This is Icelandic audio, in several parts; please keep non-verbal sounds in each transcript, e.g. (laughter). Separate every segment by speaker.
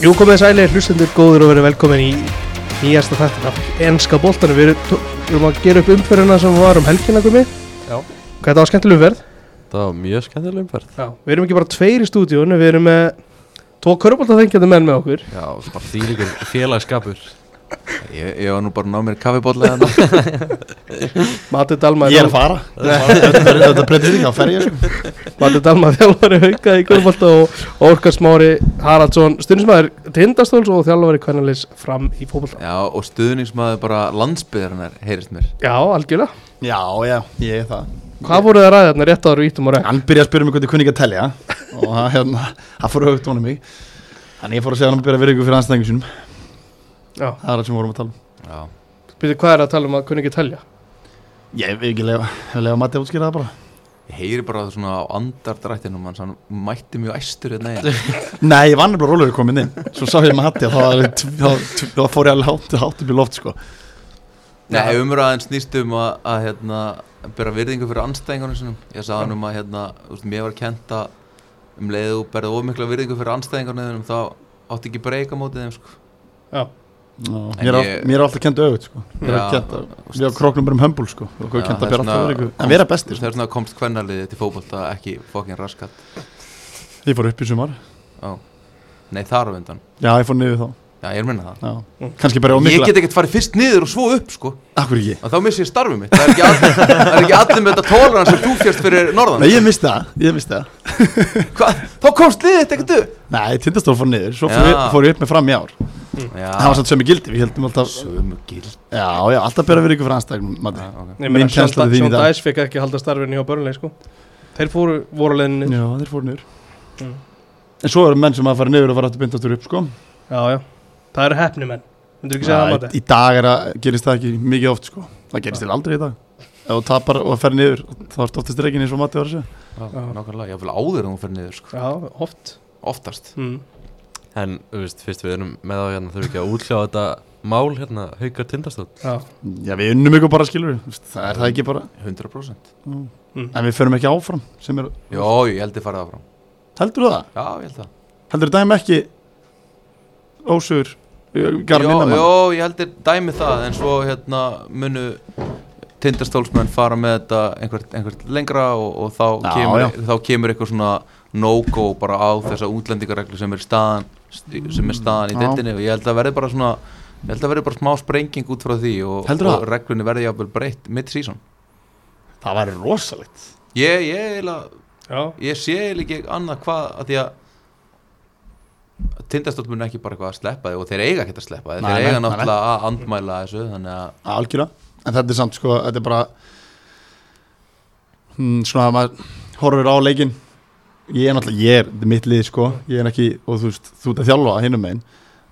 Speaker 1: Jú, komið sælir, hlustendur góður og verið velkomin í nýjasta þættin af enska boltanum. Við erum- tó- við erum að gera upp umferðina sem var um helgina komið.
Speaker 2: Já.
Speaker 1: Hvað þetta var skemmtileg umferð?
Speaker 2: Það var mjög skemmtileg umferð
Speaker 1: Já. Við erum ekki bara tveir í stúdíun, við erum með tvo köruboltaþengjandi menn með okkur.
Speaker 2: Já, bara þýlikur félagskapur
Speaker 3: sko, Ég, ég var nú bara að ná mér kaffibólla hérna
Speaker 2: (laughs)
Speaker 1: Mati Dalma,
Speaker 4: Ég er að fara Þetta breytir þig, þá fer ég sko.
Speaker 1: Mati Dalma (laughs) þjálfari hauka í körubolta og Orkar Smári Haraldsson, stundismæður Tindastóls og þjálfari kvennalis fram í fótbolta.
Speaker 3: Já, og stuðningsmaður bara landsbyðarinnar, heyrist mér
Speaker 1: Já, algjörlega.
Speaker 4: Já, já, ég er það
Speaker 1: Hvað voruð það ræðið þarna rétt áður við ítum og rekk?
Speaker 4: Hann byrjaði að spyrja mig hvernig kunni ekki að telja Og hann, hérna, hann fór högt honum mig Þannig ég fór að segja hann að byrja virðingu fyrir anstæðingum sínum
Speaker 1: Já.
Speaker 4: Það er það sem við vorum að tala um
Speaker 3: Já,
Speaker 1: Býttu, hvað er að tala um að kunni ekki telja?
Speaker 4: Ég vil ekki lega, lega Matti að útskýra það bara
Speaker 3: ég heyri bara svona á andardrættinum hans, hann mætti mjög
Speaker 2: (laughs)
Speaker 3: æstur hérna einn
Speaker 4: Nei, ég var nefnilega rólegur komin inn Svo sá ég Matti að það var- þá þá fór ég alveg hátt, hátt upp í loft sko.
Speaker 3: Nei, umræðan snýst um að, að hérna, bera virðingu fyrir anstæðingunum sinum Ég sagði hann um að, hérna, þú veist, mér var kent að um leiðu og berða ómikla virðingu fyrir anstæðingunum þínum, þá átti ekki breyka mótið þeim, sko
Speaker 1: Já.
Speaker 4: Ná,
Speaker 3: En
Speaker 4: mér, er,
Speaker 3: ég-
Speaker 4: ég... mér er alltaf kent auðvitað sko. Mér er
Speaker 3: Já,
Speaker 4: kennt að-
Speaker 3: þú veist-
Speaker 4: Við á króknum bara um hömbul sko. Og
Speaker 3: Já,
Speaker 4: kent
Speaker 3: það
Speaker 4: að
Speaker 3: er
Speaker 4: bera alltaf
Speaker 3: svona-
Speaker 4: virðingu En vera
Speaker 3: Þú veist,
Speaker 4: bestir
Speaker 3: Það er svona komst kvennarliðið til fótbolta, ekki fokkin raskat
Speaker 4: Ég fór upp í sumar
Speaker 3: Já, nei, þar á undan
Speaker 4: Já, ég fór niður þá
Speaker 3: Já, ég er að minna það
Speaker 4: Já. Kannski bara á
Speaker 3: Ég
Speaker 4: mikla
Speaker 3: get ekkert farið fyrst niður og svo upp, sko
Speaker 4: Akkur ekki
Speaker 3: að þá missi ég starfið mitt það er ekki allir, það er ekki allir með þetta tólan sem þú fjast fyrir norðan
Speaker 4: Nei, ég misti það, ég misti það
Speaker 3: Hva? þá komst liðið þetta ekkert upp
Speaker 4: Nei, tindastóð fór niður, svo fór,
Speaker 3: Já.
Speaker 4: ég- fór ég upp með fram í ár Mm. Það var
Speaker 3: já,
Speaker 4: samt sömu gildi, við heldum alltaf
Speaker 3: sömu gild
Speaker 4: Já, já, alltaf bera við ykkur fyrir anstæðum, Matti
Speaker 3: okay.
Speaker 1: Ég meina,
Speaker 4: Mín kennsla
Speaker 1: Sean
Speaker 4: við þín í
Speaker 1: Sean
Speaker 4: dag.
Speaker 1: Dice fekk ekki að halda starfinu hjá Börnlegi sko Þeir fóru, voru á leiðinni
Speaker 4: Já, þeir fór niður
Speaker 1: Mm.
Speaker 4: En svo eru menn sem að fara niður og fara aftur byndastur upp, sko
Speaker 1: Já, já, það eru hefni menn Myndur ekki segja
Speaker 4: Já,
Speaker 1: það
Speaker 4: í-
Speaker 1: Matti?
Speaker 4: Í dag er að, gerist það ekki mikið oft, sko Það gerist til aldrei í dag Ef þú tapar og fer niður, þá ertu oftast reikin eins og Matti var að segja
Speaker 3: nákvæmlega, ég vil áður en hún fer niður sko.
Speaker 1: Já, oft
Speaker 3: oftast
Speaker 1: mm.
Speaker 2: En, þú veist, fyrst við erum með á hérna Þurfum ekki að útljá þetta mál hérna Haukar tindastótt
Speaker 1: Já,
Speaker 4: Já, við unnum ykkur bara skilur Það er það ekki bara
Speaker 3: 100%
Speaker 1: mm.
Speaker 4: En við förum ekki áfram, sem er
Speaker 3: já, ég held ég farið áfram
Speaker 4: Heldur það?
Speaker 3: já, ég held það
Speaker 4: Heldur dæmi ekki Ósugur
Speaker 3: já,
Speaker 4: Garðan Linnamann?
Speaker 3: já, ég held ég dæmi það en svo hérna munu tindastólsmenn fara með þetta einhvert, einhvert lengra og, og þá,
Speaker 4: Já,
Speaker 3: kemur,
Speaker 4: já.
Speaker 3: þá kemur eitthvað svona no-go bara á þessa útlendingareglu sem er staðan sem er staðan í
Speaker 4: Já.
Speaker 3: dildinni og ég held að verði bara svona ég held að verði bara smá sprenging út frá því og,
Speaker 4: Heldurðu
Speaker 3: og
Speaker 4: það?
Speaker 3: reglunni verði jáfnvel breytt mid-season
Speaker 4: Það væri rosalegt
Speaker 3: ég, ég, eiginlega-
Speaker 1: já,
Speaker 3: ég sé eiginlega ekki annað hvað að því að tindastótt mun ekki bara eitthvað að sleppa þið og þeir eiga ekki að sleppa þið
Speaker 4: Nei,
Speaker 3: þeir
Speaker 4: nei,
Speaker 3: eiga
Speaker 4: nei, nei.
Speaker 3: náttúrulega að andmæla þessu þannig að
Speaker 4: Algjörlega, en þetta er samt sko Þetta er bara hmm, Svona að maður horfir á leikin Ég er náttúrulega, ég er þetta er mitt lið sko Ég er ekki, og þú veist, þú ert að þjálfa hinum megin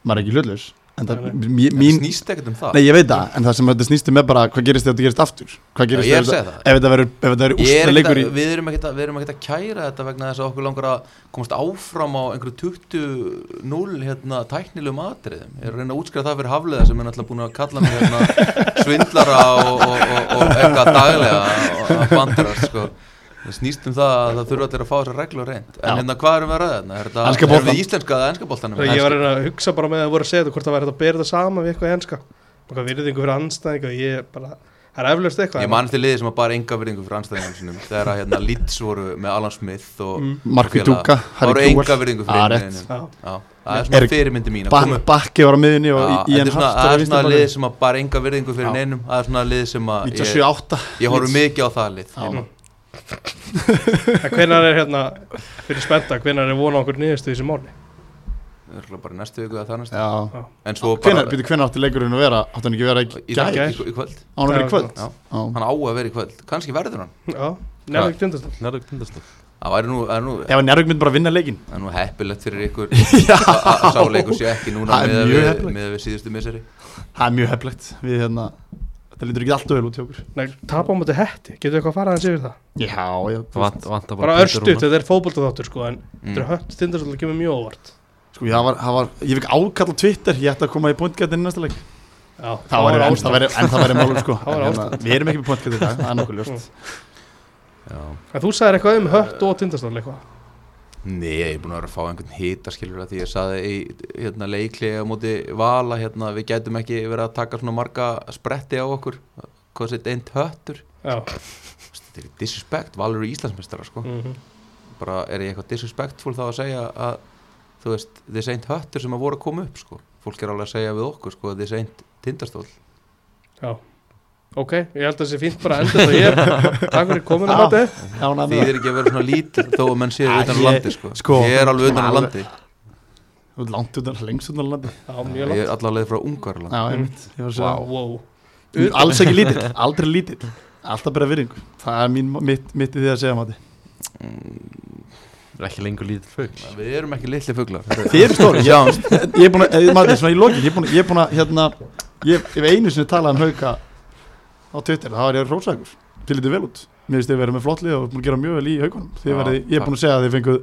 Speaker 4: Maður er ekki hlutlaus En það,
Speaker 1: Nei,
Speaker 4: mín,
Speaker 3: En
Speaker 4: mín
Speaker 3: það snýst ekkert um það
Speaker 4: Nei, ég veit það, en það sem þetta snýstum er bara Hvað gerist þegar þetta gerist aftur? Hvað gerist
Speaker 3: Já, ég er
Speaker 4: ef
Speaker 3: að segja
Speaker 4: þetta-
Speaker 3: það.
Speaker 4: Ef þetta verður- ef þetta verður
Speaker 3: Ég er
Speaker 4: úrsta
Speaker 3: ekkert
Speaker 4: leikur
Speaker 3: að,
Speaker 4: í
Speaker 3: við, erum ekkert að, við erum ekkert að kæra þetta vegna þess að okkur langar að komast áfram á einhverju 20-0 hérna, tæknilegum atriðum ég er að reyna að útskrifa það fyrir Hafliða sem er náttúrulega búin að kalla mig (laughs) hérna, svindlara og, og, og, og eitthvað daglega og að bandrast sko. það snýst um það að það þurfa allir að fá þessar reglur reynd
Speaker 4: Já.
Speaker 3: en hérna hvað erum við að ræða þarna? Er
Speaker 4: Enska
Speaker 3: þetta- erum
Speaker 4: boltann.
Speaker 3: við íslenska eða enska boltanum?
Speaker 1: ég var að reyna að hugsa bara með að voru að segja þetta hvort það væri hægt að bera þetta sama við eitthvað enska Bara virðingu fyrir anstæðingu ég bara, það er eflaust eitthvað
Speaker 3: Ég man eftir liði sem að bara enga virðingu fyrir anstæðingum sinum þegar að hérna Leeds voru með Alan Smith og
Speaker 4: Markvi
Speaker 3: félaga.
Speaker 4: Dúka,
Speaker 3: Það
Speaker 4: Harry
Speaker 3: voru
Speaker 4: Kewell.
Speaker 3: enga virðingu
Speaker 4: Já,
Speaker 3: fyrir
Speaker 4: rétt.
Speaker 3: einum
Speaker 1: Já,
Speaker 3: Já, það er svona
Speaker 4: Er-
Speaker 3: fyrirmyndi mín að
Speaker 4: Bak-
Speaker 3: koma upp.
Speaker 4: Bakki var á miðunni
Speaker 3: Já,
Speaker 4: og
Speaker 3: Þetta
Speaker 4: Ian
Speaker 3: er svona,
Speaker 4: Hart
Speaker 3: það
Speaker 4: var
Speaker 3: er
Speaker 4: í
Speaker 3: svona lið
Speaker 4: vinstri
Speaker 3: sem að bara enga virðingu fyrir
Speaker 4: Já.
Speaker 3: neinum Það er svona lið sem að ég,
Speaker 4: 97-8
Speaker 3: ég horfum mikið á það lið
Speaker 4: Já.
Speaker 1: en hvenær er hérna, fyrir spennta, hvenær er vona okkur niðurstu í þessu máli?
Speaker 3: Örugglega bara næstu viku eða það næstu
Speaker 4: Já
Speaker 3: En svo bara
Speaker 4: Hvenær, býtu, hvenær átti leikurinn að vera? Átti hann ekki að vera
Speaker 3: í,
Speaker 4: í
Speaker 3: dag,
Speaker 4: gæð?
Speaker 1: gær.
Speaker 3: í, í kvöld
Speaker 4: Á hann að vera í kvöld?
Speaker 3: Já.
Speaker 4: Já.
Speaker 3: Hann á að vera í kvöld, kannski verður hann
Speaker 1: Já, nefnir ekki tundast
Speaker 2: Nærðu tindastótt
Speaker 3: Það væri nú, það er nú,
Speaker 4: Ef hann Njárvík myndi bara vinna leikin
Speaker 3: það er nú heppilegt fyrir
Speaker 4: (laughs)
Speaker 3: ykkur að sáleikur sé ekki núna
Speaker 4: Það er
Speaker 3: með
Speaker 4: mjög
Speaker 3: við,
Speaker 4: heppilegt.
Speaker 3: miðað við síðustu misseri
Speaker 4: Það er mjög heflegt Við hérna Þetta lítur ekki allt öðul út hjá okkur
Speaker 1: Nei, tapa á móti hetti, getur eitthvað að fara aðeins yfir það?
Speaker 4: Já, já þú veist.
Speaker 2: Vant, Vanta bara
Speaker 1: Bara
Speaker 2: Pétur
Speaker 1: örstuð,
Speaker 2: Rúnar.
Speaker 1: þetta er fótboltaþáttur sko en þetta er
Speaker 3: mm.
Speaker 1: hött stindarsóla kemur mjög óvart
Speaker 4: Sko, það var, það var Ég fikk ákall á Twitter Ég ætti að koma í pointgætin næsta leik
Speaker 1: Já,
Speaker 4: Það var enn það væri- en það væri málum sko
Speaker 1: Það var
Speaker 4: En, hérna, Við erum ekki með pointgætin í dag Það er nokkuð ljóst
Speaker 3: Já.
Speaker 1: En þú sagðir eitthvað um hött og tindastól eitthvað
Speaker 3: Nei, ég er búin að vera að fá einhvern hita skilur að því ég saði í hérna, leiklega móti vala hérna, við gætum ekki verið að taka svona marga spretti á okkur hvað þetta einn höttur
Speaker 1: Já,
Speaker 3: þetta er disrespect, valur í Íslandsmeistara sko.
Speaker 1: mhm.
Speaker 3: bara er ég eitthvað disrespectful þá að segja að þú veist, þessi einn höttur sem að voru að koma upp sko. fólk er alveg að segja við okkur sko, þessi einn tindastól
Speaker 1: já Ok, ég held að það sé fínt bara að enda þetta hér Takk fyrir komin að
Speaker 4: Já.
Speaker 1: þetta
Speaker 4: Ánægð
Speaker 3: því
Speaker 4: með það.
Speaker 3: þeir ekki að vera svona lítil þó að menn séu
Speaker 4: Ah,
Speaker 3: utan á
Speaker 4: ég-
Speaker 3: landi sko.
Speaker 4: sko,
Speaker 3: ég er alveg utan á
Speaker 4: alveg-
Speaker 3: landi
Speaker 4: Þú ert Langt utan, lengst utan á landi
Speaker 1: Já, mjög
Speaker 3: ég
Speaker 1: langt
Speaker 3: er allavega leið frá Ungarland
Speaker 4: Já, einmitt Ég var að segja
Speaker 1: Vá, wow.
Speaker 4: Mm, Alls ekki lítill, aldrei lítill Alltaf bara virðingu Það er mín, mitt, mitt í því að segja mati
Speaker 2: Ekki lengur lítið fugg
Speaker 3: Mm, við erum ekki litli fuglar þetta
Speaker 4: Þið eru stóri, já Ég er búin að, eh, mati, svona í lokin Ég er búin að, ég er búin að, hérna Ég hef einu sinni talað um hauka á Twitter Það var ég rósakur, til lítið vel út Mér finnst þið verið með flottlið og búin að gera mjög vel í haukunum Þið
Speaker 3: Já,
Speaker 4: verið, ég er búin að segja að þið fenguð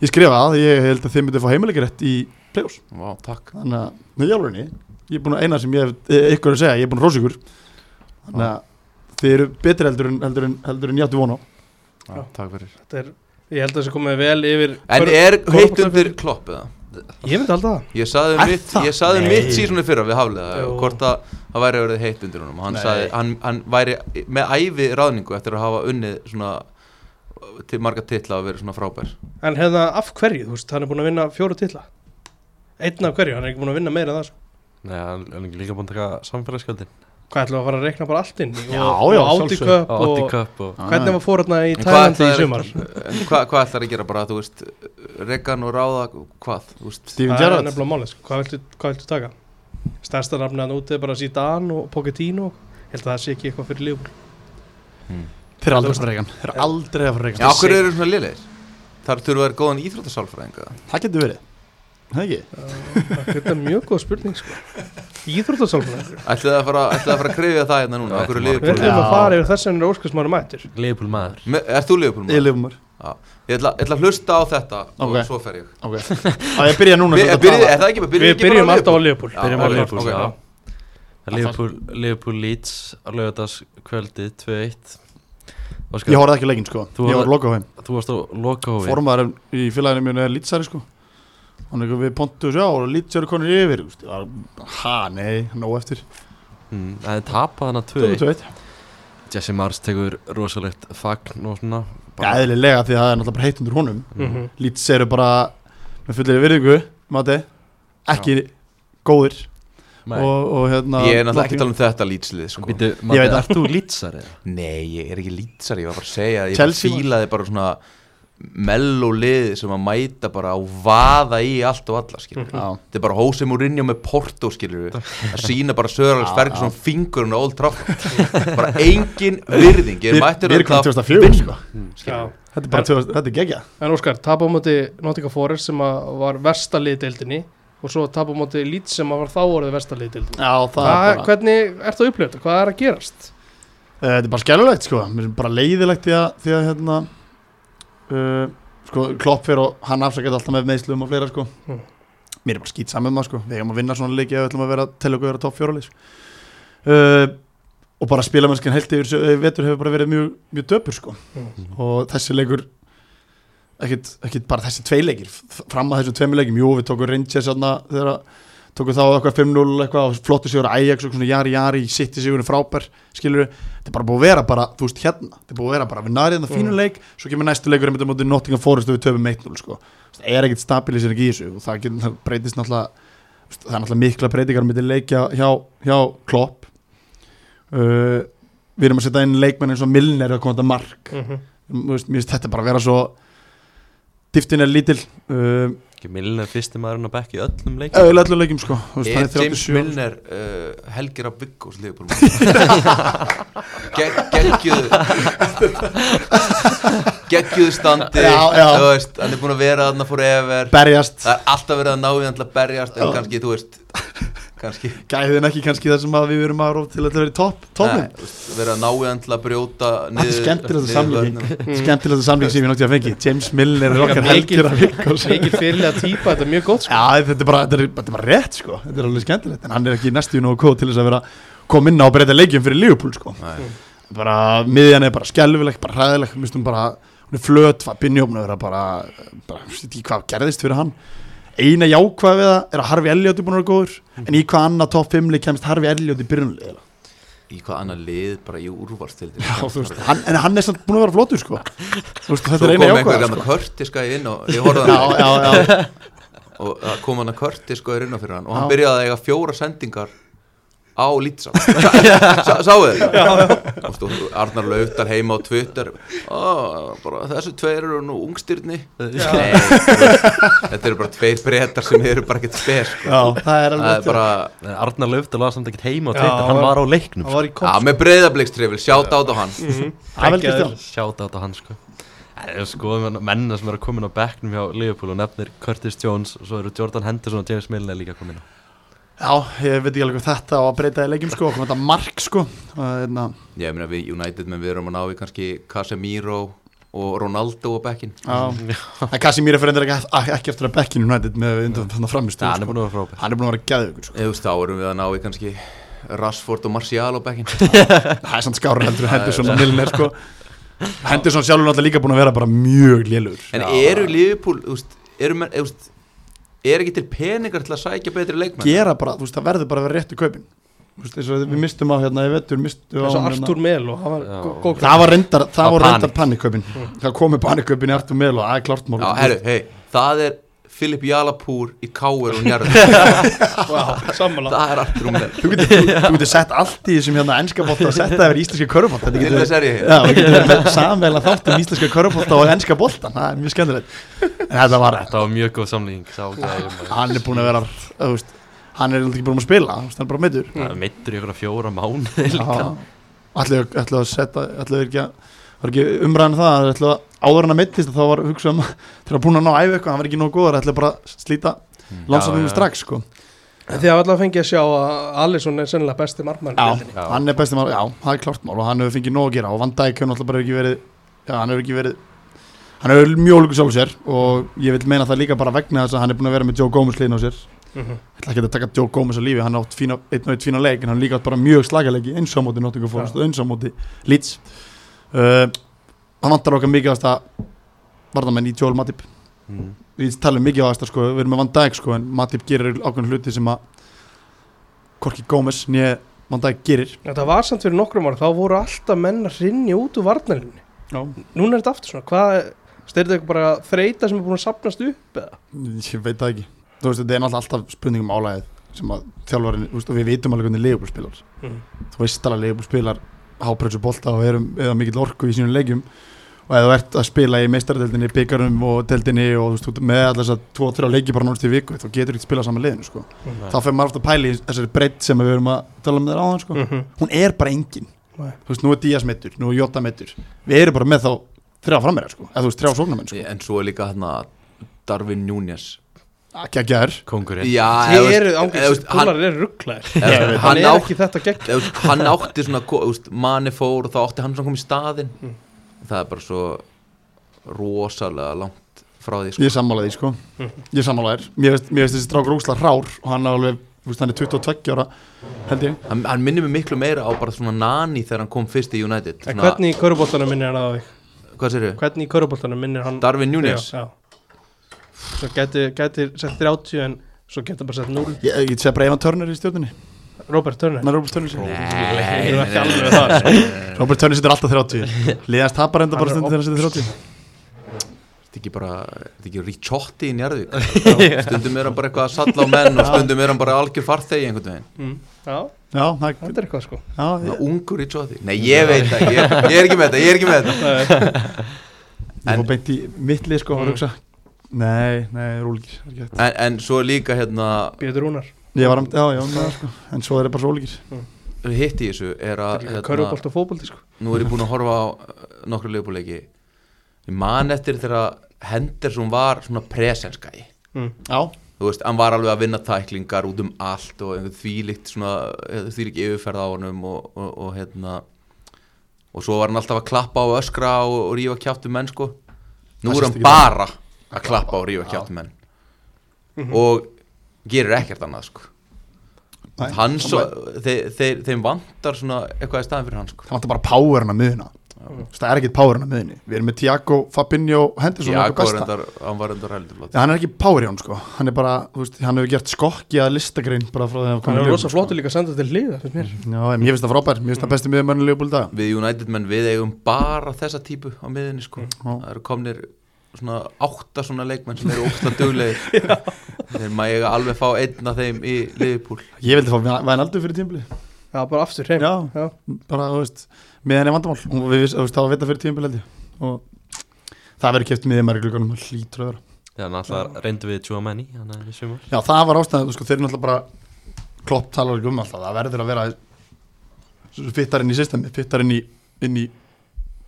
Speaker 4: Ég skrifa að, ég held að þið myndið fá heimileikarétt í play-offs
Speaker 3: Vá, takk
Speaker 4: þannig að, með jálfurinni ég er búin að eina sem ég hef eh, ykkur að segja, ég er búin að rósa ykkur þannig að þið eru betri heldur en, heldur en, heldur en ég átti von á
Speaker 3: Já, takk fyrir
Speaker 1: Þetta er, ég held að það sé komið vel yfir
Speaker 3: En
Speaker 1: Hver-
Speaker 3: er heitt
Speaker 1: Körfubolta-
Speaker 3: undir klopp eða?
Speaker 1: Ég myndi alltaf það
Speaker 3: Ég saði um
Speaker 4: Er
Speaker 3: mitt,
Speaker 4: það?
Speaker 3: ég saði um
Speaker 4: Nei.
Speaker 3: mitt sísunni fyrra við Haflega
Speaker 1: Jú.
Speaker 3: hvort að það væri verið heitt undir honum hann,
Speaker 4: Nei.
Speaker 3: saði, hann, hann væri með ævi ráðningu eftir að hafa unnið svona til marga titla að vera svona frábær
Speaker 1: En hefða af hverju, þú veist, hann er búin að vinna fjóru titla Einn af hverju, hann er ekki búin að vinna meira en það sko.
Speaker 2: Nei, hann hann er líka búin að taka samfélagsgjöldin
Speaker 1: Hvað ætlum við að fara að rekna bara allt inn í?
Speaker 4: Já,
Speaker 1: og,
Speaker 4: já,
Speaker 1: og Audi
Speaker 4: sjálfsögðu. Ah.
Speaker 1: Cup
Speaker 2: Á 80
Speaker 1: og
Speaker 2: cup og
Speaker 1: Hvernig var fórhaldna í
Speaker 3: En
Speaker 1: Tælandi í
Speaker 3: ætlar-
Speaker 1: sumar?
Speaker 3: en hvað, hvað ætlar að gera bara, þú veist Regan og Ráða, hvað, þú veist
Speaker 4: Steven
Speaker 1: Það er
Speaker 4: Gerrard
Speaker 1: nefnilega málið, sko. hvað viltu, hvað viltu taka? Stærsta rafnið hann úti er bara Zidane og Pochettino Ég held að það sé ekki eitthvað fyrir
Speaker 4: (laughs)
Speaker 1: lífbúl
Speaker 4: þeir eru aldrei að fara reygan þeir eru aldrei að
Speaker 3: Já,
Speaker 4: fara reygan
Speaker 3: okkur eru svona liðleir Þar þurfa að vera góðan íþróttasálfræðinga
Speaker 4: það getur verið, það ekki
Speaker 1: Þetta er mjög góð spurning sko Íþróttarsálfræðingur
Speaker 3: Ætlaði það að fara, ætlaði að fara að krefja það hérna núna,
Speaker 2: Já,
Speaker 3: okkur
Speaker 2: þetta
Speaker 3: eru
Speaker 2: var-
Speaker 1: Við
Speaker 3: liðbúl
Speaker 1: ætlum að
Speaker 4: Já.
Speaker 1: fara yfir þess að hann er óskarsmári mættur
Speaker 2: Leifbúl maður
Speaker 3: Ert þú liðbúl
Speaker 4: ég
Speaker 3: maður?
Speaker 4: lifum mér
Speaker 3: Ég ætla, ég ætla að hlusta á þetta
Speaker 4: Ok.
Speaker 3: og svo fer ég
Speaker 4: ok, að ég byrja núna
Speaker 3: Við,
Speaker 4: svolítið að
Speaker 3: byrjum,
Speaker 4: tala.
Speaker 3: er það ekki, byrjum
Speaker 1: Við
Speaker 3: ekki bara
Speaker 1: byrjum alltaf á
Speaker 3: Liverpool?
Speaker 1: lífbúl
Speaker 3: Já,
Speaker 2: Byrjum á
Speaker 3: ok,
Speaker 2: Liverpool,
Speaker 3: ok,
Speaker 2: já.
Speaker 3: já.
Speaker 2: Leifbúl, Leifbúl Leeds á lögadagskvöldi 2-1 Óskar,
Speaker 4: ég horfði ekki á leikinn sko,
Speaker 2: Þú
Speaker 4: ég
Speaker 2: horfði-
Speaker 4: var lokað á heim
Speaker 2: þú varst á lokahófi
Speaker 4: formaður í félaginu mínu er lýtsari sko hann er eitthvað við Pontus, já, lýtsari konur yfir þú veist, ég var, ha, nei, nóg eftir
Speaker 2: Mm, Það er tapað hann að 2-1
Speaker 4: 2-1.
Speaker 2: Jesse Mars tekur rosalegt fagn og svona
Speaker 4: Já, eðlilega því að það er náttúrulega bara heitt undir honum
Speaker 1: Mhm.
Speaker 4: Leeds eru bara með fullir virðingu Mati, ekki góðir
Speaker 2: og
Speaker 4: og, og hérna
Speaker 3: Ég er náttúrulega ekki að
Speaker 4: Nottingham-
Speaker 3: tala um þetta lýtslið sko.
Speaker 2: Býtu,
Speaker 4: Ég veit
Speaker 2: maður,
Speaker 4: það.
Speaker 2: ert þú lýtsari?
Speaker 3: Nei, ég er ekki lýtsari, ég var bara að segja að Ég
Speaker 4: Chelsea var-
Speaker 3: fílaði bara svona mello liði sem að mæta bara og vaða í allt og alla skilur
Speaker 4: Já,
Speaker 3: Þetta er bara Hose Mourinho með Porto skilur að
Speaker 4: (laughs)
Speaker 3: sína bara Söralins
Speaker 4: Já,
Speaker 3: Ferguson fingurinn á Old Trafford bara engin virðing Ég er
Speaker 4: Við-
Speaker 3: mættur
Speaker 4: við erum
Speaker 3: auðvitað
Speaker 4: komin 2004,
Speaker 3: vinna,
Speaker 1: Já.
Speaker 3: skilurðu.
Speaker 4: sko. þetta er bara 2000 þetta er gegja
Speaker 1: En Óskar, tap á móti Nottingham Forest sem að var versta liðdeildinni og svo tap á móti Leeds sem að var þá orðið versta liðdeildinni
Speaker 4: Já, það
Speaker 1: Hva,
Speaker 4: er bara,
Speaker 1: Hvernig ert það upplöfð? Hvað er að gerast?
Speaker 4: (laughs) Eh, þetta er bara skellulegt sko Mér er bara leiðilegt því að, því að hérna uh, sko, klopp fyrir og hann afsakið alltaf með meðslum og fleira sko
Speaker 1: Mm.
Speaker 4: Mér er bara skýt saman með maður sko Við eigum að vinna svona leiki að við ætlum að vera til okkur að vera topp fjóralið sko. uh, og bara spilamennskan heilt yfir sö- eh, vetur hefur bara verið mjög, mjög döpur sko
Speaker 1: Mm.
Speaker 4: og þessi leikur ekkit, ekkit bara þessi tvei leikir f- fram að þessum tveimur leikim, jú við tókum Rangers þarna þegar að- tókum þá eitthvað 5-0 eitthvað og flottu sigur að Ajax og svona jari jari, sitti sigurinn frábær skilur þetta er bara búið að vera bara, þú veist hérna þetta er búið að vera bara, við nærið þetta fínu
Speaker 1: Mm.
Speaker 4: leik svo kemur næstu leikur einmitt á móti Nottingham Forest og við töfum 1-0 sko, það er ekkit stabilisir ekki í þessu og það, getur, það breytist náttúrulega þú veist, það er náttúrulega mikla breytingar með leikja hjá, hjá Klopp uh, við erum að setja inn leikmenn eins og Milner að koma þetta mark
Speaker 1: Mm -hmm.
Speaker 4: Þú veist, mér finnst þetta bara að vera svo dýftin er lítil uh,
Speaker 2: Ekki Milner fyrsti maðurinn að bekka í öllum leikum
Speaker 4: öll öllu leikjum sko Þú veist,
Speaker 3: Er
Speaker 4: hann
Speaker 3: James
Speaker 4: 37
Speaker 3: Milner uh, helgir að byggja úr (laughs) liðbúlum Geggjuð Geggjuð standi
Speaker 4: Já, já.
Speaker 3: þú veist, Hann er búin að vera þarna fór efer
Speaker 4: berjast,
Speaker 3: Það er alltaf verið að ná í hann til að berjast En
Speaker 4: Já.
Speaker 3: kannski, þú veist Kannski
Speaker 4: gæðin ekki kannski það sem að við erum að róf til að þetta verið topp
Speaker 3: Nei,
Speaker 4: toppmynd,
Speaker 3: þú veist, Verið að ná í hann til að brjóta niður-
Speaker 4: skemmtilegasta
Speaker 3: niður
Speaker 4: samlíking.
Speaker 3: vörnina.
Speaker 4: skemmtilegasta samling sem ég náttúrulega fengi James Milner er
Speaker 1: Líka
Speaker 4: okkar
Speaker 1: mikil-
Speaker 4: helgir að vikku
Speaker 1: Mikið fyrirlega típa, þetta er mjög gott sko.
Speaker 4: Já, þetta er bara, þetta er, þetta er bara rétt sko Þetta er alveg skemmtilegt, en hann er ekki næstíu nógu kóð til þess að vera koma inn á að breyta leikjum fyrir Liverpool sko
Speaker 3: Nei.
Speaker 4: Bara, miðjan er bara skelvileg, bara hræðileg, við stum bara hún er flöt, Binjófn er bara, bara ég veit ekki hvað gerðist fyrir hann eina jákvæða við það er að Harfi Elliot er búin að vera góður en í hvað annað topp 5 leik kemst Harfi Elliot í byrjunlega
Speaker 3: Í hvað annað lið, bara í úrvalstildi
Speaker 4: Já, þú veist, hann, en hann er samt búin að vera flottur sko. Þú veist, þetta
Speaker 3: Svo
Speaker 4: er
Speaker 3: kom
Speaker 4: eina
Speaker 3: einhver
Speaker 4: jákvæða
Speaker 3: gammal
Speaker 4: sko.
Speaker 3: Curtis gæði inn og ég horfði á
Speaker 4: já,
Speaker 3: hann
Speaker 4: já, já,
Speaker 3: og það kom hann að Curtis gæði inn á fyrir hann og hann
Speaker 4: Já.
Speaker 3: byrjaði að eiga fjóra sendingar á lítsa
Speaker 4: (laughs)
Speaker 3: Sáu þið? Og stó- Arnar Laufdal heima á Twitter "Ó, bara, Þessu tveir eru nú ungstyrni Nei, þú veist, þetta eru bara tveir brettar sem eru bara ekkert spes sko.
Speaker 4: já, það er
Speaker 3: Það er
Speaker 4: alveg
Speaker 3: bara,
Speaker 2: En Eh, Arnar Löfdal var samt ekkert heima á
Speaker 5: Já,
Speaker 2: Twitter, hann
Speaker 5: hann-
Speaker 2: var á leiknum
Speaker 5: hann var í
Speaker 3: já
Speaker 5: komst
Speaker 3: með breyðablikkstrifil, sjátt át á hann
Speaker 4: Mhm. Það er vel Kristján
Speaker 2: Sjáta þetta hann sko Það er sko menna sem eru komin á bekknum hjá Liverpool og nefnir Curtis Jones og svo eru Jordan Henderson og James Milner líka komin á
Speaker 4: Já, ég veit ekki alveg hvað þetta á að breyta í leikjum sko, kom þetta mark sko Það er na-
Speaker 3: Ég meina við United menn við erum að ná við kannski Casemiro og Ronaldo á bekkin
Speaker 4: já. En Casimir er fyrir endur ekki, ekki eftir að bekkinu United með undan þannig framistu
Speaker 2: Það hann er
Speaker 4: sko.
Speaker 2: búin að vera frábæð
Speaker 4: Hann er búin að vera geðugur sko.
Speaker 3: Eða þú veist, þá erum við að ná í kannski Rashford og Martial á bekkin
Speaker 4: Það er samt skárið heldur en Henderson og Milner sko. Henderson sjálfur náttúrulega líka búin að vera bara mjög lélugur
Speaker 3: En eru Liverpool, þú veist, eru menn, þú veist Er ekki til peningar til að sækja betri leikmenn?
Speaker 4: Gera bara, þú veist, það verður bara að vera réttu kaupin Þú veist, eins og við mistum á hérna í vettur mistum á
Speaker 1: eins og
Speaker 4: hann,
Speaker 1: Artur Mel og hann var
Speaker 2: Já.
Speaker 1: gó- góð
Speaker 4: Það var reyndar, það
Speaker 2: Það
Speaker 4: var
Speaker 2: var
Speaker 4: reyndar panikkaupin Það komi panikkaupin í Artur Mel og það er klart mál
Speaker 3: Já, herru, hei, það er Filip Jalapúr í Káur og Njarður
Speaker 1: wow, sammála
Speaker 3: Það er allt rúmlega
Speaker 4: Þú getur,
Speaker 2: (laughs)
Speaker 4: þú, þú getur sett allt í þessum hérna ennska bótt að setja yfir íslenska körfbótt Þetta
Speaker 3: Til
Speaker 4: getur
Speaker 3: þess er ég hér
Speaker 4: Já, við getum verið með samveila þátt um íslenska körfbólta og ennska boltan, það er mjög skemmtilegt En þetta var,
Speaker 2: Þetta var mjög góð samlíking, sá gæði maður.
Speaker 4: hann er búin að vera, þú veist, hann er náttúrulega ekki búin að spila, þú veist, hann er bara meittur
Speaker 2: Það er meittur í ykkur fjóra mánuði líka
Speaker 4: Ætlaðu ætlaðu að setja, ætlaðu ekki að, var ekki umræðan um það, það ætlaðu að áður hann að meittist þá var hugsað um, þegar hann búin að ná æfi eitthvað, hann var ekki nóg góður, ætlaðu bara að slíta
Speaker 2: Já,
Speaker 4: landslunum
Speaker 2: já.
Speaker 4: strax, sko
Speaker 1: Þið hafa alltaf fengið að sjá að Alisson er sennilega besti markmann í
Speaker 4: Já,
Speaker 1: deildinni.
Speaker 2: Já.
Speaker 4: hann er besti mál, já, það er klart mál og hann hefur fengið nóg að gera og Van Dijk hefur náttúrulega bara ekki verið já, hann hefur ekki verið hann hefur mjög líka sjálf sér og ég vil meina það líka bara vegna þess að hann er búin að vera með Joe Gomez líðin á sér ég
Speaker 1: Mhm.
Speaker 4: ætla ekki að taka Joe Gomez á lífi hann átt fína, einn og einn fína leik en hann líka átt bara mjög slagaleiki eins á móti Nottingham Forest
Speaker 1: Já.
Speaker 4: og eins á móti Leeds uh, hann vantar okkar mikið að það varðamenn í Joel Matip
Speaker 2: Mm.
Speaker 4: við talum mikið á aðstæð sko, við erum með Van Dijk sko, en Matip gerir ákveðin hluti sem að Korki Gómez nýja Van Dijk gerir
Speaker 1: Þetta var samt fyrir nokkrum ára, þá voru alltaf menn að rinja út úr varnalinni.
Speaker 4: Já.
Speaker 1: Núna er þetta aftur svona, hvað, styrir þetta bara þreita sem er búin að sapnast upp eða?
Speaker 4: Ég veit það ekki Þú veist, þetta er náttúrulega alltaf spurning um álæðið sem að þjálfarinn, þú veist, og við vitum alveg hvernig Leopold spilar
Speaker 1: Mhm.
Speaker 4: Þú veist alveg að Leopold spilar hápressu bolta og erum eða mikill orku í sínum leikjum og ef þú ert að spila í meistaradeldinni, byggarum og deldinni og þú veist, þú ert með alltaf þess að 2-3 leiki bara nánast í viku, þú getur ekki spilað saman liðinu sko.
Speaker 2: Nei.
Speaker 4: þá fer maður ofta að pæla í þessari breytt sem við erum að tala um þér áðan sko.
Speaker 1: Mhm.
Speaker 4: hún er bara engin
Speaker 1: Nei.
Speaker 4: þú veist, nú er Díaz meittur, nú er Jota meittur við erum bara með þá þrjá frammeira sko. eða þú veist, þrjá sóknarmenn sko.
Speaker 3: En svo er líka hérna Darwin Núñez
Speaker 4: sko. Gægjar,
Speaker 2: Kongurinn
Speaker 3: Já,
Speaker 1: Þið
Speaker 3: eða
Speaker 1: eru
Speaker 3: þú
Speaker 1: ángjörs,
Speaker 3: veist, hann-
Speaker 1: búlar eru rugglaðir.
Speaker 3: eða þú veist,
Speaker 1: Hann
Speaker 3: hann
Speaker 1: er
Speaker 3: átt
Speaker 1: ekki þetta gegn.
Speaker 3: Eða, þú veist, hann átti svona ko- þú veist, manni fór og þá átti hann svona komið í staðinn það er bara svo rosalega langt frá því sko.
Speaker 4: Ég sammála því sko Ég sammála þér Mér veist, mér veist þessi strákur ósla hrár og hann er alveg, þú veist, hann er 22 ára held ég
Speaker 3: hann, hann minnir mig miklu meira á bara svona nani þegar hann kom fyrst í United
Speaker 1: En hvernig í körubóltanum minnir hann á þig?
Speaker 3: hvað sér þau?
Speaker 1: Hvernig í körubóltanum minnir hann?
Speaker 3: Darwin Núñez
Speaker 1: Já, já. Svo gæti, gæti sett 30 en svo gæti bara sett 0.
Speaker 4: Ég, ég sé bara Evan Turner í stjórninni
Speaker 1: Robert Turner.
Speaker 4: Hann er Robert Turner sér
Speaker 1: Ég er
Speaker 3: Nei,
Speaker 1: ekki alveg það. sko.
Speaker 4: Robert Turner setur alltaf 30 Liðast tapar enda bara
Speaker 1: Hann er
Speaker 4: stundin þegar hann setur 30
Speaker 3: þetta er ekki bara þetta er ekki Richotti í Njarðvík stundum er hann bara eitthvað að salla á menn og stundum er hann bara algjör farþegi einhvern veginn
Speaker 1: Mm. Já,
Speaker 4: Já, það,
Speaker 1: þetta er eitthvað sko.
Speaker 4: já
Speaker 3: Ná,
Speaker 4: ég,
Speaker 3: ungur Richotti nei ég veit það ég, ég er ekki með þetta ég er ekki með þetta
Speaker 4: ég fór beint í mittli sko mm. hugsa, Nei, nei, rúlíkir það er ekki hægt.
Speaker 3: en, en svo líka hérna
Speaker 1: Bjöður Rúnar.
Speaker 4: Ég var amt, já, já, maður, sko. en svo er það bara svo ólíkir
Speaker 3: hitt í þessu er að hérna,
Speaker 1: Körubólt og fókbólti sko.
Speaker 3: Nú er ég búinn að horfa á uh, nokkru leifbúleiki Ég man eftir þegar Henderson var svona presenskæ
Speaker 1: Mm.
Speaker 4: Já,
Speaker 3: Þú veist, hann var alveg að vinna tæklingar út um allt og einhver þvílíkt svona eh, þvílík yfirferð á honum og, og, og hérna og svo var hann alltaf að klappa og öskra og, og rífa kjátt um menn sko Nú er
Speaker 4: Það sést
Speaker 3: hann
Speaker 4: ekki
Speaker 3: bara að klappa og rífa kjátt um menn og gerir ekkert annað sko
Speaker 4: Nei,
Speaker 3: Hann svo, þeir, þeir, þeim vantar svona eitthvað í staðin fyrir hann sko
Speaker 4: Það vantar bara powerna miðuna Þú veist, það er ekkit powerinn á miðinni við erum með Tiago, Fabinho, Henderson okkar
Speaker 3: Jakob
Speaker 4: besta.
Speaker 3: reyndar, hann var reyndar heldur flott
Speaker 4: Já, hann er ekki power í hann sko hann er bara, þú veist, hann hefur gert skokki að listagrein bara frá því að
Speaker 1: Hann
Speaker 4: í
Speaker 1: er
Speaker 4: Liverpool.
Speaker 1: rosa flottur líka að senda til hliða finnst mér.
Speaker 4: Já, en ég finnst það frábær, mér finnst
Speaker 1: Mm.
Speaker 4: það besti miðurmann í Leopold dag
Speaker 3: Við United menn, við eigum bara þessa típu á miðinni sko Það eru komnir svona átta svona leikmenn sem eru ósta duglegir Þeir maður eiga alveg fá einn af þeim í liðupúl
Speaker 4: Ég vildi fá væn aldrei fyrir tímbili
Speaker 1: Já, bara aftur heim
Speaker 4: Já,
Speaker 1: Já.
Speaker 4: bara, þú veist, miðan er vandamál og við, þú veist, það var vita fyrir tímbili held ég og það verður keft miðurmann í glugganum og hlýtur að vera
Speaker 2: Já, náttúrulega reyndu við Tjóamenni Þannig að við sumar
Speaker 4: Já, það var ástæðan, þú sko, þeir eru náttúrulega bara klopp talar ekki um alltaf, það verður að vera fittar inn í systemi, fittar inn í, inn í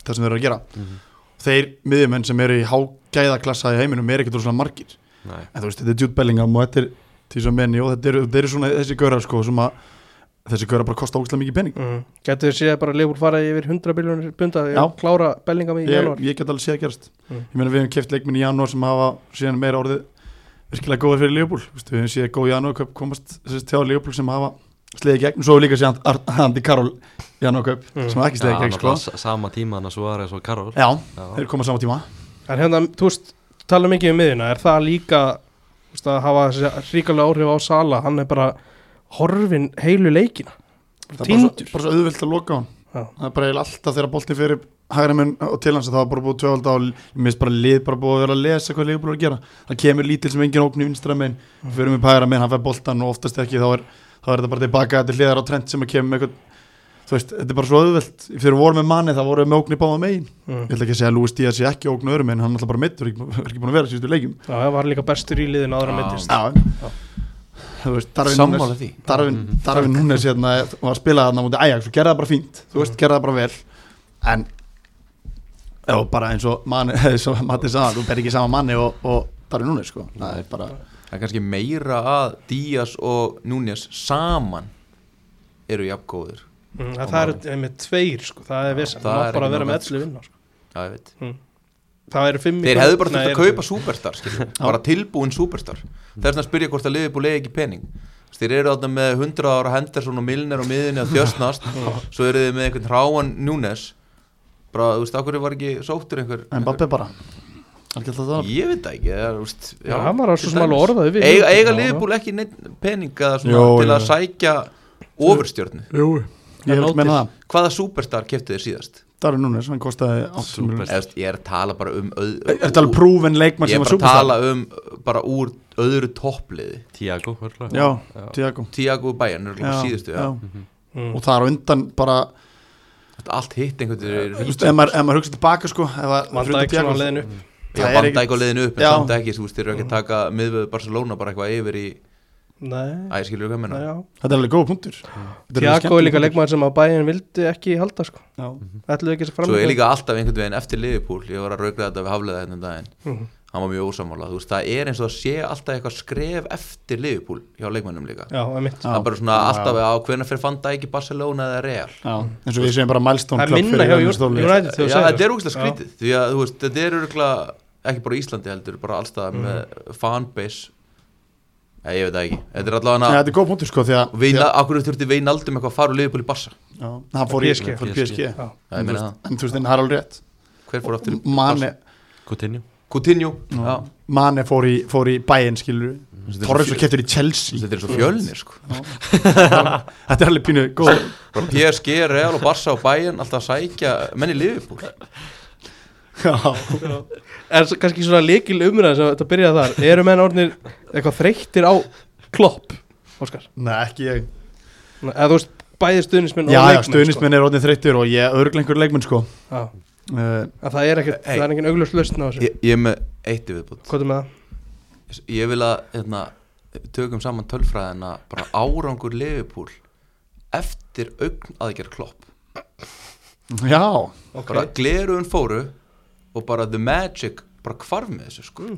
Speaker 4: það sem þeir eru að gera
Speaker 2: Mhm.
Speaker 4: Þeir miðjumenn sem eru í hágæðaklassa í heiminum er ekkert rosalega margir
Speaker 2: Nei,
Speaker 4: en þú veist, þetta er Jude Bellingham og þetta er Tísa Menni og þetta eru, þetta eru svona þessi gaurar sko, sem að þessi gaurar bara kosta ógæðslega mikið pening
Speaker 1: Mm. Getur þið séð bara Leopold fara yfir 100 biljónir bunda
Speaker 4: Já.
Speaker 1: og klára bellinga í
Speaker 4: ég,
Speaker 1: janúar
Speaker 4: ég get alveg séð að gerast
Speaker 1: Mm.
Speaker 4: ég meina við hefum keft leikminn í janúar sem hafa síðan meira orðið virkilega góðar fyrir Leopold Vist, við hefum séð góð janúar köp komast þessi tjá Leopold sem hafa slegið í gegn svo hefur líka séð Ar- Andy Karol janúar köp
Speaker 1: Mm.
Speaker 4: sem hafa ekki slegið í gegn sko.
Speaker 2: náttúrulega sa- sama tíma Þannig að Suárez og Karol
Speaker 4: já,
Speaker 2: Já,
Speaker 4: þeir koma saman tíma
Speaker 1: En hérna, þú veist, tala mikið um miðjuna Er það líka, þú veist, að hafa þessi ríkalega áhrif á Sala Hann er bara horfin heilu leikina
Speaker 4: það er bara svo,
Speaker 1: Tindur
Speaker 4: bara svo auðvelt að loka á hann
Speaker 1: Já.
Speaker 4: það er bara eiginlega alltaf þegar bolti fyrir hægra menn og til hans að það var bara búið tvöfald á minnst bara lið bara búið að vera að lesa hvað liðbúið er að gera það kemur lítil sem engin ógn í vinstra menn fyrir með hægra menn, hann fær boltan og oftast ekki þá er, þá er þetta bara tilbaka til hliðar á trend sem að kemur með eitthvað þú veist, þetta er bara svo auðvelt fyrir voru með manni það voru við með ógn í báða megin
Speaker 1: Mm.
Speaker 4: ég ætla ekki að segja að Lúi Stíða sé ekki ógn öðrum en hann er alltaf bara mittur, er ekki búin að vera síðustu leikum
Speaker 1: Já, það var líka bestur í liðin áður að
Speaker 3: Já.
Speaker 1: myndist
Speaker 4: Já, þú veist, Darwin Núnes-
Speaker 3: Sammála því
Speaker 4: Darvin,
Speaker 2: Mhm.
Speaker 4: Darvin Núnes hérna, var að spila þarna mútið Ajax og gerði það bara fínt þú veist, gerði það bara vel en já, bara eins og, manni, (laughs) eins og Matti sagði, þú ber ekki sama manni og, og Darvin Núnes sko það er bara,
Speaker 3: Það er kannski meira að Díaz og Núnes saman eru jafn góðir
Speaker 1: mm, en Það er með tveir, sko, það er vissan
Speaker 3: það
Speaker 1: Það
Speaker 3: er
Speaker 1: er bara að
Speaker 3: ekki
Speaker 1: vera með
Speaker 3: nóg.
Speaker 1: 11 vinna sko.
Speaker 3: Já, ég veit
Speaker 1: Það eru fimm í
Speaker 3: Þeir
Speaker 1: hverju-
Speaker 3: hefðu bara
Speaker 1: Nei,
Speaker 3: þurft að
Speaker 1: eru
Speaker 3: kaupa
Speaker 1: fimm.
Speaker 3: superstar skilur, bara tilbúin superstar Það er svona að spyrja hvort að Liverpool eigi ekki pening Þess, Þeir eru þarna með 100 ára Henderson og Milner og miðinni að þjösnast Svo eru þið með einhvern hráan Núnes Bara, þú veist, akkur var ekki sóttur einhver
Speaker 4: en Babbe bara hann gæti alltaf það
Speaker 3: Ég veit það ekki, það er, þú veist
Speaker 1: Já, hann var á
Speaker 3: til
Speaker 1: svo sem
Speaker 3: dæmis.
Speaker 1: alveg orðaði við
Speaker 3: Eiga,
Speaker 1: Liverpool.
Speaker 3: eiga
Speaker 1: Já,
Speaker 3: Liverpool ekki neinn pening eða svona,
Speaker 4: Jó,
Speaker 3: til
Speaker 4: jú.
Speaker 3: að sækja ofurstjörnu
Speaker 4: ég vil menna það,
Speaker 3: Hvaða superstar keftu þér síðast?
Speaker 4: Darvin Núnes, hann kostaði 8
Speaker 2: Super.
Speaker 4: miljonir
Speaker 3: Eða, þú veist, ég er að tala bara um öð,
Speaker 4: er þetta alveg prúven leikmann
Speaker 3: Ég
Speaker 4: sem
Speaker 3: er
Speaker 4: var
Speaker 3: bara að tala
Speaker 4: superstar
Speaker 3: um uh, bara úr öðru toppliði
Speaker 2: Tiago örugglega.
Speaker 4: já, Tiago
Speaker 3: Tiago Bayern er alveg um síðustu já. Mhm.
Speaker 1: Mm.
Speaker 4: og það er á undan bara,
Speaker 3: Þetta er Allt hitt einhvern veginn
Speaker 4: þú
Speaker 3: er
Speaker 4: veist, ef maður, ef maður hugsa tilbaka sko, ef að
Speaker 1: Van
Speaker 4: fyrir utan
Speaker 1: Dijk svona
Speaker 4: Thiago-
Speaker 1: á leiðin upp
Speaker 3: Já,
Speaker 4: það er
Speaker 3: vanda
Speaker 4: ekkert-
Speaker 3: ekki á leiðinu upp en
Speaker 4: Já.
Speaker 3: samt ekki, þú veist, þeir eru ekki að taka miðvöðu Barcelona bara eitthvað yfir í
Speaker 1: Nei,
Speaker 3: æskilur og
Speaker 1: nei,
Speaker 3: gæmina
Speaker 1: já
Speaker 4: þetta er alveg góð punktur Þetta eru
Speaker 1: Tiago er
Speaker 4: skemmtilegir
Speaker 1: líka
Speaker 4: punktur.
Speaker 1: leikmaður sem að bæin vildi ekki halda, sko
Speaker 4: Já.
Speaker 1: Ætluðu ekki að
Speaker 3: Mhm. Svo er
Speaker 1: framlega
Speaker 3: líka alltaf einhvern veginn eftir Liverpool ég var að raugra þetta við haflaða þetta um daginn
Speaker 1: Mhm.
Speaker 3: hann var mjög ósamála, þú veist, það er eins og það sé alltaf eitthvað skref eftir Liverpool hjá leikmannum líka
Speaker 1: Já, emitt
Speaker 4: Já.
Speaker 3: það er bara svona
Speaker 4: Já.
Speaker 3: alltaf á hvernig fyrir fanda ekki Barcelona eða Real
Speaker 4: Já, eins og við segjum bara milestone
Speaker 1: Það er
Speaker 4: club
Speaker 1: minna hjá
Speaker 4: um Jörgen Stolli.
Speaker 1: United þegar þú
Speaker 3: Já,
Speaker 1: segir
Speaker 3: þetta er
Speaker 1: sko.
Speaker 3: úkslega
Speaker 1: Já.
Speaker 3: skrítið því að þú veist, þetta er örgulega ekki bara á Íslandi heldur, bara allstað mm. með fanbase Nei, ég veit það ekki, þetta er
Speaker 4: Nei,
Speaker 3: allavega
Speaker 4: þetta er góð punktur sko því að
Speaker 3: Veina, akkur þurfti Veinaldum eitthvað að fara og liðbúl í Barsa
Speaker 4: því að- Já, hann fór í
Speaker 1: PSG.
Speaker 4: fór í PSG
Speaker 1: Já.
Speaker 3: Já, ég
Speaker 4: En þú
Speaker 3: meina
Speaker 4: veist- en þú veist, en það er alveg rétt
Speaker 3: Hver fór aftur?
Speaker 4: Mane,
Speaker 2: Coutinho
Speaker 3: Coutinho Já.
Speaker 4: Mane fór í, fór í bæinn skilur Torres og keftur í Chelsea
Speaker 3: Þetta er svo fjölnir sko
Speaker 4: (laughs) Þetta er alveg pínu góð
Speaker 3: Bara PSG, Real og Barsa og Bayern alltaf að sækja menn í liðbúl
Speaker 4: Já.
Speaker 1: er s- kannski svona leikil umræðin sem þetta byrjaði þar eru menn orðinir eitthvað þreyttir á klopp, Óskar
Speaker 4: Nei, ekki ég
Speaker 1: eða þú veist bæði stuðnismenn og
Speaker 4: Já, já,
Speaker 1: leikmenn
Speaker 4: stöðnismenn er orðin þreyttur og ég örgla einhver leikmenn sko
Speaker 1: sko. já,
Speaker 4: Uh,
Speaker 1: að það er ekkert,
Speaker 3: Hey.
Speaker 1: það er engin augljós lausn á þessu
Speaker 3: Ég ég er með eitt í viðbútt
Speaker 1: hvað er með það?
Speaker 3: Ég vil að hérna, tökum saman tölfræðina bara árangur liðbúl eftir augn aðgerð klopp
Speaker 4: Já,
Speaker 3: bara gleruðun fóru og bara the magic bara hvarf með þessu sko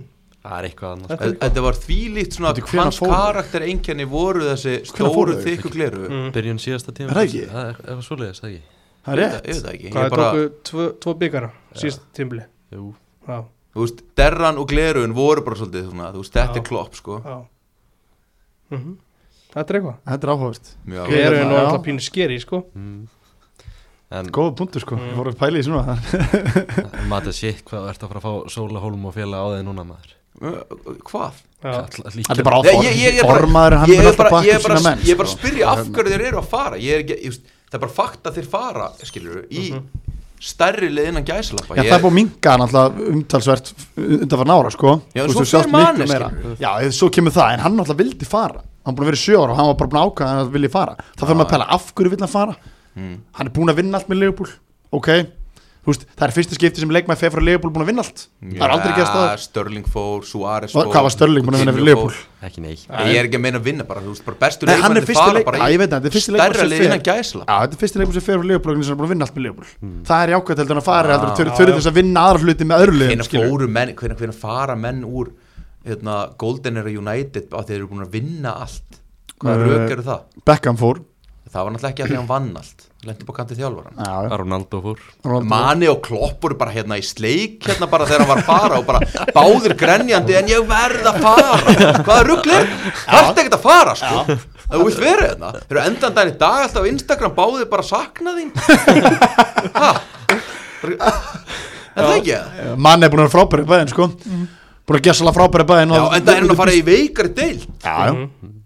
Speaker 2: Það er eitthvað annars
Speaker 1: Þetta-
Speaker 3: Þe- þetta var þvílíkt svona
Speaker 4: Bíddu, hvenær
Speaker 3: hans
Speaker 4: fóru þau?
Speaker 3: karakter einkenni voru þessi
Speaker 4: Hvenær
Speaker 3: stóru
Speaker 4: fóru þau?
Speaker 3: þykku gleru
Speaker 1: Mm.
Speaker 2: Byrjun síðasta tíma
Speaker 4: Hm? Er það ekki?
Speaker 2: Það er eitthvað svoleiðis, það ekki
Speaker 4: það er
Speaker 3: ég
Speaker 4: rétt
Speaker 3: veit það ekki
Speaker 1: hvað
Speaker 3: ég
Speaker 1: er
Speaker 3: bara,
Speaker 1: tóku tvo, tvo byggara síðast tímbli
Speaker 2: Jú
Speaker 1: já,
Speaker 3: þú veist, derran og gleruðun voru bara svolítið svona, þú veist,
Speaker 1: Já.
Speaker 3: þetta er klopp sko
Speaker 1: já mm þetta er eitthvað
Speaker 4: Þetta er áhugavert
Speaker 3: mjög
Speaker 4: Gler-
Speaker 3: áhuga
Speaker 1: glerun og
Speaker 4: já.
Speaker 1: alltaf pínu skeri sko
Speaker 2: mm. en
Speaker 4: Góða punktur sko,
Speaker 1: Mm.
Speaker 4: ég voru að pæla í því svona
Speaker 2: maður shit hvað þú ert að fara að fá sólahólum og félag á þeig núna maður
Speaker 3: Hvað?
Speaker 1: Já,
Speaker 4: Þetta er bara
Speaker 3: Nei,
Speaker 4: áform,
Speaker 3: ég- ég er bara-
Speaker 4: formaður hann
Speaker 3: Ég
Speaker 4: er
Speaker 3: er
Speaker 4: alltaf
Speaker 3: bara, ég er
Speaker 4: bakkjum
Speaker 3: bara,
Speaker 4: sína menn
Speaker 3: ég er bara að
Speaker 4: sko.
Speaker 3: spyrja af
Speaker 4: Og hérna-
Speaker 3: hverju þeir eru að fara Ég er ekki, ég, veist, það er bara fakt að þeir fara skilur í
Speaker 4: Mhm.
Speaker 3: stærri leið innan gæsalappa
Speaker 4: Já, það er búið að minga hann alltaf umtalsvert undanfarn ára, sko
Speaker 3: Já, en
Speaker 4: Þú veist,
Speaker 3: svo
Speaker 4: þú sjást
Speaker 3: fer
Speaker 4: miklu
Speaker 3: Manes,
Speaker 4: meira.
Speaker 3: skilur.
Speaker 4: Já, eða svo kemur það, en hann alltaf vildi fara Hann búin að vera í sjö ára og hann var bara búin að ákvæða að hann vilji fara Það fyrir maður að pæla af hverju vill hann fara
Speaker 3: Mm.
Speaker 4: Hann er búin að vinna allt með Leopold Ok, þú veist, það er fyrsta skipti sem leikmaði fer frá Leopold búin að vinna allt Það er aldrei gerst það
Speaker 3: Störling fór, Suárez
Speaker 4: Og hvað var Störling búin að vinna fyrir
Speaker 3: Coutinho fór.
Speaker 4: Leopold?
Speaker 2: ekki nei
Speaker 3: Nei, Ég er ekki að meina að vinna bara, þú veist, bara bestu
Speaker 4: Nei, hann er
Speaker 3: leikmennirnir
Speaker 4: fyrsti
Speaker 3: fara
Speaker 4: leik
Speaker 3: bara
Speaker 4: Já,
Speaker 3: í
Speaker 4: ég veit það, þetta er fyrsti leikmaður
Speaker 3: Stærra
Speaker 4: sem
Speaker 3: leið
Speaker 4: fer
Speaker 3: innan gæsla
Speaker 4: Já, þetta er fyrsti leikum sem fer frá Leopold sem er búin að vinna allt með Leopold
Speaker 3: Hmm.
Speaker 4: Það er jákvæmt heldur en að fara heldur en þurfi-
Speaker 1: Já,
Speaker 4: þurfi
Speaker 1: já.
Speaker 4: þess að vinna aðra hluti með öðru liðum
Speaker 3: Hvena
Speaker 4: skilurðu.
Speaker 3: fóru menn, hvena, hvena fara menn úr hérna, Golden Era United á því þeir eru búin að vinna allt Hvaða
Speaker 4: Nei.
Speaker 3: rauk eru það?
Speaker 4: Beckham fór
Speaker 3: Það var náttúrulega ekki að því hann vann allt Lendi bara kantið þjálfvaran
Speaker 4: Já, já.
Speaker 2: Ronaldo fór
Speaker 4: Ronaldo.
Speaker 3: Mani og Klopp voru bara hérna í sleik hérna bara þegar hann var að fara og bara báðir grenjandi en ég verð að fara hvaða rugglir, hætti ekkert að fara sko, það vilt verið hérna þeir eru endan daginn í dag alltaf á Instagram báðir bara að sakna þín ha Bara- er það ekki það?
Speaker 4: Eh, Mann er búin að vera frábæri bæðin sko Búin að gessala frábæri bæðin
Speaker 3: Já, en það er hann að fara í veikari deil
Speaker 4: Já, já,
Speaker 1: Mhm.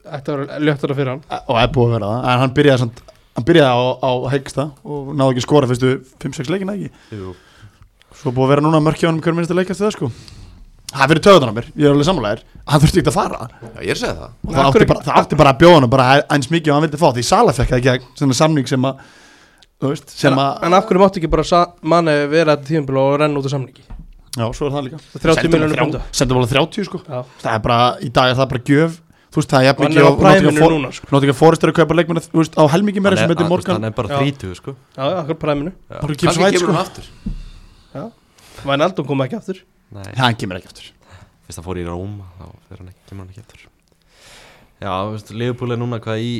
Speaker 1: þetta var ljöttara fyrir hann
Speaker 4: og er búið að vera það En hann byrjaði, samt, hann byrjaði á, á hegsta og náði ekki að skora fyrstu 5-6 leikina ekki
Speaker 2: Jú.
Speaker 4: Svo búið að vera núna mörkja honum hver minnsta leikast það sko Það fyrir töðunar mér, ég er alveg sammálaðir Hann þurfti ekki að fara
Speaker 3: Já, ég er að segja það
Speaker 4: Og
Speaker 1: Nei,
Speaker 4: það
Speaker 1: af
Speaker 4: átti
Speaker 1: hverju-
Speaker 4: bara, það átti bara að bjóða honum bara eins mikið og hann vildi fá Því Sala fekk það í gegn, svona samning sem að Þú veist, sem að
Speaker 1: En af hverju máttu ekki bara sa- manni vera þetta tíðanbíl og renna út af samningi
Speaker 4: Já, svo er það líka
Speaker 1: 30 miljonir punda
Speaker 4: Sendum bara 30 sko
Speaker 1: Já.
Speaker 4: Það er bara, í dag er það bara gjöf Þú veist, það er jafn
Speaker 1: Hann
Speaker 4: mikið
Speaker 1: er á
Speaker 4: og-
Speaker 1: præminu
Speaker 4: Nottingham For-
Speaker 1: núna sko.
Speaker 4: Nótt ekki að Forrester að kaupa leikmenn Þú veist, á helmingi meira
Speaker 2: Hann
Speaker 4: sem
Speaker 2: er-
Speaker 4: heitir
Speaker 2: hann-
Speaker 4: Morgan
Speaker 2: hann er bara
Speaker 1: Já.
Speaker 2: 30 sko
Speaker 1: Já, já, akkur præminu
Speaker 4: Bara kemur svo
Speaker 3: kannski
Speaker 4: hætt
Speaker 3: kemur
Speaker 4: sko
Speaker 3: hann aftur
Speaker 1: Vænaldum kom ekki aftur
Speaker 2: nei
Speaker 4: Hann kemur ekki aftur
Speaker 2: fyrst að fór í Róm þá fer hann ekki, kemur hann ekki eftir já, veist, Liverpool er núna hvað í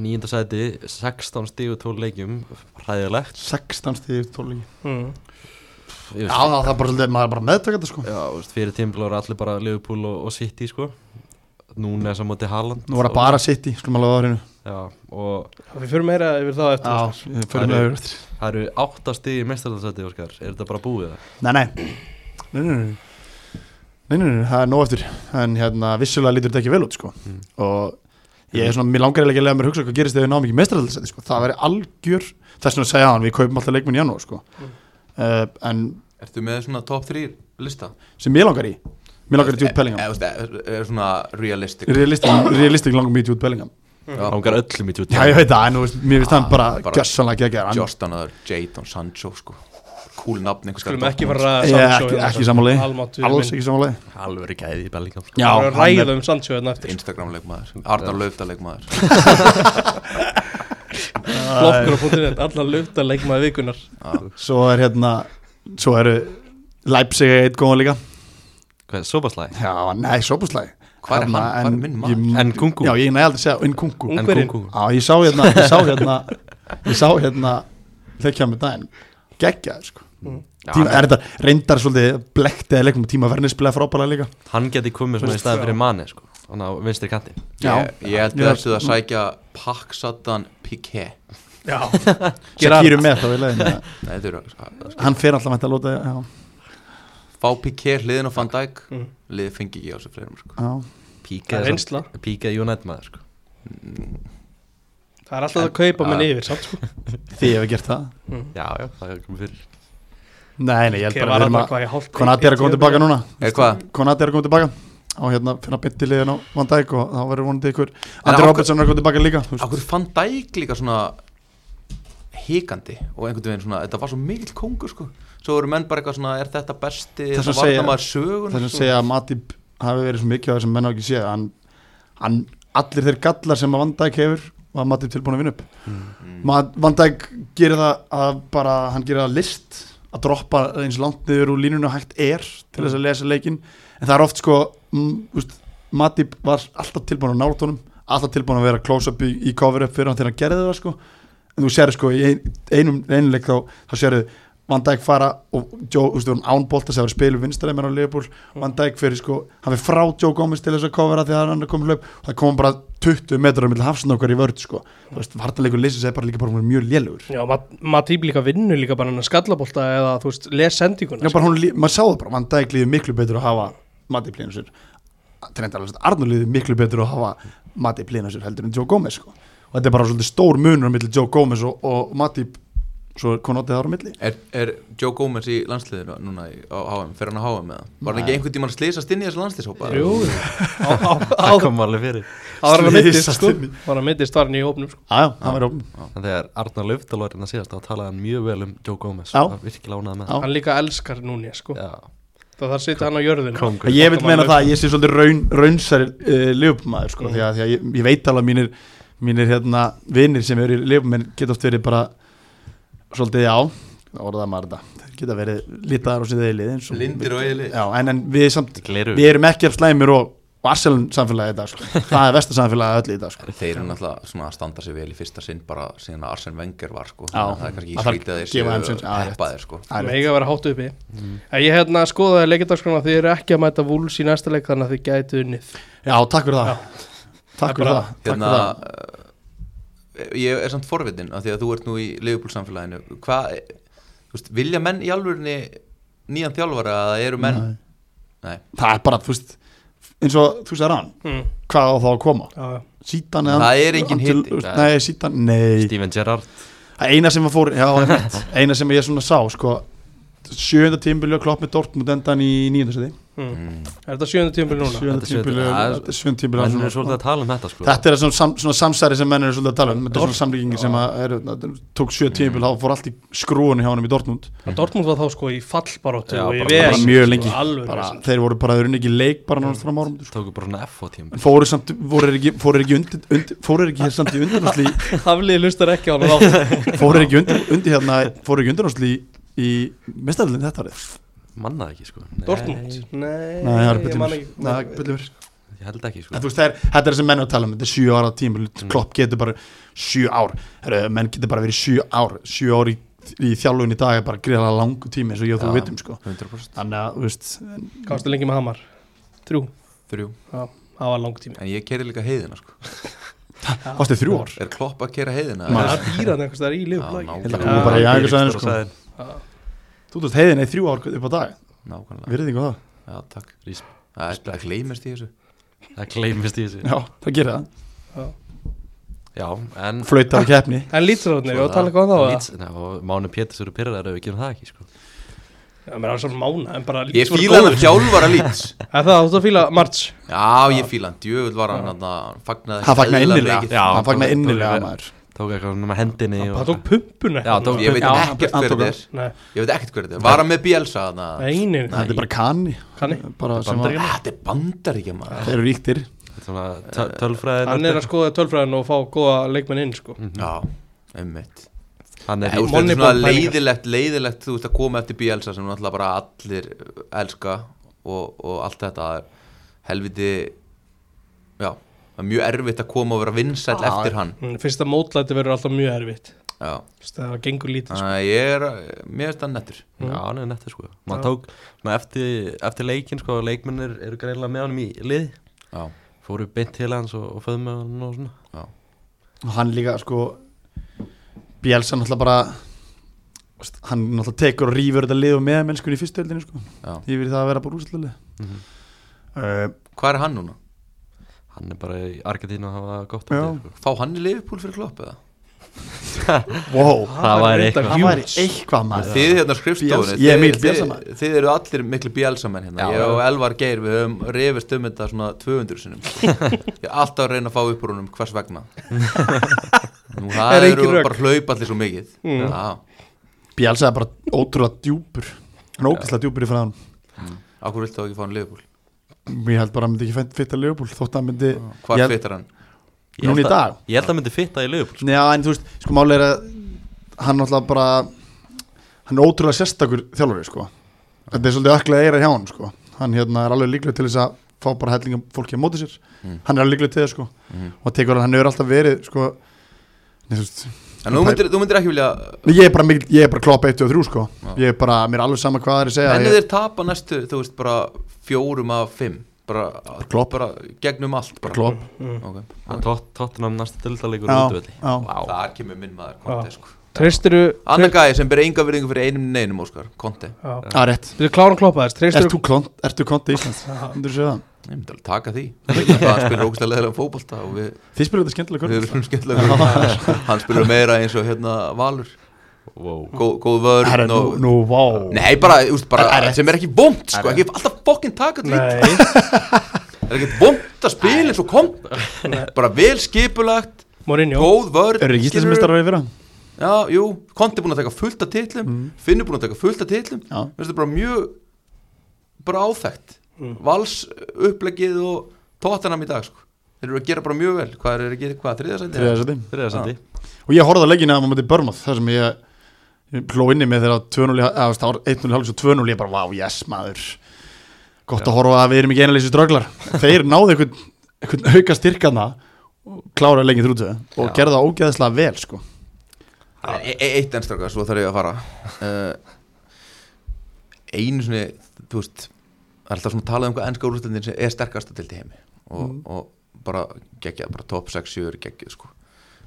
Speaker 2: nýjunda sæti 16 stíg og 12 leikjum hræðilegt
Speaker 4: 16 stíð, 12 líki
Speaker 1: mm.
Speaker 2: Ég veist,
Speaker 4: Já, það það er bara svolítið, maður er bara meðtaka þetta sko
Speaker 2: já, veist, fyrir tímpil ára allir bara Liverpool og, og City sko núna er saman til Haaland
Speaker 4: Nú var það
Speaker 2: og-
Speaker 4: bara City, skulum alveg á hreinu
Speaker 2: já, og
Speaker 1: Við fyrir meira yfir það eftir sko. Óskar.
Speaker 4: Já, við förum
Speaker 2: Það er-
Speaker 4: yfir eftir
Speaker 2: það eru 8 stíg í mestarlandsæti Óskar, er þetta bara búið það?
Speaker 4: Nei, nei Nei, nei, nei Nei, nei, nei, það er nóg eftir En hérna, vissulega lítur þetta ekki vel út sko
Speaker 2: Mm.
Speaker 4: Og ég er svona, mér langar eiginlega ekki að lega mér hugsa Hvað gerist þegar við náum ekki mestrarhaldsæti sko Það væri algjör, þess vegna segja hann Við kaupum alltaf leikmenn í janúar sko
Speaker 1: Mm.
Speaker 4: uh, En
Speaker 3: Ertu með svona top 3 lista?
Speaker 4: sem mér langar í Mér langar í djúpt pelinga
Speaker 3: Eða, Eh, veist, eh, Er er svona realistic
Speaker 4: Realistik, realistik langar mjög djúpt Bellingham
Speaker 3: Já.
Speaker 2: Ángar öllum í tjúti
Speaker 4: Já, ég veit það, en þú veist, mér finnst hann
Speaker 3: Ah,
Speaker 4: bara
Speaker 3: bara-
Speaker 4: gjössanlega ekki að
Speaker 3: Justin Aður, Jadon Sancho sko. cool nafn einhvers
Speaker 1: Skulum
Speaker 3: staðar.
Speaker 1: ekki fara að
Speaker 4: Ég,
Speaker 1: ræða
Speaker 4: ekki-
Speaker 1: Sancho
Speaker 4: ekki
Speaker 1: hérna,
Speaker 4: sammála því.
Speaker 1: Almáttugur
Speaker 4: Alls
Speaker 1: minn.
Speaker 4: ekki samanlega
Speaker 2: Alveg er gæðið í Bellingham
Speaker 4: Já,
Speaker 1: Það er
Speaker 4: hann er-
Speaker 1: ræða um Sancho hérna eftir
Speaker 3: Instagram leikmaður, Arnar Löfdal leikmaður
Speaker 4: (laughs)
Speaker 1: Blokkur á punktinett, alla lögta leikmaði vikunar
Speaker 4: Svo er hérna, svo eru Leipzig er eitt góðan líka
Speaker 2: Hvað er Sobaslæg?
Speaker 4: Já, nei, sóbúslæg
Speaker 3: Hvar er hann? Hvar er minn maður?
Speaker 2: Nkunku.
Speaker 4: Já, ég næði aldrei að segja Nkunku
Speaker 1: Ung-
Speaker 4: Já,
Speaker 1: Ungverjinn.
Speaker 4: ég sá hérna Ég sá hérna Ég sá hérna Leikja með daginn Gekkjaður sko tíma,
Speaker 2: hann,
Speaker 4: Er þetta reyndar svolítið blekt eða leikum Tíma verðin spilaði frábælega líka
Speaker 2: hann geti komið svona í
Speaker 1: Veist,
Speaker 2: staðin
Speaker 1: já.
Speaker 2: fyrir manni sko Þannig á vinstri kanti
Speaker 4: Já.
Speaker 3: ég, ég held
Speaker 4: Ég-
Speaker 3: að þessu að sækja Paksatan Piqué
Speaker 1: Já
Speaker 4: Sækýru með þá í leiðin
Speaker 3: Nei, þetta er að
Speaker 4: Hann fer alltaf hægt að lóta Já,
Speaker 3: fá Piqué hliðin og Van Dijk
Speaker 1: Mm.
Speaker 3: liðið fengi ekki á þessu fleirum sko.
Speaker 4: já
Speaker 2: Píka
Speaker 1: Það er reynsla
Speaker 2: Píka United maður sko
Speaker 1: Það er alltaf að kaupa menn
Speaker 2: Já.
Speaker 1: yfir samt sko
Speaker 4: Því hefur gert það
Speaker 1: Mhm.
Speaker 2: Já, já, það er komið fyrir
Speaker 4: Nei, nei, ég held
Speaker 1: Ég
Speaker 4: bara
Speaker 1: var
Speaker 4: að við
Speaker 1: alltaf
Speaker 4: erum að
Speaker 1: hvað ég hálft
Speaker 4: Konati er að koma tilbaka núna
Speaker 3: Er hvað?
Speaker 4: Konati er að koma tilbaka Og hérna finna bytti liðin á Van Dijk Og þá verður vonandi ykkur
Speaker 3: En
Speaker 4: Andri
Speaker 3: af-
Speaker 4: Robertson er að koma tilbaka líka þú veist.
Speaker 3: Akkur Van Dijk líka svona hikandi og einhvern veginn svona þetta var svo mikill kongur sko svo eru menn bara eitthvað svona er þetta besti
Speaker 4: Þess
Speaker 3: þetta
Speaker 4: að segja-
Speaker 3: varna maður sögun
Speaker 4: Það sem segja að Matip hafi verið svo mikið á þessum menn á ekki séð hann, hann, allir þeir gallar sem að Van Dijk hefur var Matip tilbúin að vinna upp mm. Van Dijk gerir það að bara, hann gerir það list að droppa eins langt niður úr línunni og hægt er til þess að lesa leikin en það er oft sko mm, úst, Matip var alltaf tilbúin að nála tónum alltaf tilbúin að vera close-up í, í cover-up fyrir hann þegar hann gerði það sko en þú sér sko í ein- einum einuleik þá, þá sérðu Van Dijk fara og Joe, þú veist, við erum ánbólta sem er spilu vinstræminn á Leopold Van Dijk fyrir sko, hann fyrir frá Joe Gomez til þess að kofra því að hann er komið löp það kom bara 20 metrar mill hafsinn okkar í vörð sko, þú veist, vartanleikur leysins er bara líka bara mjög lélugur
Speaker 1: Já, maður típ líka vinnur líka bara hann að skallabólta eða þú veist, les sendinguna
Speaker 4: Já, bara hún, lí- maður sá það bara, Van Dijk líður miklu betur að hafa Matti Plínu sér Trendar alveg, Arnur líður miklu betur að hafa Matti Plínu sér heldur en Joe Gomez sko. og þetta er bara svolítið stór munur millir Joe Gomez og, og Matti svo er konotið ára milli
Speaker 3: Er, er Joe Gomez í landsliðinu núna í, á HM, fer hann á HM eða? Var hann ekki einhvern tímann slýsast inn í þessu landsliðshópa?
Speaker 1: sko. Jú,
Speaker 4: (laughs)
Speaker 1: á, á, á,
Speaker 2: það kom alveg fyrir
Speaker 1: Það var að mittist
Speaker 4: Slysast
Speaker 1: sko
Speaker 4: inn í-
Speaker 1: Var að mittist var hann í hópnum sko
Speaker 4: Já, já, það var opnum
Speaker 2: En þegar Arnar Löftal var hérna síðast þá talaði hann mjög vel um Joe Gomez
Speaker 4: Já.
Speaker 2: Það var virkilega ánað með
Speaker 4: Já.
Speaker 1: Hann líka elskar núni sko
Speaker 2: Já,
Speaker 1: Það þar sitja hann á jörðinu
Speaker 2: kongur
Speaker 4: Ég vil meina það að ég sé svolítið raun, raunsari uh, liðbumæður sko,
Speaker 1: Mhm.
Speaker 4: því að, því að ég, ég veit alveg að mínir, mínir hérna, vinnir sem eru í liðbumæn geta oft verið bara svolítið á orðaða maður þetta, þeir geta verið litaðar á síðan eilið eins og
Speaker 3: Lindir og eðli
Speaker 4: Já, en, en við, samt,
Speaker 2: Gleru
Speaker 4: við erum ekki af slæmir og, og Arselun samfélagi í dag sko. það er vestu samfélagi öll í dag sko.
Speaker 3: Þeir eru náttúrulega svona að standa sig vel í fyrsta sinn bara síðan að Arsene Wenger var sko
Speaker 4: Já.
Speaker 3: Þannig að Það er kannski
Speaker 4: Að
Speaker 3: í
Speaker 4: þarf
Speaker 3: skrítið að þeir
Speaker 4: gefa þeim sinn-
Speaker 3: séu
Speaker 4: Já, rétt.
Speaker 3: heppaðir sko
Speaker 4: Það er rétt. Mm.
Speaker 1: Mega að vera hátt uppi En Ég hérna skoðaði leikindagskona Þið eru ekki að mæta vúls í næsta leik Þannig að þið gætu unnið
Speaker 4: Já, takk fyrir það
Speaker 1: bara-
Speaker 4: Takk fyrir það, takk
Speaker 3: Hérna
Speaker 4: fyrir það.
Speaker 3: eh, Ég er samt forvitin að því að þú ert nú í Liverpool samfélaginu Hvað, eh, þú veist, vilja menn í alvörinni nýjan þjálfara að eru menn
Speaker 4: Nei.
Speaker 3: Nei.
Speaker 4: Það er bara, þú veist eins og þú sér hann,
Speaker 1: mm.
Speaker 4: hvað á þá að koma
Speaker 1: Já, já.
Speaker 4: Sítan
Speaker 3: Það er engin hitti.
Speaker 4: Nei, sítan, nei
Speaker 2: Steven Gerrard
Speaker 4: Það eina sem að fór, já, einmitt. eina sem ég svona sá, sko sjönda tímbilju að klopp með Dortmund endan í nýjöndarsæti
Speaker 1: Mm.
Speaker 3: Mm.
Speaker 1: Er þetta sjönda tímpil núna?
Speaker 4: sjönda
Speaker 2: Þetta er
Speaker 4: tímbilju
Speaker 2: sjöunda- það er-
Speaker 4: þetta er sjöunda tímbilju
Speaker 2: Menn
Speaker 4: svona-
Speaker 2: er svolítið að tala um þetta sko
Speaker 4: þetta er svona, sam, svona samsæri sem menn eru svolítið að tala um þetta er
Speaker 1: Dortmund,
Speaker 4: svona samlíkingi sem að er, tók sjö tímbil þá fór allt í skrúinu hjá honum í Dortmund
Speaker 1: Mm. Dortmund var þá sko í fallbaróttu
Speaker 2: Já,
Speaker 1: og í
Speaker 2: bara-
Speaker 1: vesen,
Speaker 4: bara mjög lengi.
Speaker 1: sko, Alveg
Speaker 4: bara,
Speaker 1: (laughs) vesen.
Speaker 4: þeir voru bara, þeir eru ekki í leik bara náttúrulega fram árum
Speaker 2: Tóku bara svona F á tíma
Speaker 4: en fóru samt, fóru þeir ekki fóru þeir ekki undir, undir fóru þeir ekki samt í undirnámsli
Speaker 1: Hafliði lustar ekki á hann
Speaker 4: (laughs)
Speaker 1: þá
Speaker 4: fóru þeir ekki undir, undir hérna fóru þeir ekki undirnámsli í, í mestaröldin þetta árið
Speaker 2: Mannaði ekki sko Nei,
Speaker 1: Dortmund? Nei,
Speaker 4: Nei, það er
Speaker 1: ég man
Speaker 4: byllumur
Speaker 1: ekki
Speaker 4: Nei, byllumur
Speaker 2: Ég held ekki
Speaker 4: En
Speaker 2: sko
Speaker 4: þú veist, það er, þetta er sem menn eru að tala um, þetta er sjö ára tíma,
Speaker 2: Mm.
Speaker 4: klopp getur bara sjö ár, Heru, menn getur bara verið sjö ár, sjö ár í, í þjálfun í dag er bara greiðlega langu tími eins og ég og þú
Speaker 3: Já.
Speaker 4: vitum sko.
Speaker 3: 100%
Speaker 4: Þannig að, þú veist, en-
Speaker 1: Kastu lengi með Hamar? Þrjú,
Speaker 3: Þrjú
Speaker 1: það var lang tími
Speaker 3: En ég keri líka heiðina sko
Speaker 4: kostið þrjú ár.
Speaker 3: Er klopp að kera heiðina?
Speaker 1: Það er dýran einhvers það er í
Speaker 3: Já,
Speaker 1: liðblæk
Speaker 4: Ég held að
Speaker 3: nákvæmlega.
Speaker 4: koma bara í
Speaker 2: Já,
Speaker 4: æfingarsvæðinu,
Speaker 2: Eiríks
Speaker 4: sko.
Speaker 2: Dóra sagði,
Speaker 4: Þú veist, heiðin er þrjú ár upp á dag,
Speaker 3: Nákvæmlega
Speaker 4: virðingu það.
Speaker 3: Já, takk
Speaker 2: Rís-
Speaker 3: Það er- Það gleymist í þessu
Speaker 2: Það gleymist í þessu
Speaker 4: Já, það gerir það.
Speaker 2: Já, en sko,
Speaker 4: Flautar á Mm. keppni.
Speaker 1: En lýtsararnir, við varum að tala eitthvað
Speaker 2: það
Speaker 1: um þá
Speaker 2: Leeds- Nei, og Máni Péturs eru pyrrar ef við gerum það ekki sko
Speaker 1: Já, mér er svona mána, en bara
Speaker 3: Ég
Speaker 1: Leeds voru
Speaker 3: fíla hann
Speaker 1: góðir.
Speaker 3: að þjálfara lít
Speaker 1: (laughs) Er það átt að fíla March?
Speaker 3: Já, ég fíla hann Djöfull var hann þarna, Hann fagnaði
Speaker 4: Hann fagnaði
Speaker 3: eðlilega
Speaker 4: innilega,
Speaker 3: mikið.
Speaker 2: Já,
Speaker 4: hann
Speaker 2: tók-
Speaker 4: fagnaði
Speaker 2: tók-
Speaker 4: innilega
Speaker 2: tók-
Speaker 4: maður.
Speaker 2: Tók eitthvað svona með hendinni og-
Speaker 1: Það tók pumpuna
Speaker 2: Já, tók-
Speaker 3: Ég veit
Speaker 4: Já,
Speaker 3: ekkert
Speaker 4: hann
Speaker 3: hver þetta
Speaker 4: tók hann.
Speaker 3: er
Speaker 1: Nei,
Speaker 3: Ég veit ekkert hver þetta er Var hann með Bielsa þarna?
Speaker 1: einir
Speaker 4: Þetta er bara kanni.
Speaker 1: Kanni.
Speaker 4: Bara sem að,
Speaker 3: Ah, Þetta er bandaríkja maður
Speaker 4: þeir eru ríktir.
Speaker 2: Þetta er svona töl-
Speaker 1: Eh,
Speaker 2: tölfræðin
Speaker 1: Hann er að skoða tölfræðin og fá góða leikmenn inn, sko
Speaker 3: Já, einmitt
Speaker 2: Hann
Speaker 3: Mm. Nei,
Speaker 2: er
Speaker 3: þú veist, Þetta er
Speaker 1: Moneyball
Speaker 3: svona
Speaker 1: pælingar.
Speaker 3: leiðilegt, leiðilegt Þú veist að koma eftir Bielsa sem náttúrulega bara allir elska og, og allt þetta er helviti Já, það er mjög erfitt að koma og vera vinsæll
Speaker 4: Já.
Speaker 3: eftir hann
Speaker 1: Mm, Fyrsta mótlæti verður alltaf mjög erfitt
Speaker 3: Já,
Speaker 1: Þú veist, Það gengur sko. lítið,
Speaker 3: þannig að ég er Mér finnst það nettur
Speaker 1: Mm.
Speaker 2: Já, hann er nettur sko
Speaker 1: Já.
Speaker 2: Maður tók, svona eftir, eftir leikin sko, leikmennir eru greinlega með honum í lið
Speaker 3: Já,
Speaker 2: Fóru beint til hans og, og föðum með hann og svona
Speaker 4: og hann líka sko Bielsa náttúrulega bara þú veist, hann náttúrulega tekur og rýfur þetta lið og með mennskunni í fyrstu heldinu sko
Speaker 3: já
Speaker 4: yfir í það að vera bara úrslöli uh,
Speaker 3: Hvað er hann núna?
Speaker 2: Hann er bara í Argentínu að hafa gott af
Speaker 4: Já.
Speaker 2: því, sko.
Speaker 3: Fá hann í Liverpool fyrir klopp eða?
Speaker 4: wow,
Speaker 2: Það væri
Speaker 1: reyndar
Speaker 2: eitthvað.
Speaker 4: það
Speaker 1: huge.
Speaker 4: væri eitthvað maður
Speaker 3: Þið hérna á skrifstofunni
Speaker 4: Bielsa- ég er
Speaker 3: þið-
Speaker 4: mikill
Speaker 3: þið-
Speaker 4: Bielsamaður.
Speaker 3: Þið eru allir miklu bjálsamenn hérna
Speaker 2: Já.
Speaker 3: Ég og Elvar Geir, við höfum reyfist um þetta svona 200
Speaker 4: (laughs)
Speaker 3: sinum Ég er alltaf að reyna að fá upp úr húnum hvers vegna Nú
Speaker 1: Er
Speaker 3: það
Speaker 1: engin
Speaker 3: eru
Speaker 1: rök.
Speaker 3: bara hlaup allir svo mikið
Speaker 1: Mm.
Speaker 3: Já,
Speaker 4: Bielsa er bara ótrúlega djúpur hann er ógeðslega djúpur í fræðan
Speaker 3: á hverju viltu þá ekki fá hann í Liverpool?
Speaker 4: ég held bara að hann myndi ekki fitta lögbúl þótt að hann myndi
Speaker 3: Hvar
Speaker 4: Ég-
Speaker 3: fytar hann?
Speaker 2: Ég held
Speaker 4: Núna í
Speaker 2: að-
Speaker 4: dag?
Speaker 2: Ég held að hann myndi fitta í lögum
Speaker 4: Já, en þú veist, sko máli er að hann náttúrulega bara hann er ótrúlega sérstakur þjálfari, sko þetta er svolítið ökla eira hjá hann, sko hann hérna er alveg líklega til þess að fá bara hellingum fólki á móti sér,
Speaker 3: Mm.
Speaker 4: hann er alveg líklega til þess, sko
Speaker 3: Mhm.
Speaker 4: og tekur hann, hann hefur alltaf verið, sko nei, þú veist,
Speaker 3: En þú myndir, þú myndir ekki vilja
Speaker 4: Nei, Ég er bara, mikil, ég er bara klopp 1 og 3 sko
Speaker 3: Já.
Speaker 4: Ég er bara, mér er alveg sama hvað það er að segja
Speaker 3: Henni
Speaker 4: ég,
Speaker 3: þeir tapa næstu, þú veist, bara fjórum af fimm Bara,
Speaker 4: Klopp.
Speaker 3: bara gegnum allt bara.
Speaker 4: Klopp
Speaker 1: mm.
Speaker 3: Ok.
Speaker 2: Tott- Tottenham næsta dildalegur
Speaker 4: Já,
Speaker 2: útvöldi
Speaker 4: já.
Speaker 2: Vá,
Speaker 3: Þar kemur minn maður Conte sko.
Speaker 1: Treystiru
Speaker 3: Annar gæði sem ber enga virðingu fyrir einum neinum Óskar Conte
Speaker 1: Við
Speaker 4: Það er rétt
Speaker 1: klárum kloppa þess
Speaker 4: Ert
Speaker 1: Treystiru
Speaker 4: þú klont, ert þú klont í Íslands? Myndirðu segja það?
Speaker 3: Ég myndi alveg taka því Ég veit að Hann spilur ógæslega leðilega um fótbolta og við,
Speaker 4: Þið spilur þetta
Speaker 3: við
Speaker 4: skemmtilega körfubolta.
Speaker 3: erum skemmtilega hann, hann spilur meira eins og hérna Valur
Speaker 2: wow.
Speaker 3: Gó, Góð vörn
Speaker 4: Herra, nú,
Speaker 3: og-
Speaker 4: nú, vá
Speaker 3: Nei, bara, úst, bara
Speaker 4: Er- er-
Speaker 3: sem er ekki vond sko,
Speaker 2: Er-
Speaker 3: ekki alltaf fokkin taka því
Speaker 1: Nei,
Speaker 3: Það er ekki vond að spila eins og kom Bara vel skipulagt,
Speaker 1: Mourinho
Speaker 3: góð vörn
Speaker 4: Eru ekki
Speaker 3: skilurðu.
Speaker 4: Íslandsmeistarar í fyrra?
Speaker 3: Já, jú, Konti búin að taka fullt af titlum
Speaker 4: Mm.
Speaker 3: Finnur búin að taka fullt af titlum
Speaker 4: Já
Speaker 3: Mér finnst þetta bara mjög bara áþægt
Speaker 1: Mm.
Speaker 3: Vals upplegið og tóttanam í dag sko. þeir eru að gera bara mjög vel hvað er að gera, hvað, þriðasændi?
Speaker 4: Þriðja sæti.
Speaker 2: Þriðasendi
Speaker 4: Og ég horfði að leggina á móti Börmáð þar sem ég, ég hló inni með þegar 2-0 í- eða, þú veist, það var 1-0 í hálfleik og 2-0 ég bara, vá, yes maður gott að horfa að við erum ekki einalýsir dröglar þeir náðu einhvern, einhvern auka styrkana og kláraði lengið þrútu og
Speaker 2: Já.
Speaker 4: gerðu það ógeðslega vel sko.
Speaker 3: e e eitt ennstraka, svo þarf ég að fara uh, einu svona þú veist það er alltaf svona talað um hvað ennska úrstendin er sterkast að tildi heimi og, og bara geggjað, bara top 6, 7 er geggjað sko.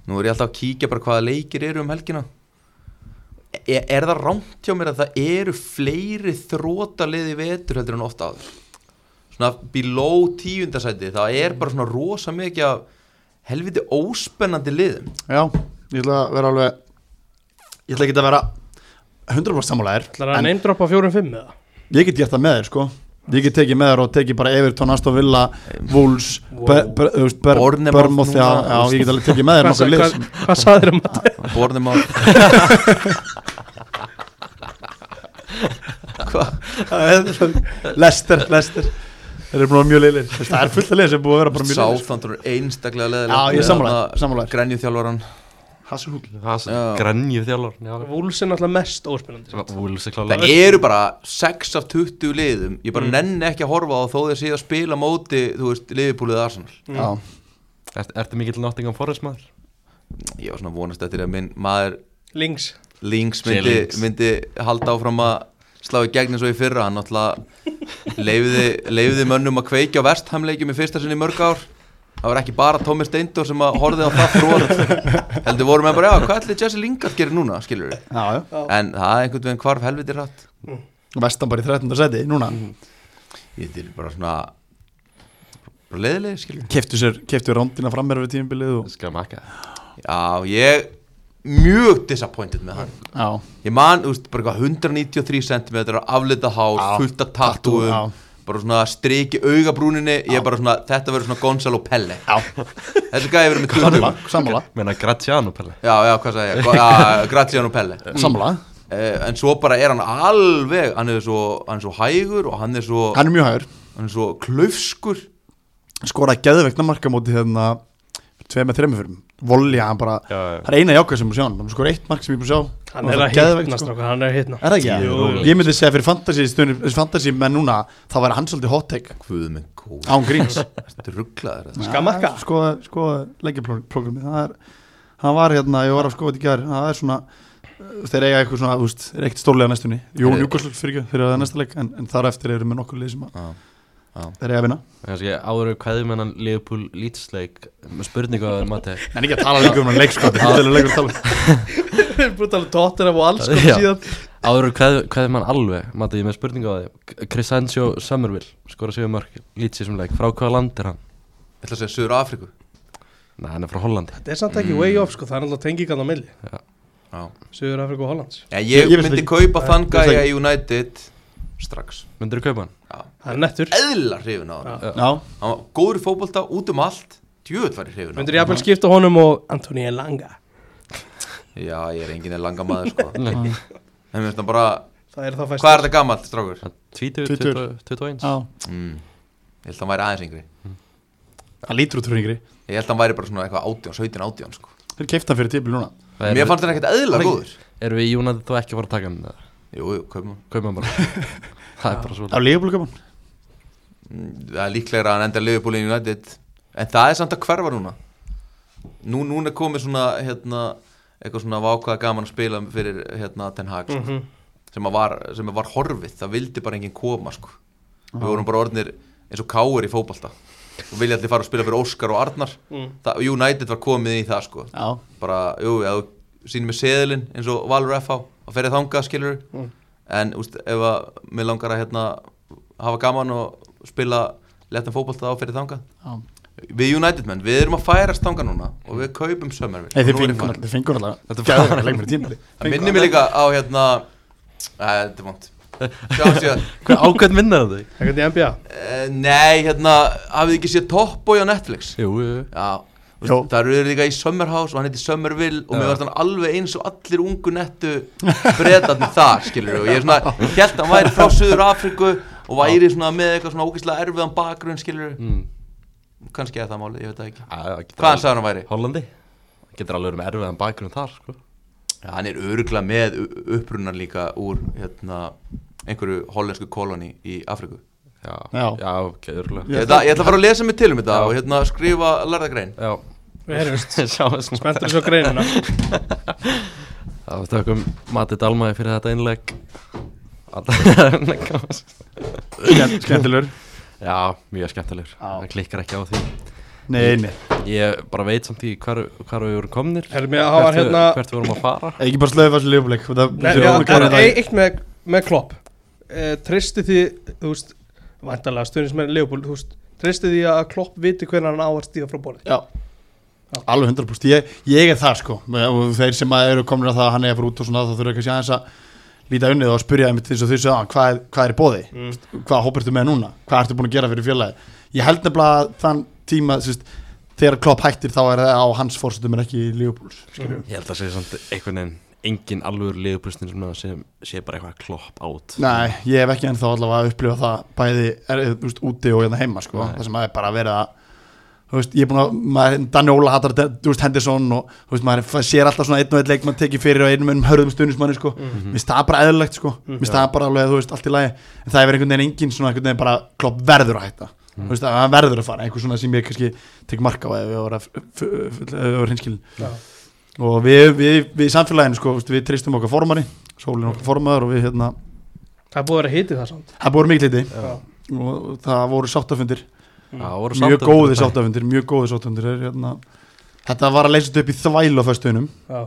Speaker 3: nú er ég alltaf að kíkja bara hvaða leikir eru um helgina e er það rámt hjá mér að það eru fleiri þróta liði vetur heldur en ofta áður svona below tíundasæti það er bara svona rosa mikið af helviti óspennandi liðum
Speaker 4: já, ég ætla að vera alveg ég ætla ekki að vera 100%
Speaker 1: Það er
Speaker 4: sammálaðir
Speaker 1: að
Speaker 4: en
Speaker 1: neymdropa 4-5 eða
Speaker 4: ég get gert það með þér sko ég get tekið með þér og tekið bara Everton, Aston Villa Wolves, Ber- Ber- þú veist, Ber-
Speaker 3: Bournemouth
Speaker 4: Bournemouth já,
Speaker 3: núna,
Speaker 4: já,
Speaker 3: þú veist.
Speaker 4: ég get alveg tekið með þér
Speaker 1: Hvað sa-
Speaker 4: nokkuð lið
Speaker 1: hvað- Hvað saður (laughs) um að
Speaker 3: Borðum á
Speaker 4: (laughs) Lester, Lester Þeir eru búin að vera mjög leilir Það er fullt að leið sem er búið að vera bara mjög leilir
Speaker 3: Sáþandur er einstaklega leðilega
Speaker 4: Já, ég sammálaður Sammálaður
Speaker 3: Grenju þjálfvaran
Speaker 4: Hasselhúl
Speaker 3: Já.
Speaker 2: Grenju þjálfur
Speaker 1: Vúls er náttúrulega mest óspennandi sko.
Speaker 2: Vúls er
Speaker 3: Það Mm.
Speaker 2: klálega
Speaker 3: eru bara 6 af 20 liðum Ég bara nenni ekki að horfa á þó þeir séu að spila móti Þú veist, liðbúlið Arsenal
Speaker 4: Já,
Speaker 2: Ert- Ertu mikill Nottingham Forest maður?
Speaker 3: Ég var svona vonast eftir að minn maður
Speaker 1: Links
Speaker 3: Links
Speaker 2: Jay
Speaker 3: myndi,
Speaker 2: Links.
Speaker 3: myndi halda áfram að slá í gegn eins og í fyrra Hann náttúrulega leifiði, leifiði mönnum að kveikja á vesthamleikjum í fyrsta sinni í mörg ár Það var ekki bara Tómi Steindor sem að horfið á það fróð Heldur voru með bara, já, hvað ætli Jesse Lingard gerir núna, skilur við
Speaker 4: já, já
Speaker 3: En það er einhvern veginn hvarf helviti rætt
Speaker 4: Vestan bara í 13. seti núna
Speaker 3: Ég til bara svona bara leiðilegir skilur
Speaker 4: Keftu sér, keftu rándina fram meira við tímbilið og
Speaker 2: Skal makka
Speaker 3: Já, ég mjög disappointed með hann
Speaker 4: Já,
Speaker 3: Ég man, þú veist, bara eitthvað 193 cm aflita hár,
Speaker 4: Já,
Speaker 3: fullt af
Speaker 4: tattoo, já.
Speaker 3: tattúum bara svona striki augabrúninni ég er bara svona, þetta verður svona Gonzalo Pelle
Speaker 4: já,
Speaker 3: Þessi gæði verður með
Speaker 4: sammála,
Speaker 3: tuttum
Speaker 4: sammála
Speaker 2: Meina Graziano Pelle
Speaker 3: Já, já, hvað sagði ég, Go- já, Graziano Pelle
Speaker 4: Sammála,
Speaker 3: eh, En svo bara er hann alveg hann er svo, hann er svo hægur og hann er svo
Speaker 4: hann er mjög hægur
Speaker 3: hann er svo klaufskur
Speaker 4: Skoraði geðveikna marka móti hérna Tveið með þreimur fyrir Volja, hann bara
Speaker 2: Já, já.
Speaker 4: Það er eina jákvæð sem ég búið að sjá hann Hann skoraði eitt mark sem ég búið að sjá
Speaker 1: Hann
Speaker 4: Og
Speaker 1: er
Speaker 4: það
Speaker 1: að
Speaker 4: geðveikt,
Speaker 1: hitna
Speaker 4: sko.
Speaker 1: strákar, Hann er að hitna
Speaker 4: Er það ekki?
Speaker 1: Jú,
Speaker 2: Jú, jú.
Speaker 4: Ég myndi segja fyrir fantasy, stundum- fantasy menn núna þá væri hann svolítið hot take
Speaker 3: Guð minn góð,
Speaker 4: án gríns
Speaker 3: þetta rugglaður
Speaker 1: Skamakka.
Speaker 4: sko, sko leggjaprogrammi það er, hann var hérna, ég var að skoða þetta í gær það er svona, uh, þeir eiga eitthvað svona þú veist, er ekkert stórlega næstunni, jú,
Speaker 3: Þeir-
Speaker 4: Newcastle fyrir ekki, þeir eiga það næsta leik, en, en þar eftir eru með nokkur lið sem að,
Speaker 3: Já, já.
Speaker 4: þeir eiga að vinna
Speaker 2: Kannski áður hvaðið með hann Liverpool Leedsleik með spurningu að þeir mati
Speaker 4: en ekki að tala leikur um hann leik, sko, þetta er leikur að tala
Speaker 1: Þeir eru búin að tala tóttir af og alls kom
Speaker 2: Já.
Speaker 1: síðan
Speaker 2: Áður hvaðið með hann alveg mati með spurningu að þeim Crisancio Summerville skora sigur mörg Leeds í þessum leik Frá hvaða land er hann?
Speaker 3: Ég ætla að segja Suður Afríku
Speaker 2: Nei, hann er frá Hollandi
Speaker 1: Þetta er samt ekki way off sko, það er alltaf tengingan á milli
Speaker 3: Já.
Speaker 1: Suður Afrika og Hollands
Speaker 3: Ég, ég,
Speaker 4: Ég- ég veist
Speaker 3: myndi
Speaker 4: ekki.
Speaker 3: kaupa þann
Speaker 4: Ég veist
Speaker 3: gæja í United strax
Speaker 2: Myndirðu kaupa hann?
Speaker 3: Já.
Speaker 1: Það er nettur
Speaker 3: Eðla hrifin á hann
Speaker 1: Já.
Speaker 4: (laughs) já,
Speaker 3: Hann var góður í fótbolta út um allt Djöðl var ég hrifin á
Speaker 1: Myndur ég aðbel skipta honum og Antoni Elanga
Speaker 3: hann Já, ég er enginn langa maður sko
Speaker 2: (laughs)
Speaker 3: En
Speaker 2: Nei.
Speaker 3: mér finnst hann bara
Speaker 1: Það er það fæst
Speaker 3: Hvað er þetta gammalt, strákur?
Speaker 2: Hann Tvítur,
Speaker 4: Tvítugur.
Speaker 2: 20 21
Speaker 4: já,
Speaker 3: Mm. Ég held að hann væri aðeins yngri
Speaker 4: það lítur út fyrir yngri
Speaker 3: Ég held að hann væri bara svona eitthvað átján, 17, átján sko
Speaker 4: þeir keifta hann fyrir típil núna
Speaker 2: Það
Speaker 3: Mér
Speaker 2: er-
Speaker 3: fannst hann ekkert eðla góður
Speaker 2: Erum við í United þá ekki að fara að taka hann? eða?
Speaker 3: Jú, jú, kaupum hann
Speaker 2: Kaupa
Speaker 3: (laughs)
Speaker 2: hann bara Það er bara svo
Speaker 4: á leifbúlgaman,
Speaker 3: Mm, Það er líklegra að hann enda Liverpool í United En það er samt að hverfa núna Nú, núna er komið svona hérna, eitthvað svona vákvaða gaman að spila fyrir hérna Ten Hag sko.
Speaker 1: Mhm.
Speaker 3: sem, að var, sem að var horfið, það vildi bara enginn koma sko. við vorum bara orðnir eins og káir í fótbalta og vilja allir fara að spila fyrir Óskar og Arnar
Speaker 1: Mm.
Speaker 3: það, United var komið í það sko.
Speaker 4: Já,
Speaker 3: bara, jú, ef þú sýnir með seðilinn eins og Valur FH og ferði þangað skilur
Speaker 1: Mm.
Speaker 3: en úst, ef að mér langar að hérna, hafa gaman og spila letan fótbolta á ferði þangað
Speaker 4: já.
Speaker 3: við United menn, við erum að færast þangað núna og við kaupum sömmervil
Speaker 4: Hey, þið fengur, þið fengur allavega
Speaker 2: Þetta
Speaker 4: Þetta
Speaker 2: var-
Speaker 4: var að leikmur í tímali
Speaker 3: það minnir mér líka á hérna Æ, þetta er vant Sjáum síðan
Speaker 2: Hvað ákveðn vinnar það þig?
Speaker 1: Ekkert í NBA
Speaker 3: Eh, Nei, hérna, hafið þið ekki séð Top Boy á Netflix?
Speaker 2: Jú, jú, jú.
Speaker 3: Já, þú
Speaker 4: Jó.
Speaker 3: veist, það eru líka í Summerhouse og hann heitir Summerville og mér
Speaker 2: Já.
Speaker 3: varst hann alveg eins og allir ungu nettu bretarnir þar, skilur og ég er svona, held að hann væri frá Suður Afriku og væri svona með eitthvað svona ógeðslega erfiðan bakgrunn, skilur
Speaker 2: Mm.
Speaker 3: kannski er það málið, ég veit það ekki
Speaker 2: Æ, það getur
Speaker 3: Hvaðan
Speaker 2: alveg-
Speaker 3: sagði hann væri?
Speaker 2: Hollandi Getur alveg verið með erfiðan bakgrunn þar sko.
Speaker 3: Já, hann er öruglega með upprunnar líka úr hérna, einhverju hollensku koloni í Afriku
Speaker 2: Já,
Speaker 4: Já.
Speaker 2: já ok, örgulega
Speaker 3: ég, ætla- ég ætla að fara að lesa mig til um þetta
Speaker 2: Já.
Speaker 3: og hérna, skrifa larðagrein
Speaker 2: Já,
Speaker 1: Við erum
Speaker 3: (laughs)
Speaker 1: vist
Speaker 2: sjá þessum
Speaker 1: Spenntur svo greinina
Speaker 2: Það var stökkum Mati Dalmæði fyrir þetta innlegg (laughs) Alltaf
Speaker 4: Skemmtilegur
Speaker 2: Já, mjög skemmtilegur
Speaker 4: Já.
Speaker 2: Það klikkar ekki á því
Speaker 4: Nei, nei,
Speaker 2: Ég bara veit samt í hvar, hvar við vorum komnir
Speaker 1: Erum við að hafa
Speaker 2: hvert, við-
Speaker 1: hérna-
Speaker 2: hvert við vorum að fara
Speaker 4: ekki bara slöðu fannst lífumleik
Speaker 1: Nei, já, það er eitt með, með klopp e, Tristi því, þú veist Væntalega stöðnismenn Leopold, þú veist Tristi því að klopp viti hvernig hann á að stíða frá borði
Speaker 4: Já Alveg 100% ég, ég er það sko og þeir sem að eru komin að það að hann er að fara út og svona þá þurfa kannski aðeins að líta unnið og spyrja einmitt eins og þau sögðan hvað, er- hvað er í bóði
Speaker 1: Mm.
Speaker 4: hvað hópar ertu með núna, hvað ertu búin að gera fyrir félagi ég held nefnilega að þann tíma sérst, þegar Klopp hættir þá er það á hans fórsetum en ekki Leopolds
Speaker 1: Mhm.
Speaker 2: Ég held að segja samt einhvern veginn engin alvöru liðupustin sem, sem sé bara eitthvað klopp át
Speaker 4: Nei, ég hef ekki ennþá allavega að upplifa það bæði er, þú veist, úti og hérna heima sko,
Speaker 2: Nei.
Speaker 4: það sem að er bara verið að þú veist, ég er búin að, maður, Danni Óla hattar þú veist, Henderson og þú veist, maður f- sér alltaf svona einn og einn leik, maður tekið fyrir og einum um hörðum stundismanni sko, mm -hmm. minnst það bara eðlilegt sko, mm minnst það bara alveg, þú veist, allt í lagi en það er einhvern veginn engin svona, einhvern veginn bara klopp verður að hætta, þú veist, að hann verður að fara einhver svona sem ég kannski tek mark á ef ég voru, voru hinskilin
Speaker 1: Já.
Speaker 4: og við, við, við í samfélaginu sko, þú veist, við tristum okkar formari, sólin okkar formaður og við hérna,
Speaker 1: Það er búið að vera hitið það samt
Speaker 4: það voru mikil hiti
Speaker 1: Já.
Speaker 4: og það voru sáttafundir
Speaker 2: Það voru
Speaker 4: mjög
Speaker 2: sáttafundir
Speaker 4: góði
Speaker 2: í dag.
Speaker 4: sáttafundir, mjög góði sáttafundir er, hérna. þetta var að leysa þetta upp í þvæl á föstunum,
Speaker 1: Já.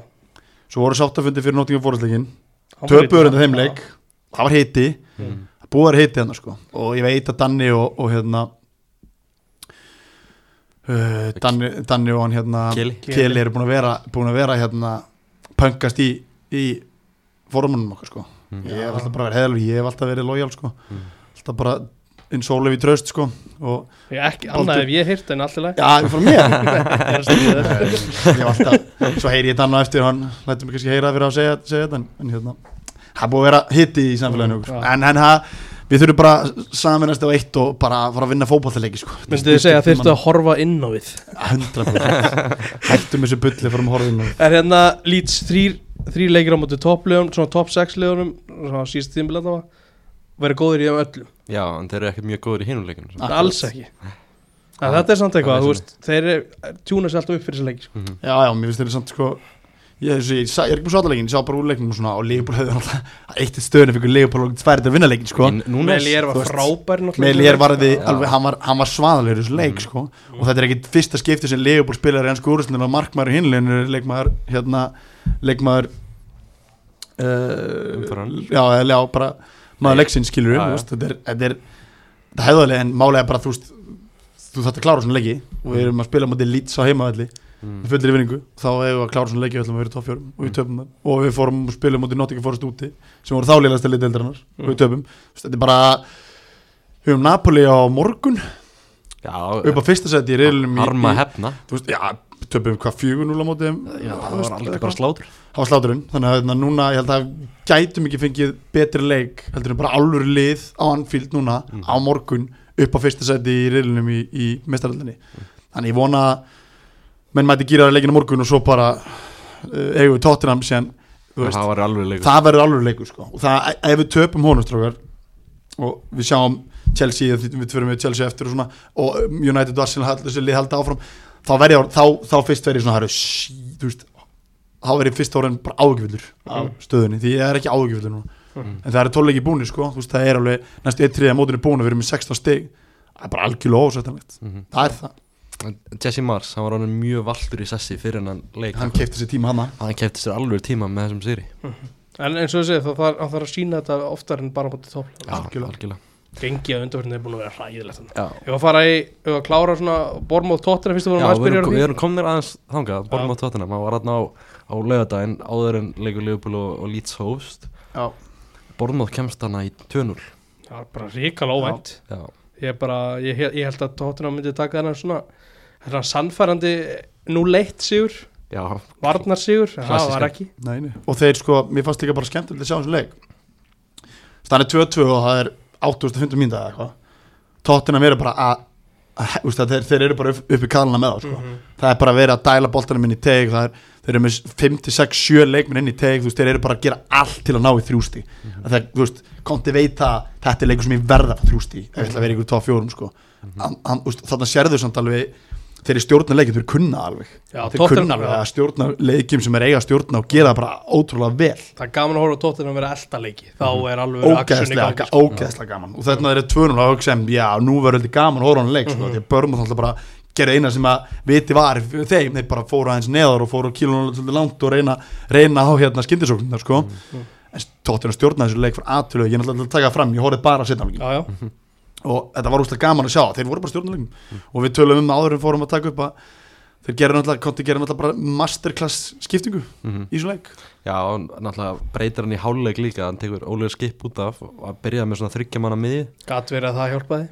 Speaker 4: svo voru sáttafundir fyrir Nottingham Forestleikin,
Speaker 1: Hann var hitið
Speaker 4: töpuður undir þeim
Speaker 1: það.
Speaker 4: leik það var hiti,
Speaker 2: Mm.
Speaker 4: það búið að vera hiti hérna sko og ég veit að Danni og, og hérna uh, Danni, Danni og hann hérna
Speaker 2: Kili
Speaker 4: Keli eru búin að vera, búin að vera hérna pöngast í, í formunum okkar sko
Speaker 2: Mm.
Speaker 4: ég hef alltaf bara verið heðalvi, ég hef alltaf verið lojal sko
Speaker 2: Mm.
Speaker 4: alltaf bara eins og Ólefi tröst sko og
Speaker 1: Já. Ég ekki, annað
Speaker 4: Baldur.
Speaker 1: ef ég hýrt en
Speaker 4: (laughs)
Speaker 1: allir
Speaker 4: já, ég fór mér
Speaker 1: læg
Speaker 4: ég hef alltaf, svo heyri ég þetta annað eftir og hann lætur mig kannski heyra það fyrir að segja, segja þetta en, en hérna, það er búið að vera hitti í samfélaginu
Speaker 1: Mm,
Speaker 4: okkur,
Speaker 1: já.
Speaker 4: en, en það við þurfum bara að sameinast á eitt og bara fara að vinna fótballleiki sko
Speaker 1: Myndið þið segja að þyrftu að horfa inn á við
Speaker 4: 100% hættum þessu bulli, fórum að horfa inn á
Speaker 1: Er hérna Leeds þrýr þrýr leikir á móti topplegum, svona topp 6 legunum svona síðast tímbil að það var verið góðir í þeim öllum,
Speaker 2: Já, en þeir eru ekkert mjög góður í hinuleikinu
Speaker 4: Akkurat.
Speaker 1: alls ekki Það þetta er samt eitthvað,
Speaker 2: Það
Speaker 1: þú
Speaker 2: er
Speaker 1: veist þeir eru- tjúna sér alltaf upp fyrir þessi leiki sko.
Speaker 4: Já, já, mér finnst þeirra samt sko Ég, ég, ég, sá- ég er ekki búin svo aðalegin, ég sá bara úrleiknum og svona og Leopold hefði alltaf (laughs) eitt stöðunum fyrir Leopold og tværið að vinna leikin sko
Speaker 2: Núna
Speaker 1: Melier var
Speaker 4: þú veist,
Speaker 1: frábær náttúrulega.
Speaker 4: Melier varði
Speaker 2: Já. Mm.
Speaker 4: alveg, hann var, hann var svaðalegur í þessu leik sko og þetta er ekkit fyrsta skipti sem Leopold spilar í hans skúrusnum og markmaður í hinleginu er leikmaður hérna, leikmaður uh,
Speaker 2: Umferðarinnar.
Speaker 4: Já, eða já, bara maður
Speaker 2: Nei.
Speaker 4: leiksinn skilur
Speaker 2: Já,
Speaker 4: um,
Speaker 2: já.
Speaker 4: þetta er, þetta er þetta hefðalega en málega bara þú veist þú þarft að klára svona leiki og við erum að spila mútið lýts á heimavalli
Speaker 2: Mm.
Speaker 4: með fullir vinningu þá hefur við að klára svona leiki við ætlum að vera í toppfjórum og við töpum það og við fórum og spilum mútið Nottingham Forest úti sem voru þálegast að lið deildarinnar og
Speaker 2: Mm.
Speaker 4: við töpum Þú veist, þetta er bara við höfum Napoli á morgun
Speaker 2: Já, eh,
Speaker 4: upp á fyrsta seti í reilunum í-
Speaker 2: Harma
Speaker 4: í-
Speaker 2: hefna
Speaker 4: þú veist, já, töpum hvað fjögur núla mótið
Speaker 2: Já, það var aldrei bara slátur
Speaker 4: það var sláturinn þannig að hérna, núna ég held að gætum ekki fengið betri leik heldur en bara alvöru lið á Anfield núna
Speaker 2: Mhm.
Speaker 4: á morgun upp á fyrsta seti í reilunum í, í mestaröldinni þannig ég vona að menn mæti gýraður leikinu morgun og svo bara uh, eigum við tóttinam síðan þú veist,
Speaker 2: Það var alveg leikur
Speaker 4: það verður alvöru leikur sko. og það, ef við töpum honum strókar og við sjáum Chelsea því við fyrir með Chelsea eftir og svona og um, United og Arsenal hald- þessi lið halda áfram þá, verði, þá, þá fyrst verði svona herru, sí, þú veist þá verið fyrst ára en bara ágjöfullur af stöðunni, því ég er ekki ágjöfullur núna
Speaker 1: Mhm.
Speaker 4: en það eru tóleiki búinir sko, þú veist það er alveg næstu 1-3 mótinu búin og við erum með 16 stig það er bara algjörlega ósættanlegt,
Speaker 2: Mhm.
Speaker 4: það er það
Speaker 2: Jesse Mars, hann var honum mjög valdur í sessi fyrir hennan leik
Speaker 4: hann keipti sér tíma hana
Speaker 2: hann kefti sér alveg tíma með þessum sýri
Speaker 1: En eins og ég segi, það þarf, hann þarf að sína þetta oftar en bara á móti topplega.
Speaker 4: Algjörlega.
Speaker 1: Gengi að undarfjörðin er búin að vera hræðilegt þannig.
Speaker 2: Já,
Speaker 1: Ef að fara í, ef að klára svona Bormóð Tottenham fyrst að um vorum
Speaker 2: Já, við
Speaker 1: aðspyrja
Speaker 2: erum, við erum komnir aðeins þangað, Bornum á tóttina maður var aðna á, á laugardaginn áður en leikur Leopold og, og Leeds hófst
Speaker 4: Já.
Speaker 2: Bornum kemst hana í 2-0
Speaker 1: Það er bara ríkala óvænt.
Speaker 2: Já,
Speaker 1: Ég, er bara, ég, he- ég held að Tottenham myndi taka þennan svona, þennan sannfærandi nú leitt sigur,
Speaker 2: já,
Speaker 1: varnar sigur, en það
Speaker 2: Klassískan.
Speaker 1: var ekki.
Speaker 4: Nei, nei. og þeir sko, mér fannst líka bara skemmtilegt að sjá þessum leik staðan er 2-2 og það er 8.500 mínúta eða eitthvað tóttina verið bara að að- þú veist, að þeir, þeir eru bara upp, upp í kalina með það sko.
Speaker 1: Mhm.
Speaker 4: það er bara verið að dæla boltanum inn í teg það er, þeir eru með 5-6-7 leikminn inn í teg þú veist, þeir eru bara að gera allt til að ná í þrjústi mm
Speaker 1: Mhm.
Speaker 4: -hmm. þegar, þú veist, Konti veit að þetta er leikur sem ég verða að fá þrjústi ef ég ætla að vera ykkur tóa fjórum sko.
Speaker 1: Mhm.
Speaker 4: hann, hann, þú veist, þannig að sérðu samt alveg þeir eru stjórna leikin, þeir kunna alveg
Speaker 1: Já,
Speaker 4: þeir
Speaker 1: Tottenham-
Speaker 4: kunna alveg að stjórna leikim sem er eiga að stjórna og gera það bara ótrúlega vel
Speaker 1: Það er gaman að horfa á Tottenham vera elda leiki, þá
Speaker 2: Mhm.
Speaker 1: er alveg verið action í gangi. sko.
Speaker 4: ógeðslega, ógeðslega gaman og þarna er 2-0 og hugsa um, já, nú verður þetta gaman að horfa á hann leik, sko,
Speaker 1: Mhm.
Speaker 4: því að Börmúð alltaf bara gerði eina sem að viti var fyrir þeim, þeir bara fóru aðeins neðar og fóru kílunum svolítið langt og reyna, reyna á hérna skyndisóknina, sko
Speaker 1: Mhm.
Speaker 4: en tóttina stjórna þessu leik frá aðtölu ég er náttúrulega að taka það fram, ég horfði bara á setjanleikin
Speaker 1: Já, já.
Speaker 2: Mhm.
Speaker 4: og þetta var úrslega gaman að sjá, þeir voru bara stjórnuleikum
Speaker 1: Mhm.
Speaker 4: og við tölum um það áður en fórum að taka upp að þeir gerði náttúrulega, Konti gerði náttúrulega bara masterclass skiptingu
Speaker 2: mhm.
Speaker 4: í svona leik
Speaker 2: já og náttúrulega breytir hann í háluleik líka hann tekur ólega skip út af og að byrja með svona þryggja manna miði
Speaker 1: Gat verið að það hjálpaði.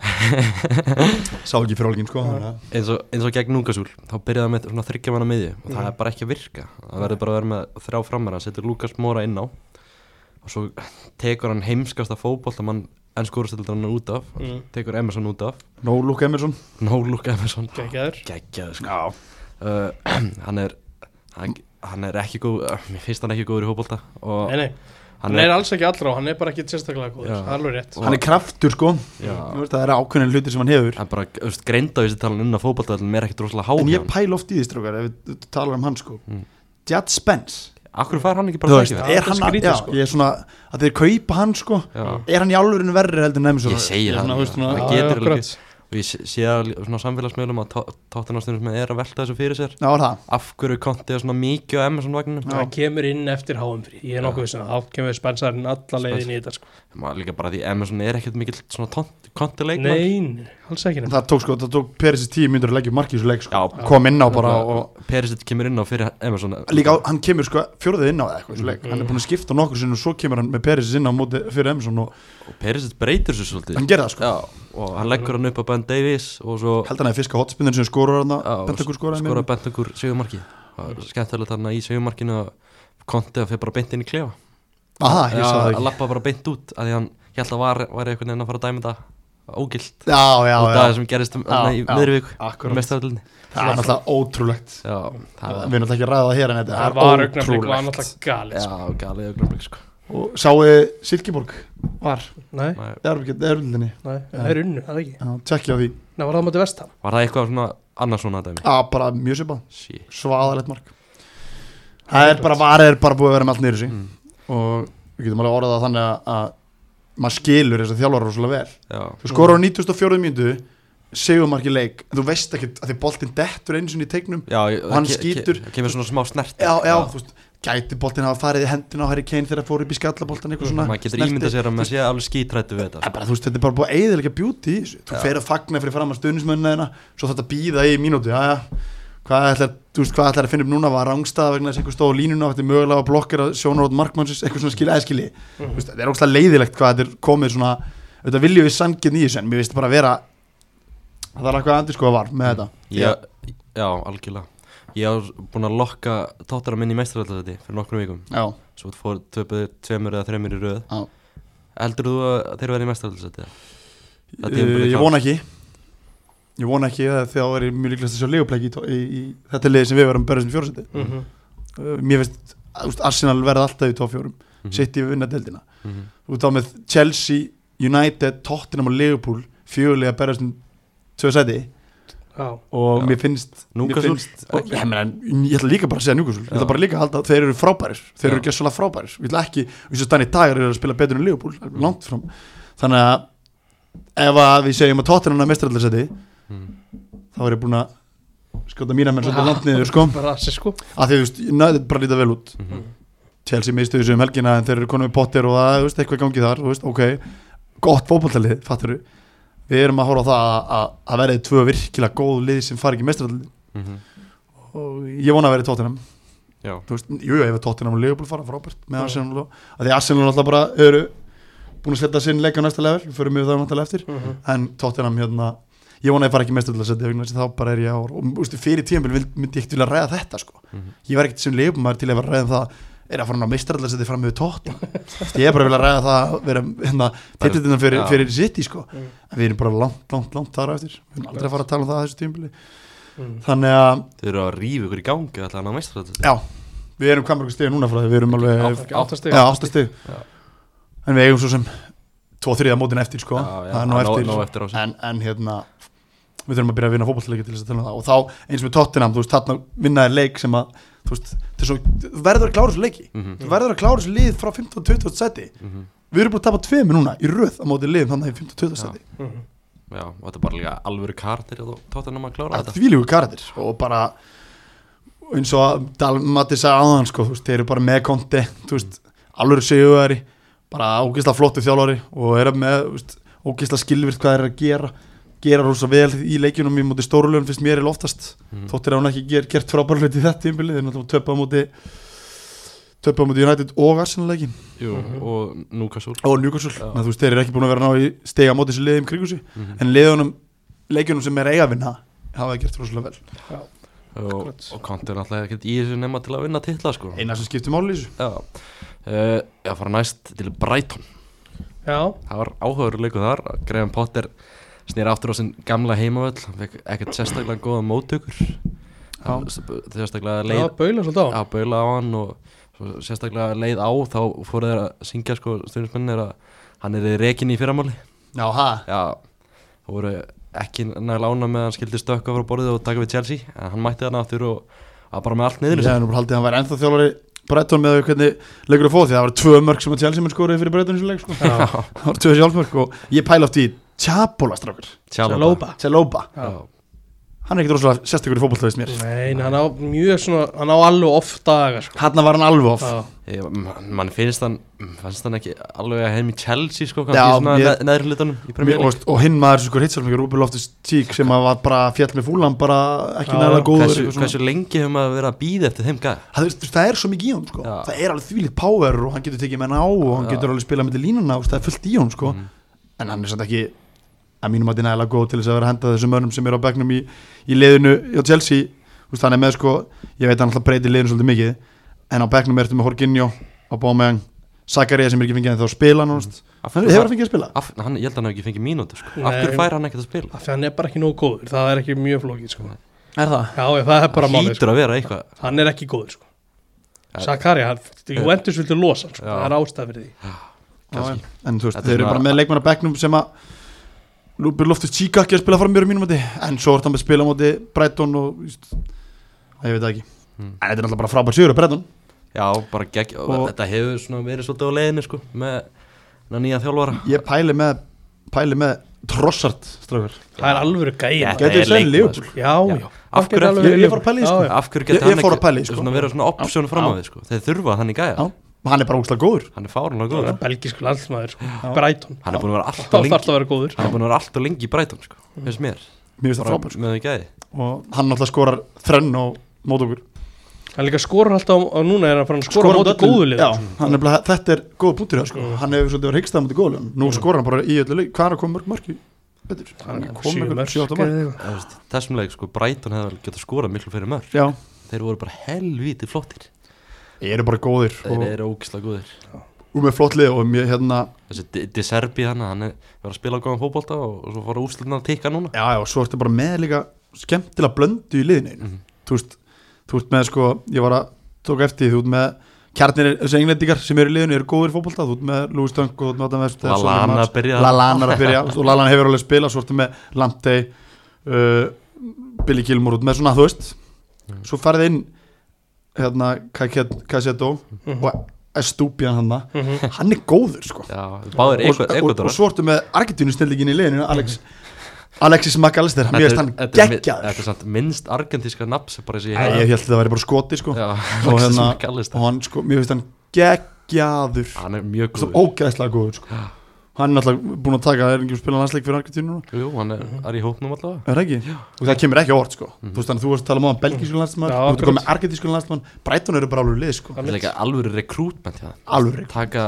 Speaker 4: sá ekki fyrir álgin, sko, þannig að
Speaker 2: eins og, eins og gegn Núkasúl, þá byrjaði hann með svona þryggja manna miði og það er bara ekki að virka það verður bara að vera með þrjá framar hann setur Lukas Móra inn á og svo tekur hann heimskasta fótboll að mann ennskóruðstildur hann út af
Speaker 1: Mm.
Speaker 2: tekur Emerson út af,
Speaker 4: no Luke Emerson
Speaker 2: no look Emerson
Speaker 1: Gekkjaður.
Speaker 2: geggjaður sko uh, (clears throat) hann er hann, hann er ekki góð, uh, mér finnst hann ekki góður í hópólta og
Speaker 1: Nei, nei, hann er alls ekki allra og hann er bara ekki sérstaklega góður,
Speaker 2: Já.
Speaker 1: það er alveg rétt.
Speaker 2: Og-
Speaker 4: hann er kraftur sko
Speaker 2: Já.
Speaker 4: Þú veist, það er ákveðin hlutir sem hann hefur
Speaker 2: hann bara, þú veist, greinda þessi talan inn á fótbolta en mér er ekkert rosalega
Speaker 4: en
Speaker 2: háð
Speaker 4: ég pæla oft í því strókar ef við t- talar um hann sko
Speaker 2: Mm.
Speaker 4: Jad Spence
Speaker 2: akkur fær hann ekki
Speaker 4: Þú
Speaker 2: bara
Speaker 4: veist,
Speaker 2: tækið
Speaker 1: það
Speaker 4: er
Speaker 1: er
Speaker 4: hann að,
Speaker 1: skrítið,
Speaker 4: já,
Speaker 1: sko.
Speaker 4: ég er svona að þeir kaupa hann sko
Speaker 2: Já.
Speaker 4: er hann í alvörinu verri heldur nefnum
Speaker 2: ég segi það,
Speaker 4: þú veist,
Speaker 2: það,
Speaker 4: svona,
Speaker 2: það
Speaker 1: Já,
Speaker 2: getur
Speaker 1: akkurat.
Speaker 2: alveg og ég sé- sé að lí- svona á samfélagsmiðlum að tóttunastunum sem er að velta þessu fyrir sér
Speaker 4: já, er það
Speaker 2: af hverju konti er svona mikið á Emerson vagninu
Speaker 1: Það kemur inn eftir háum frí, ég er nokkuð vissin að þá kemur spensarinn alla leiðin í þetta sko.
Speaker 2: maður líka bara því Emerson er ekkert mikill svona konti leikmann
Speaker 1: Nein, alls ekki
Speaker 4: En
Speaker 1: nefn.
Speaker 4: það tók sko, það tók Perisins tíu myndur að leggja upp marki í þessu leik sko,
Speaker 2: Já.
Speaker 4: kom inn á bara og
Speaker 2: Perisic kemur inn á fyrir Emerson
Speaker 4: líka á- hann kemur sko fjórðið inn á eða eitthvað í þessu leik hann er búin að skipta nokkur sinn og svo kemur hann með Perisins inn á móti fyrir Emerson og
Speaker 2: og Perisic breytir þessu svolítið
Speaker 4: hann gerði það sko
Speaker 2: Já, og hann leggur hann upp á Ben Davies og svo
Speaker 4: held hann að fiska hotspinnur sem skorur hann
Speaker 2: Já,
Speaker 4: Bentakur skoraði
Speaker 2: skora
Speaker 4: mér
Speaker 2: Bentakur segumarki skemmtilegt hann í segumarkinu Konti að fyrir bara beint inn í klefa
Speaker 4: aha, Ah, ég
Speaker 2: Já,
Speaker 4: sá
Speaker 2: að
Speaker 4: það ekki
Speaker 2: lappa bara beint út að því hann ég held að var, var einhvern veginn að fara að dæma þetta ógilt
Speaker 4: já, já,
Speaker 2: og það
Speaker 4: já,
Speaker 2: sem gerist um,
Speaker 4: Já,
Speaker 2: já, í
Speaker 4: já,
Speaker 2: miðri viku
Speaker 4: akkúrat.
Speaker 2: í mestaröldinni
Speaker 4: það er náttúrulega ótrúlegt
Speaker 2: já, það
Speaker 4: við erum alltaf ekki að ræða það hér en
Speaker 1: Það var
Speaker 4: þetta er
Speaker 1: augnablik, var
Speaker 4: ótrúlegt
Speaker 1: náttúrulega galið sko.
Speaker 2: já, galið augnablik sko
Speaker 4: og sáuði Silkeborg
Speaker 1: Var, nei,
Speaker 2: Nei,
Speaker 4: erfildinni,
Speaker 1: nei, það er unnu, það er ekki.
Speaker 4: tjekkja á því
Speaker 1: Nei, var það mútið vestam?
Speaker 2: var það eitthvað svona annars svona dæmi
Speaker 4: að bara mjög svipa,
Speaker 2: sí.
Speaker 4: svaðalegt mark það er bara varið er bara búið að vera með allt niður sig og við getum alveg orðað það þannig að, að maður skilur þess að þjálfara rosalega vel
Speaker 2: já,
Speaker 4: þú skorur á 94. mínútu segumarki leik, en þú veist ekki að því boltinn dettur einu sinni í teiknum
Speaker 2: já ég-
Speaker 4: Og hann
Speaker 2: ke- ke-
Speaker 4: skýtur.
Speaker 2: kemur svona smá snert
Speaker 4: já, já, þú veist, gæti boltinn að farið í hendina á Harry Kane þegar fór upp í skallaboltan eitthvað svona
Speaker 2: Mm. maður getur
Speaker 4: snerti.
Speaker 2: ímyndað sér að maður sé alveg skítrættu við
Speaker 4: Það
Speaker 2: þetta sko.
Speaker 4: er bara, þú veist, þetta er bara búið að eðilega beauty í þessu. þú fer að fagna fyrir fram að stuðnismönna þeirna svo þetta býða í mínútu já, já. hvað ætlar, þú veist, hvað ætlar að finna upp núna var rangstað vegna þess að einhver stóð á línuna og þetta er mögulega að blokkera sjónarótt markmannsins eitthvað svona skil eðskili
Speaker 2: Mhm.
Speaker 4: mm. veist, þetta er ógstlega leiðilegt hvað þetta er komið svona þetta viljum við sangin í þessu en mér veist bara að vera það er eitthvað andir sko að var með þetta
Speaker 2: ég, Mhm. já, algjörlega ég hef búin að lokka tóttara minn í mestaröldinni fyrir nokkrum vikum
Speaker 4: já,
Speaker 2: svo fór töpuðu tveimur eða þreimur í röð
Speaker 4: Já.
Speaker 2: heldur þú að þeir verði í mestaröldinni Það
Speaker 4: uh,
Speaker 2: tímabilið
Speaker 4: ég
Speaker 2: klárt.
Speaker 4: vona ekki ég vona ekki að því að það er mjög líklegast að sjá leigupleik í, í, í þetta liði sem við verum börjum sem fjórseti
Speaker 2: Mhm.
Speaker 1: Mhm.
Speaker 4: uh, mér finnst þú veist, Arsenal verða alltaf í top 4
Speaker 2: Mhm.
Speaker 4: City vinna deildina
Speaker 2: mm
Speaker 4: þú þá með Chelsea, United, Tottenham og Liverpool fjögulega berjast um tvö seti
Speaker 1: já,
Speaker 4: og
Speaker 2: Já.
Speaker 4: mér finnst, mér
Speaker 2: Núkasúl?
Speaker 4: finnst og, ég, meina, ég ætla líka bara að segja Núkasúl ég ætla
Speaker 2: Já.
Speaker 4: bara líka að halda að þeir eru frábærir þeir eru
Speaker 2: Já.
Speaker 4: gjössalega frábærir, ég ætla ekki eins og þannig dagar eru að spila betur en Leopold
Speaker 2: Mm.
Speaker 4: langt fram, þannig að ef að við segjum að Tottenham er mestrarallarsetti
Speaker 2: Mm.
Speaker 4: þá er ég búin að skjóta mína menn svolítið langt niður sko
Speaker 1: bara rassi sko
Speaker 4: að því þú veist, næðið bara líta vel út
Speaker 2: Mhm.
Speaker 4: Chelsea mistu þessu um helgina en þeir eru konum í potter og það, þú veist, eitthvað gangi þar þú veist, ok, gott fótballtalið, fattur við erum að horfa á það að, að, að verðið tvö virkilega góð lið sem fari ekki mestraralli
Speaker 2: Mhm.
Speaker 4: og ég vona að verði Tottenham
Speaker 2: Já,
Speaker 4: Þú veist, jú, jú, ef er Tottenham og Liverpool fara frábært með
Speaker 1: Já.
Speaker 4: Arsenal og, að því Arsenal alltaf bara eru búin að sletta sinn leik á næsta level, við förum yfir það náttúrulega eftir
Speaker 1: Mhm.
Speaker 4: en Tottenham hérna ég vona að ég fara ekki mestraralli að setja vegna þess að þá bara er ég á og þú veist, fyrir tíðanbíl myndi ég ekkert vilja ræða þetta sko.
Speaker 2: Mhm.
Speaker 4: ég var ekkert sem Liverpool maður til að vera að ræða um það er að fara ná mestraralli að setja fram yfir Tottenham Þú veist, ég er bara að vilja ræða það að vera hérna, titlutina fyrir,
Speaker 2: Já.
Speaker 4: fyrir City sko.
Speaker 1: Mm.
Speaker 4: en við erum bara langt, langt, langt þar á eftir við erum aldrei að fara að tala um það að þessu tíðanbíli
Speaker 1: Mm.
Speaker 4: þannig að
Speaker 2: þau eru að rífa ykkur í gangi alltaf að ná meistratöldi
Speaker 4: Já, við erum hvað mörgum stíð núna frá því við erum alveg
Speaker 1: Það er ekki átta stig.
Speaker 4: Já, átta stíð
Speaker 2: Já.
Speaker 4: En við eigum svo sem tvo þriða mótin eftir sko Það er nú eftir,
Speaker 2: Ná eftir á sig
Speaker 4: en, en hérna Við þurfum að byrja að vinna fótballleiki til þess að tala um það Og þá, eins með Tottenham, þú veist, þarna vinnaði leik sem að Þú veist, þetta er svo, þú verður að klára þessu leiki
Speaker 2: Mhm.
Speaker 4: Þú verður að klára þessu lið frá 15-20 seti
Speaker 2: Mhm.
Speaker 4: Við erum búin að tapa tveimur núna í röð á móti liðum þannig í 15-20
Speaker 2: Já.
Speaker 4: seti
Speaker 1: Mhm.
Speaker 2: Já, og þetta er bara líka alvöru kartir og tóttanum að klára
Speaker 4: að
Speaker 2: þetta
Speaker 4: þvílíku karatir og bara eins og Dalmati sagði áðan sko, þú veist, þeir eru bara með konti þú veist, alveg sigurveri bara ógeðslega flottu þjálfari og eru með þú veist, ógeðslega skilvirt hvað þeir eru að gera gera rosa vel í leikjunum í móti stórlun finnst mér er oftast
Speaker 2: Mhm.
Speaker 4: þóttir að hún ekki ger, gert frábæra hluti í þetta tímbili þeir náttúrulega töpa móti töpa móti United og Arsenal leikin
Speaker 2: Jú,
Speaker 4: Mhm.
Speaker 2: og Núkasúl
Speaker 4: og Newcastle,
Speaker 2: Já.
Speaker 4: Ná, þú veist, þeir eru ekki búin að vera að ná í stega móti þessu liðum kringu sig
Speaker 2: Mhm.
Speaker 4: en liðunum, leikjunum sem er eiga að vinna hafa gert rosalega vel
Speaker 2: og,
Speaker 1: Akkurat.
Speaker 2: og Konti er náttúrulega ekkert í þessu nema til að vinna titla sko
Speaker 4: eina sem skiptir máli í þessu
Speaker 2: Já, uh, já fara næst til Brighton
Speaker 1: já,
Speaker 2: Það var áhugaður leiku þar Graham Potter snýr aftur á sinn gamla heimavöll Hann fekk ekkert sérstaklega góða móttökur Hann s- Sérstaklega
Speaker 1: það
Speaker 2: leið
Speaker 1: var baula svolítið á
Speaker 2: að baula á hann og svo sérstaklega leið á þá fóru þeir að syngja sko stundismennir að hann er rekin í fyrramáli
Speaker 4: Já, ha,
Speaker 2: Já, það voru ekki næg lána með að hann skildi stökka frá borðið og taka við Chelsea en hann mætti þarna aftur og að bara með allt
Speaker 4: ég
Speaker 2: niður í
Speaker 4: hefði
Speaker 2: sér.
Speaker 4: nú bara haldið að hann væri ennþá þjólari Breton með hvernig leikur að fóð því að það var tvö mörg sem að Chelsea menn skoraði fyrir Breton í þessu leik sko.
Speaker 1: Já.
Speaker 4: það var tvö sjálfmörg og ég pæla oft í Chapola strákur,
Speaker 2: Tjalóba.
Speaker 1: Saloba
Speaker 4: Chaloba
Speaker 2: sko. Já,
Speaker 4: hann er ekkert rosalega sérstakur í fótballtöðis mér
Speaker 1: Nei, nei, hann á mjög svona, hann á alveg oft dagar sko.
Speaker 4: hann var hann alveg off
Speaker 1: Já,
Speaker 2: Ég- man- mann finnst hann fannst hann ekki alveg að heim í Chelsea sko,
Speaker 4: Já,
Speaker 2: kannski svona
Speaker 4: ég-
Speaker 2: ég... neðri hlutunum í
Speaker 4: Mér,
Speaker 2: premjörn
Speaker 4: og, og hinn maður sem sko hitt svolítið Rúbel Loftus Tík sem að var bara fjall með fúlan bara
Speaker 1: Já,
Speaker 4: ekki nægilega
Speaker 1: já.
Speaker 4: góður
Speaker 2: hversu,
Speaker 4: eitthvað svona.
Speaker 2: hversu lengi hefur maður verið að býða eftir þeim gæða
Speaker 4: það, þú veist, það er svo mikið í hún sko.
Speaker 2: Já.
Speaker 4: það er alveg þvílít power og hann getur tekið menn á og hann
Speaker 2: Já.
Speaker 4: getur alveg spilað með línuna og það er fullt í hún sko. en hann er samt ekki að mínum að nægilega góð til þess að vera að henda þessum örnum sem eru á bekknum í, í liðinu hjá Chelsea Þú veist, hann er með sko, ég veit að hann alltaf breytir liðinu svolítið mikið en á bekknum ertu með Jorginho á Bómegang, Zakaria sem er ekki fengið en þá spila hann, mm.
Speaker 2: Af
Speaker 4: hann
Speaker 2: hverju
Speaker 4: hefur
Speaker 2: fær-
Speaker 4: að fengið að spila
Speaker 2: af- hann- ég held að hann hef ekki fengið mínútu sko.
Speaker 1: Nei.
Speaker 2: af hverju fær hann ekkert að spila
Speaker 1: af því hann er bara ekki nógu góður, það er ekki mjög flókið sko.
Speaker 4: er það?
Speaker 1: Já, ég, það er bara
Speaker 2: hann
Speaker 1: málið sko.
Speaker 2: hlýtur að vera eitthvað
Speaker 1: Hann er ekki góður sko.
Speaker 2: Ja.
Speaker 1: Sakari, hann, Juventus vildi losa hann, sko.
Speaker 2: Já.
Speaker 1: það er ástæð fyrir því
Speaker 2: kannski.
Speaker 4: en þú veist,
Speaker 2: Þetta er
Speaker 4: þeir eru
Speaker 2: svona-
Speaker 4: bara með leikmann á bekknum sem að Lúpi Loftus Tík ekki að spila fram mjög mínum móti en svo er hann með spila á móti Breitón og þú veist, ég veit það ekki
Speaker 2: Mm.
Speaker 4: en þetta er alltaf bara frábær sigur á Breitón
Speaker 2: já, bara gegg og,
Speaker 4: Og-
Speaker 2: þetta hefur svona verið svolítið á leiðinu sko, með þennan nýja þjálfara
Speaker 4: ég pæli með, pæli með Trossart strákar
Speaker 1: Það er alveg gæði
Speaker 2: Þetta
Speaker 1: Já,
Speaker 4: Gæti
Speaker 2: er
Speaker 4: þið segið
Speaker 2: leikmaður,
Speaker 4: Liverpool?
Speaker 2: sko.
Speaker 1: já,
Speaker 2: Já.
Speaker 1: já.
Speaker 2: Af
Speaker 1: Það
Speaker 2: hverju-
Speaker 1: gæti alveg
Speaker 4: ég-
Speaker 1: verið
Speaker 4: ég fór að pæla í því, sko.
Speaker 1: Já, já.
Speaker 2: af hverju geta
Speaker 4: Ég- ég
Speaker 2: hann
Speaker 4: fór að
Speaker 2: ekki
Speaker 4: pæla í því, sko.
Speaker 2: svona vera svona option fram á því sko. þeir þurfa þannig gæða,
Speaker 4: og hann er bara úrslega góður
Speaker 2: hann er fárunlega
Speaker 1: Það
Speaker 2: góður
Speaker 1: er belgísku landsmaður, sko. Brighton
Speaker 2: hann er búin að vera
Speaker 1: Þá
Speaker 2: alltaf
Speaker 1: þarf
Speaker 2: lengi
Speaker 1: það að vera góður
Speaker 2: hann er búin að vera alltaf lengi í Brighton sko, finnst mér
Speaker 4: mér finnst það
Speaker 2: bara
Speaker 4: frábær sko.
Speaker 2: með því gæði
Speaker 4: og hann náttúrulega skorar þrenn og mót okkur
Speaker 1: Hann líka skorar alltaf, á- og núna er hann farin að skora á móti góðu
Speaker 4: öllum.
Speaker 1: sko. lið
Speaker 4: já, hann er bara, þetta er góð punktur hjá, sko.
Speaker 2: Hmm.
Speaker 4: hann hefur svolítið verið hyggstað móti góðlun nú skorar hann bara í öllu leik hvað er að koma mörg mörg í betur hann er komið mörg 7-8 mörg
Speaker 1: mörg
Speaker 2: Þú veist, þessum leik sko, Brighton hefði vel getað skorað miklu fyrir mörg
Speaker 4: já
Speaker 2: þeir voru bara helvíti flottir
Speaker 4: Ég eru bara góðir
Speaker 2: þeir
Speaker 4: og,
Speaker 2: eru ógislega góðir
Speaker 4: og með flott lið og mér hérna
Speaker 2: þessi Di- Di Serbi hann, hann er var að spila á góðan fótbolta og, og svo fara úrslutna að tikka núna
Speaker 4: Já, já, og svo ertu bara með líka skemmtilega blöndu í liðinu mm
Speaker 2: Mhm.
Speaker 4: þú, veist, þú ert með sko, ég var að tók eftir því, þú ert með kjarnir þessi englendingar sem eru í liðinu eru góðir í fótbolta þú ert með Lúi Stöng og þú ert með Adam West
Speaker 2: Lallana að byrja (laughs)
Speaker 4: Lalana að byrja og Lalana hefur alveg spilað svo ertu með Lamptey uh, Billy Gilmore út með svona, þú veist
Speaker 2: Mm.
Speaker 4: svo farið inn hérna, Cassetto
Speaker 2: Mhm.
Speaker 4: og Estúbjan hann hann er góður, sko
Speaker 2: Já, báðir
Speaker 4: og, og, og
Speaker 2: ekvatora
Speaker 4: svo ertu með Argentínu snilligin í liðinu Alex, Alexis McAllister hann mjög hann
Speaker 2: Mm. Þetta
Speaker 4: geggjaður
Speaker 2: er samt minnst argentíska nafn sem bara sé
Speaker 4: Æ, ég held að það væri bara skoti sko
Speaker 2: Já, (laughs)
Speaker 4: og,
Speaker 2: Alexis
Speaker 4: hérna,
Speaker 2: McAllister.
Speaker 4: og hann sko, mér finnst hann geggjaður
Speaker 2: Hann er mjög
Speaker 4: svo
Speaker 2: góð
Speaker 4: ógæðslega góður sko hann er náttúrulega búin að taka, er ekki að spila landsleik fyrir Argentínu núna,
Speaker 2: Jú, hann er, er í hópnum allavega
Speaker 4: er það ekki? og það kemur ekki á orð sko,
Speaker 2: Mhm.
Speaker 4: þú veist þannig að þú varst að tala um á hann belgísku
Speaker 2: Mm.
Speaker 1: Já,
Speaker 4: landsmann, þú ert að
Speaker 1: akkurat.
Speaker 4: koma með argentísku landsmann Breitón eru bara alveg lið sko
Speaker 2: Það er líka alvöru rekrútment hjá það
Speaker 4: Alvöru rekrútment.
Speaker 2: Taka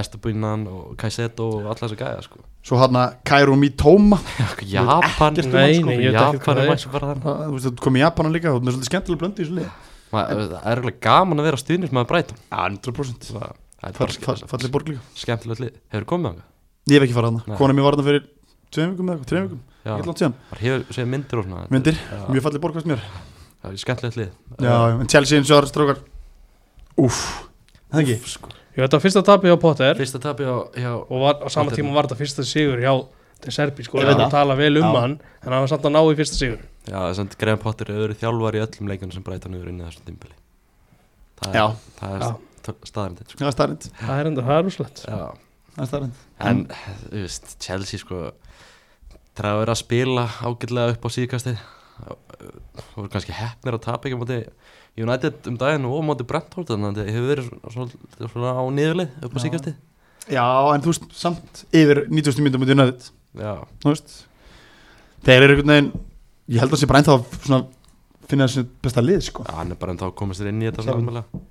Speaker 2: Estabunan og Kaiseto og alla þessa gæja sko
Speaker 4: svo hann að Kairo Mitoma
Speaker 2: Japan
Speaker 1: ekkert um hann, sko. Nei, nei, ég veit ekkert hvað
Speaker 2: Japan
Speaker 1: það
Speaker 2: er
Speaker 1: er,
Speaker 2: mæsum bara þann
Speaker 4: það- þú veist, þú komið í Japanan líka, þú veist, svolítið skemmtilega blöndu í þessu lið
Speaker 2: eh, Það er alveg gaman að vera stuðnir sem að breyta
Speaker 4: 100%
Speaker 2: Það það er bara
Speaker 4: Fall- fall-
Speaker 2: ske-
Speaker 4: fallið borg líka
Speaker 2: skemmtilegt lið Hefur komið á það?
Speaker 4: Ég hef ekki farað hana,
Speaker 2: Nei.
Speaker 4: konan mér var hana fyrir tveim vikum eða eitthvað, þreim vikum,
Speaker 2: Já,
Speaker 4: ekki langt síðan
Speaker 2: bara hefur séð myndir og svona
Speaker 4: Myndir,
Speaker 2: Já.
Speaker 4: mjög fallið borgast mér
Speaker 2: Það er skemmtilegt lið
Speaker 4: Já, já, en Chelsea eins og aðra strákar Úff, það ekki
Speaker 2: Úff, sko.
Speaker 1: Ég veit að fyrsta tapi á Potter
Speaker 2: Eh, Fyrsta tapi á, já,
Speaker 1: og var, á sama
Speaker 2: Potter.
Speaker 1: tíma var þetta fyrsta sigur hjá De Serbi, sko, við
Speaker 4: Ég veit
Speaker 1: erum
Speaker 4: það.
Speaker 1: að tala vel um
Speaker 4: Já.
Speaker 1: hann en hann var samt að ná í fyrsta sigur
Speaker 2: já, það er samt Graham Potter er öðru þjálfar í öllum leikunum sem breyta nýður inn í þessum tímbili Það
Speaker 4: Já,
Speaker 2: er, það er
Speaker 1: Já.
Speaker 2: st- staðarindin sko.
Speaker 4: það er starrend,
Speaker 1: það er enda, það er úrslegt
Speaker 2: Já,
Speaker 4: það er starrend
Speaker 2: en, þú veist, Chelsea sko Það er að spila ágætlega upp á síðkastið Það voru kannski hefnir að tapa ekki á móti United um daginn og á móti Brentford Þannig að það hefur verið svona, svona á niðurlið upp á
Speaker 4: Já.
Speaker 2: síðkastið
Speaker 4: Já, en þú veist, samt yfir 90. myndum mútið nöðið,
Speaker 2: Já,
Speaker 4: þú veist Þeir eru einhvern veginn, ég held að sé bara ennþá að svona finna þessi besta lið, sko
Speaker 2: Já, hann er bara en þá komist þér inn í þetta
Speaker 4: Sjá.
Speaker 2: svona almennilega.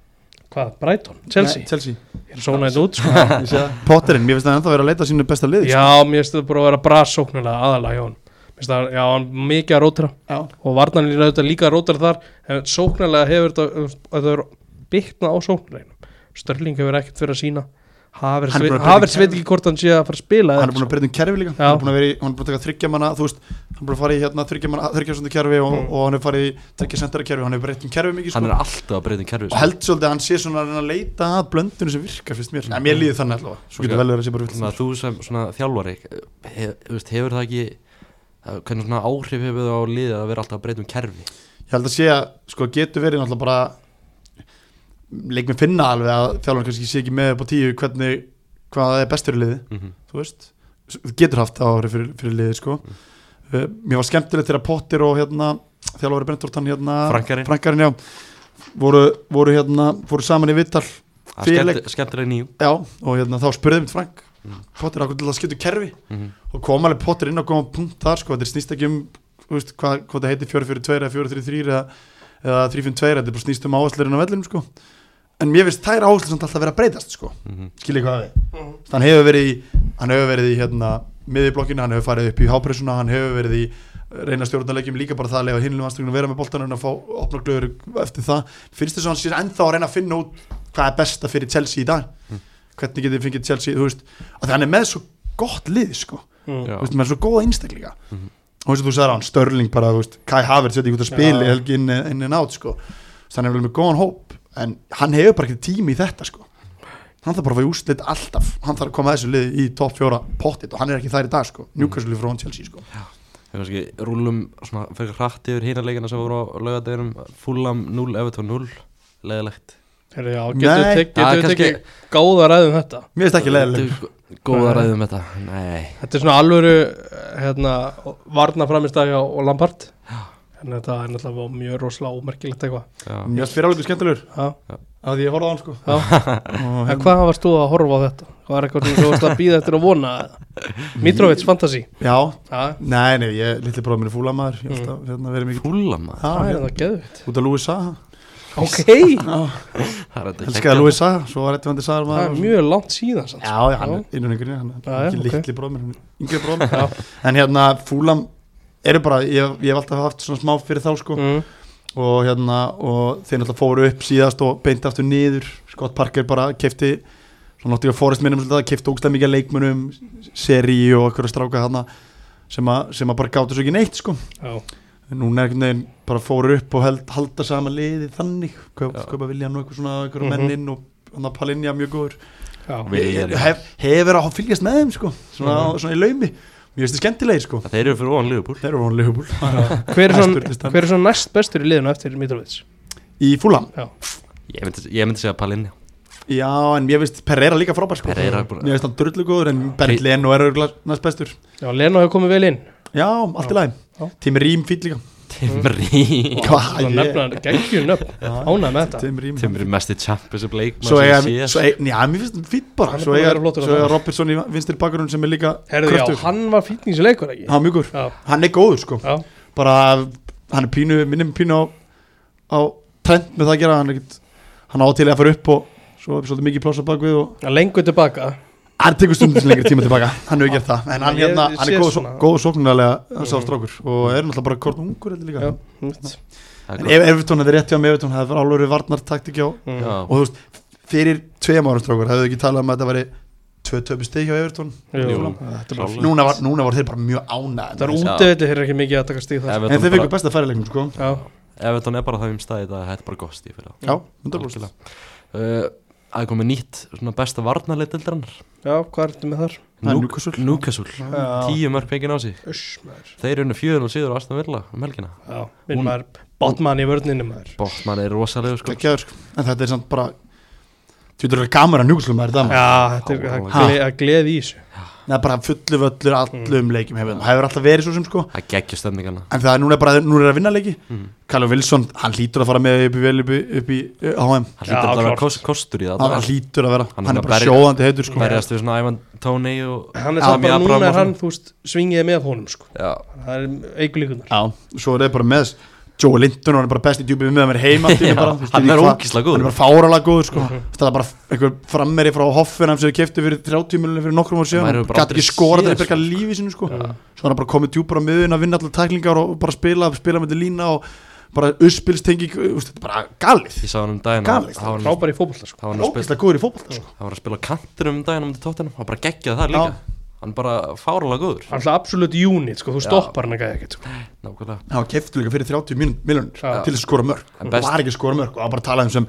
Speaker 1: hvað, Brighton, Chelsea,
Speaker 4: Nei, Chelsea,
Speaker 1: ég er svona einn út sko.
Speaker 4: ég sé það Potterinn, mér finnst það ennþá vera að leita að sínu besta (laughs) lið,
Speaker 1: já, mér finnst þetta bara að vera brassóknulega aðalega hjá hann Mér finnst það- já, hann er mikið að rótra
Speaker 4: sko Já,
Speaker 1: og varnanlínu auðvitað líka rótar þar en sóknarlega hefur þetta þetta er byggna á sóknarleginum Störling hefur ekkert verið að sína
Speaker 4: Hann er búinn að
Speaker 1: Havers
Speaker 4: breyta
Speaker 1: veit ekki hvort hann sé að fara að spila
Speaker 4: hann er búin að breyta um kerfi líka
Speaker 1: Já.
Speaker 4: hann er búin að, vera í, hann er búin að taka þryggja manna þú veist, hann er búin að fara í hérna þryggja manna þryggja söndu kerfi og,
Speaker 1: Mm.
Speaker 4: og hann er farið í þryggja sendara kerfi hann er breytt um kerfi mikið
Speaker 2: Hann
Speaker 4: sko.
Speaker 2: er alltaf að breyta um kerfið
Speaker 4: og held svolítið að hann sé svona að reyna að leita að blöndunum sem virkar fyrst mér en mér líður þannig allavega svo
Speaker 2: Mm. Ok.
Speaker 4: getur vel verið að sé bara
Speaker 2: Þannig
Speaker 4: vilt
Speaker 2: að þú sem svona þjálfari hef, þú veist, hefur það ekki eh, hvernig svona áhrif hefur það á liðið að vera alltaf að breyta um kerfi
Speaker 4: ég held að sé að sko getur verið náttúrulega bara leik með finna alveg að þjálfarn kannski sé ekki með upp á tíu hvernig hvað er best fyrir liði þú veist þú getur haft áhrif fyrir, fyrir liði sko
Speaker 2: Mm.
Speaker 4: uh, mér var skemmtilegt þegar Potter og hérna þjálfari Brentortan hérna
Speaker 2: Frankarinn,
Speaker 4: Frankarinn já voru, voru hérna voru saman í vittal
Speaker 2: það er
Speaker 4: fyrirleik-
Speaker 2: skemmt- skemmtilega nýjum
Speaker 4: já og hérna þá spurði mitt Frank
Speaker 2: Mm.
Speaker 4: Potter akkur til að skipta um kerfi
Speaker 2: Mhm.
Speaker 4: og kom alveg Potter inn og kom að punkt þar sko þetta snýst ekki um þú veist, hvað, hvað það heitir 4-4-2 eða 4-3-3 eða, eða 3-5-2 þetta er bara snýst um áherslurinn á vellinum sko en mér finnst þær áherslur samt alltaf að vera að breytast sko
Speaker 2: Mhm.
Speaker 4: skiljið hvað við hann hefur verið í hann hefur verið í hérna miðjublokkinu, hann hefur farið upp í hápressuna hann hefur verið í eh, reyna stjórnuleikjum líka bara það að lega hinlega vannstuginu vera með boltan en að fá opna glöður eftir það finnst þess að hann sé ennþá að reyna að finna út hvað er besta fyrir Chelsea í dag hvernig getið fengið Chelsea, þú veist að það hann er með svo gott lið sko
Speaker 2: Já.
Speaker 1: Mm.
Speaker 4: þú veist, með svo góða einstaklinga
Speaker 2: Mhm.
Speaker 4: og eins og þú sagði hann, Störling bara, þú veist Kai Havertz, þetta er út að spila
Speaker 1: Já.
Speaker 4: helgi inn, inn en átt, sko þannig hann er vel með góðan hóp en hann hefur bara ekki tími í þetta, sko hann þarf bara að fá í úslit alltaf hann þarf að koma þessu lið í topp fjóra pottit og hann er ekki þær í dag, sko, Newcastle frá hann Chelsea, sko
Speaker 2: Við kannski rúlum svona fyrir hratt yfir hína leikina sem voru á laugardeginum Fulham 0, Everton 0 leðilegt
Speaker 1: Heyrðu, já,
Speaker 4: Nei.
Speaker 1: getum við tek-
Speaker 2: Það
Speaker 1: getum
Speaker 2: er
Speaker 1: við
Speaker 2: kannski-
Speaker 1: tekið góða ræðum þetta
Speaker 4: mér finnst ekki leðileg
Speaker 2: Góða ræðum þetta, nei
Speaker 1: þetta er svona alvöru hérna, varna framistæði á, á Lampart en þetta er náttúrulega mjög rosalega ómerkilegt eitthvað
Speaker 2: Já,
Speaker 4: mér finnst fyrir alveg skemmtilegur
Speaker 1: Já.
Speaker 4: að því ég horfði á hann, sko
Speaker 1: Já. (laughs) en
Speaker 4: Og hérna-
Speaker 1: hvað varst þú að horfa á þetta? var eitthvað sem þú varst að býða eftir að vona Mitrovic Fantasy
Speaker 4: já,
Speaker 1: Já,
Speaker 4: nei, nei, ég, litli bróðum minn er fúlamaður ég ætla að hérna, vera mikið
Speaker 2: Fulham maður.
Speaker 1: Mm. það er
Speaker 4: Já, hérna,
Speaker 1: það geðvitt
Speaker 4: út af Louis Saha
Speaker 1: ok,
Speaker 4: Já,
Speaker 2: Það er þetta
Speaker 4: elskaði Louis Saha, svo var Edvandi Saha
Speaker 1: það
Speaker 4: maður og
Speaker 1: er
Speaker 4: svo-
Speaker 1: mjög langt síðan samt. sko.
Speaker 4: Já, já, hann er innan yngrið, hann
Speaker 1: Já,
Speaker 4: er
Speaker 1: já,
Speaker 4: ekki
Speaker 1: ok.
Speaker 4: litli bróðminn, hann er yngri bróðminn En hérna, Fúlam eru bara, ég, ég hef alltaf haft svona smá fyrir þá sko
Speaker 1: mm.
Speaker 4: og hérna, og þeir náttúrulega fóru upp síðast og beinti aftur niður Scott Parker bara kefti, svona náttúrulega Forrest minnum svolítið, kefti ógstæð mikið af leikmunum seri og okkur að stráka þarna sem, að- sem að bara gátu svo ekki neitt sko
Speaker 1: já,
Speaker 4: En núna er einhvern veginn bara fóru upp og held, halda sama liði þannig Kaup,
Speaker 2: Já.
Speaker 4: kaupa vilja nú eitthvað svona, eitthvað
Speaker 1: Mhm.
Speaker 4: menninn og hann að Palinja mjög góður
Speaker 1: já.
Speaker 2: Vilja
Speaker 4: Ég-
Speaker 2: líka.
Speaker 4: hef, hef verið að fylgjast með þeim sko, svona,
Speaker 1: Mhm.
Speaker 4: svona í laumi Mér finnst þið skemmtilegir sko
Speaker 2: Þeir eru fyrir ofan Liverpool
Speaker 4: Þeir eru vonlega húbúl
Speaker 1: Hver er
Speaker 4: Hæstur til
Speaker 1: svona,
Speaker 4: stefnu.
Speaker 1: hver er svona næst bestur í liðinu eftir Mitrovic?
Speaker 4: Í fúlam
Speaker 2: Ég myndi, ég myndi segja Palinja
Speaker 4: Já, en ég finnst Pereira líka frábær sko
Speaker 2: Pereira er búin
Speaker 4: Mér finnst hann drullu góður en Bernd Leno er örugglega næst bestur
Speaker 1: Já, Leno hefur komið vel inn
Speaker 4: Já, allt í
Speaker 1: Já.
Speaker 4: lagi Tim Rím fýll líka
Speaker 2: Timri
Speaker 4: Hvað,
Speaker 1: Svona
Speaker 4: ég-
Speaker 1: nefna hann geggjur nöfn Ánægð með þetta
Speaker 4: Tim Rím
Speaker 2: Timri mesti champions of leik
Speaker 4: Svo eiga, svo eiga, já, mér finnst hann fýtt bara
Speaker 1: Hann er
Speaker 4: Svo
Speaker 1: búinn að
Speaker 4: eiga,
Speaker 1: vera flottur á
Speaker 4: svo eiga
Speaker 1: það.
Speaker 4: Robertson í vinstri bakgrunn sem er líka
Speaker 1: Herðu, já,
Speaker 4: kröftugur.
Speaker 1: hann var fítningsleikur ekki
Speaker 4: Hann er mjögur,
Speaker 1: Já,
Speaker 4: hann er góður sko
Speaker 1: já
Speaker 4: Bara, hann er pínu, minnum pínu á, á trend með það að gera Hann, er ekkit, hann á til að fara upp og svo er svolítið mikið plása bakvið og
Speaker 1: Að lengur tilbaka
Speaker 4: hann tekur stundum til lengri tíma tilbaka hann hefur gert það, en hann,
Speaker 1: Ég-
Speaker 4: hérna,
Speaker 1: ég
Speaker 4: hann
Speaker 1: sé
Speaker 4: er góð,
Speaker 1: svona.
Speaker 4: góð sóknarlega sá
Speaker 1: Mhm.
Speaker 4: strákur og er náttúrulega bara kort ungur þetta líka,
Speaker 1: Já, mitt.
Speaker 4: en ef Evertón hefði rétt hjá mig Evertón hefði alveg varnar taktik hjá og
Speaker 1: Mm.
Speaker 2: Já,
Speaker 4: þú veist, fyrir tveim árum strákur hefðu ekki talað um að þetta væri tvö töpu stig hjá Evertón
Speaker 1: Jú.
Speaker 2: Jú.
Speaker 4: Þetta er bara-
Speaker 2: Klárlega.
Speaker 4: núna var, núna var þeir bara mjög
Speaker 1: Það er
Speaker 4: ánæð
Speaker 1: úti þetta er ekki mikið að taka stíð þar
Speaker 4: en
Speaker 2: Everton
Speaker 4: þeir
Speaker 2: bara-
Speaker 4: fengur besta færileikum sko
Speaker 1: Já,
Speaker 2: Everton er bara það um staði þetta Þetta er bara gott stíð fyrir það
Speaker 4: já, 100%
Speaker 2: Uh, Það er komið nýtt svona besta varnarleit eldrarnar
Speaker 1: já, hvað ertu með þar?
Speaker 4: Það er
Speaker 2: Núkasúl Núkasúl Tíu mörg pengin á sig
Speaker 1: Uss, maður
Speaker 2: Þeir eru fjöður og síður á Aston Villa um helgina
Speaker 1: Já, minn
Speaker 2: Hún-
Speaker 1: maður Botman í vörninu maður
Speaker 2: Botman er rosalegur sko
Speaker 4: Gekkjaður, sko. en þetta er samt bara þú veitur að kamera njúkslum er það maður.
Speaker 1: Já, þetta er að
Speaker 4: Ha.
Speaker 1: gle- að gleði í þessu
Speaker 4: það er bara fullu völlur
Speaker 2: Mm.
Speaker 4: allum leikjum hefur hefur alltaf verið svo sem sko
Speaker 2: Það geggjur stemningana
Speaker 4: en það er núna bara, núna er að vinna leiki
Speaker 2: Mhm.
Speaker 4: Callum Wilson, hann lítur að fara með upp í vel upp í, upp í uh,
Speaker 2: Það
Speaker 4: HM
Speaker 1: Já,
Speaker 2: hlýtur alltaf að
Speaker 1: klárt.
Speaker 2: vera kost, kostur í það
Speaker 4: hann, hann lítur að vera,
Speaker 2: Hann
Speaker 4: hann,
Speaker 2: er
Speaker 4: er
Speaker 2: að
Speaker 4: bara
Speaker 2: berja-
Speaker 4: sjóðandi heitur sko
Speaker 2: Berjast við svona Ivan Tóni og
Speaker 1: Hann er
Speaker 4: Já,
Speaker 1: það
Speaker 2: Tammy
Speaker 1: bara
Speaker 2: Abraham
Speaker 1: núna
Speaker 2: og
Speaker 1: er hann, þú veist, svingið með honum sko
Speaker 2: Já,
Speaker 1: Það er eikulíkunar
Speaker 4: Já, svo er það bara með Joe Linton, hann er bara besti djúpið með mér heima allt í
Speaker 2: Já,
Speaker 4: einu bara, þú veist,
Speaker 2: hann
Speaker 4: ég veit
Speaker 2: er
Speaker 4: hvað,
Speaker 2: ógeðslega góður.
Speaker 4: hann er bara fáralega góður sko. það er bara einhver frammeri frá hoffin sem þau keftu fyrir 30 miljonir fyrir nokkrum ára
Speaker 2: Maður
Speaker 4: síðan
Speaker 2: hefur
Speaker 4: hann
Speaker 2: bara
Speaker 4: gæti
Speaker 2: aldrei
Speaker 4: ekki skora
Speaker 2: séð
Speaker 4: þetta er
Speaker 2: svona,
Speaker 4: eitthvað lífi sinu sko. svo hann er bara komið djúpar á miðun að vinna allar tæklingar og bara spila, spila með þetta lína og bara uspilstengi, þetta er bara galið
Speaker 2: ég sá hann um daginn
Speaker 4: Galið,
Speaker 2: Það var hann-
Speaker 1: Frábær í fótbolta sko
Speaker 2: það var hann að spila
Speaker 4: ógeðslega góður í fótbolta sko.
Speaker 2: Það var að spila á kantinum um daginn um til tóttinum og bara geggjaði það líka Hann bara fáralega góður
Speaker 1: Hann er alltaf absolutt unit sko, þú
Speaker 2: Já.
Speaker 1: stoppar hann ekki ekkert sko
Speaker 2: Nákvæmlega
Speaker 4: hann var keftur líka fyrir 30 miljonir
Speaker 1: Já.
Speaker 4: til að skora mörg
Speaker 2: En
Speaker 4: hann
Speaker 2: best-
Speaker 4: var ekki að skora mörg og hann bara talaði um sem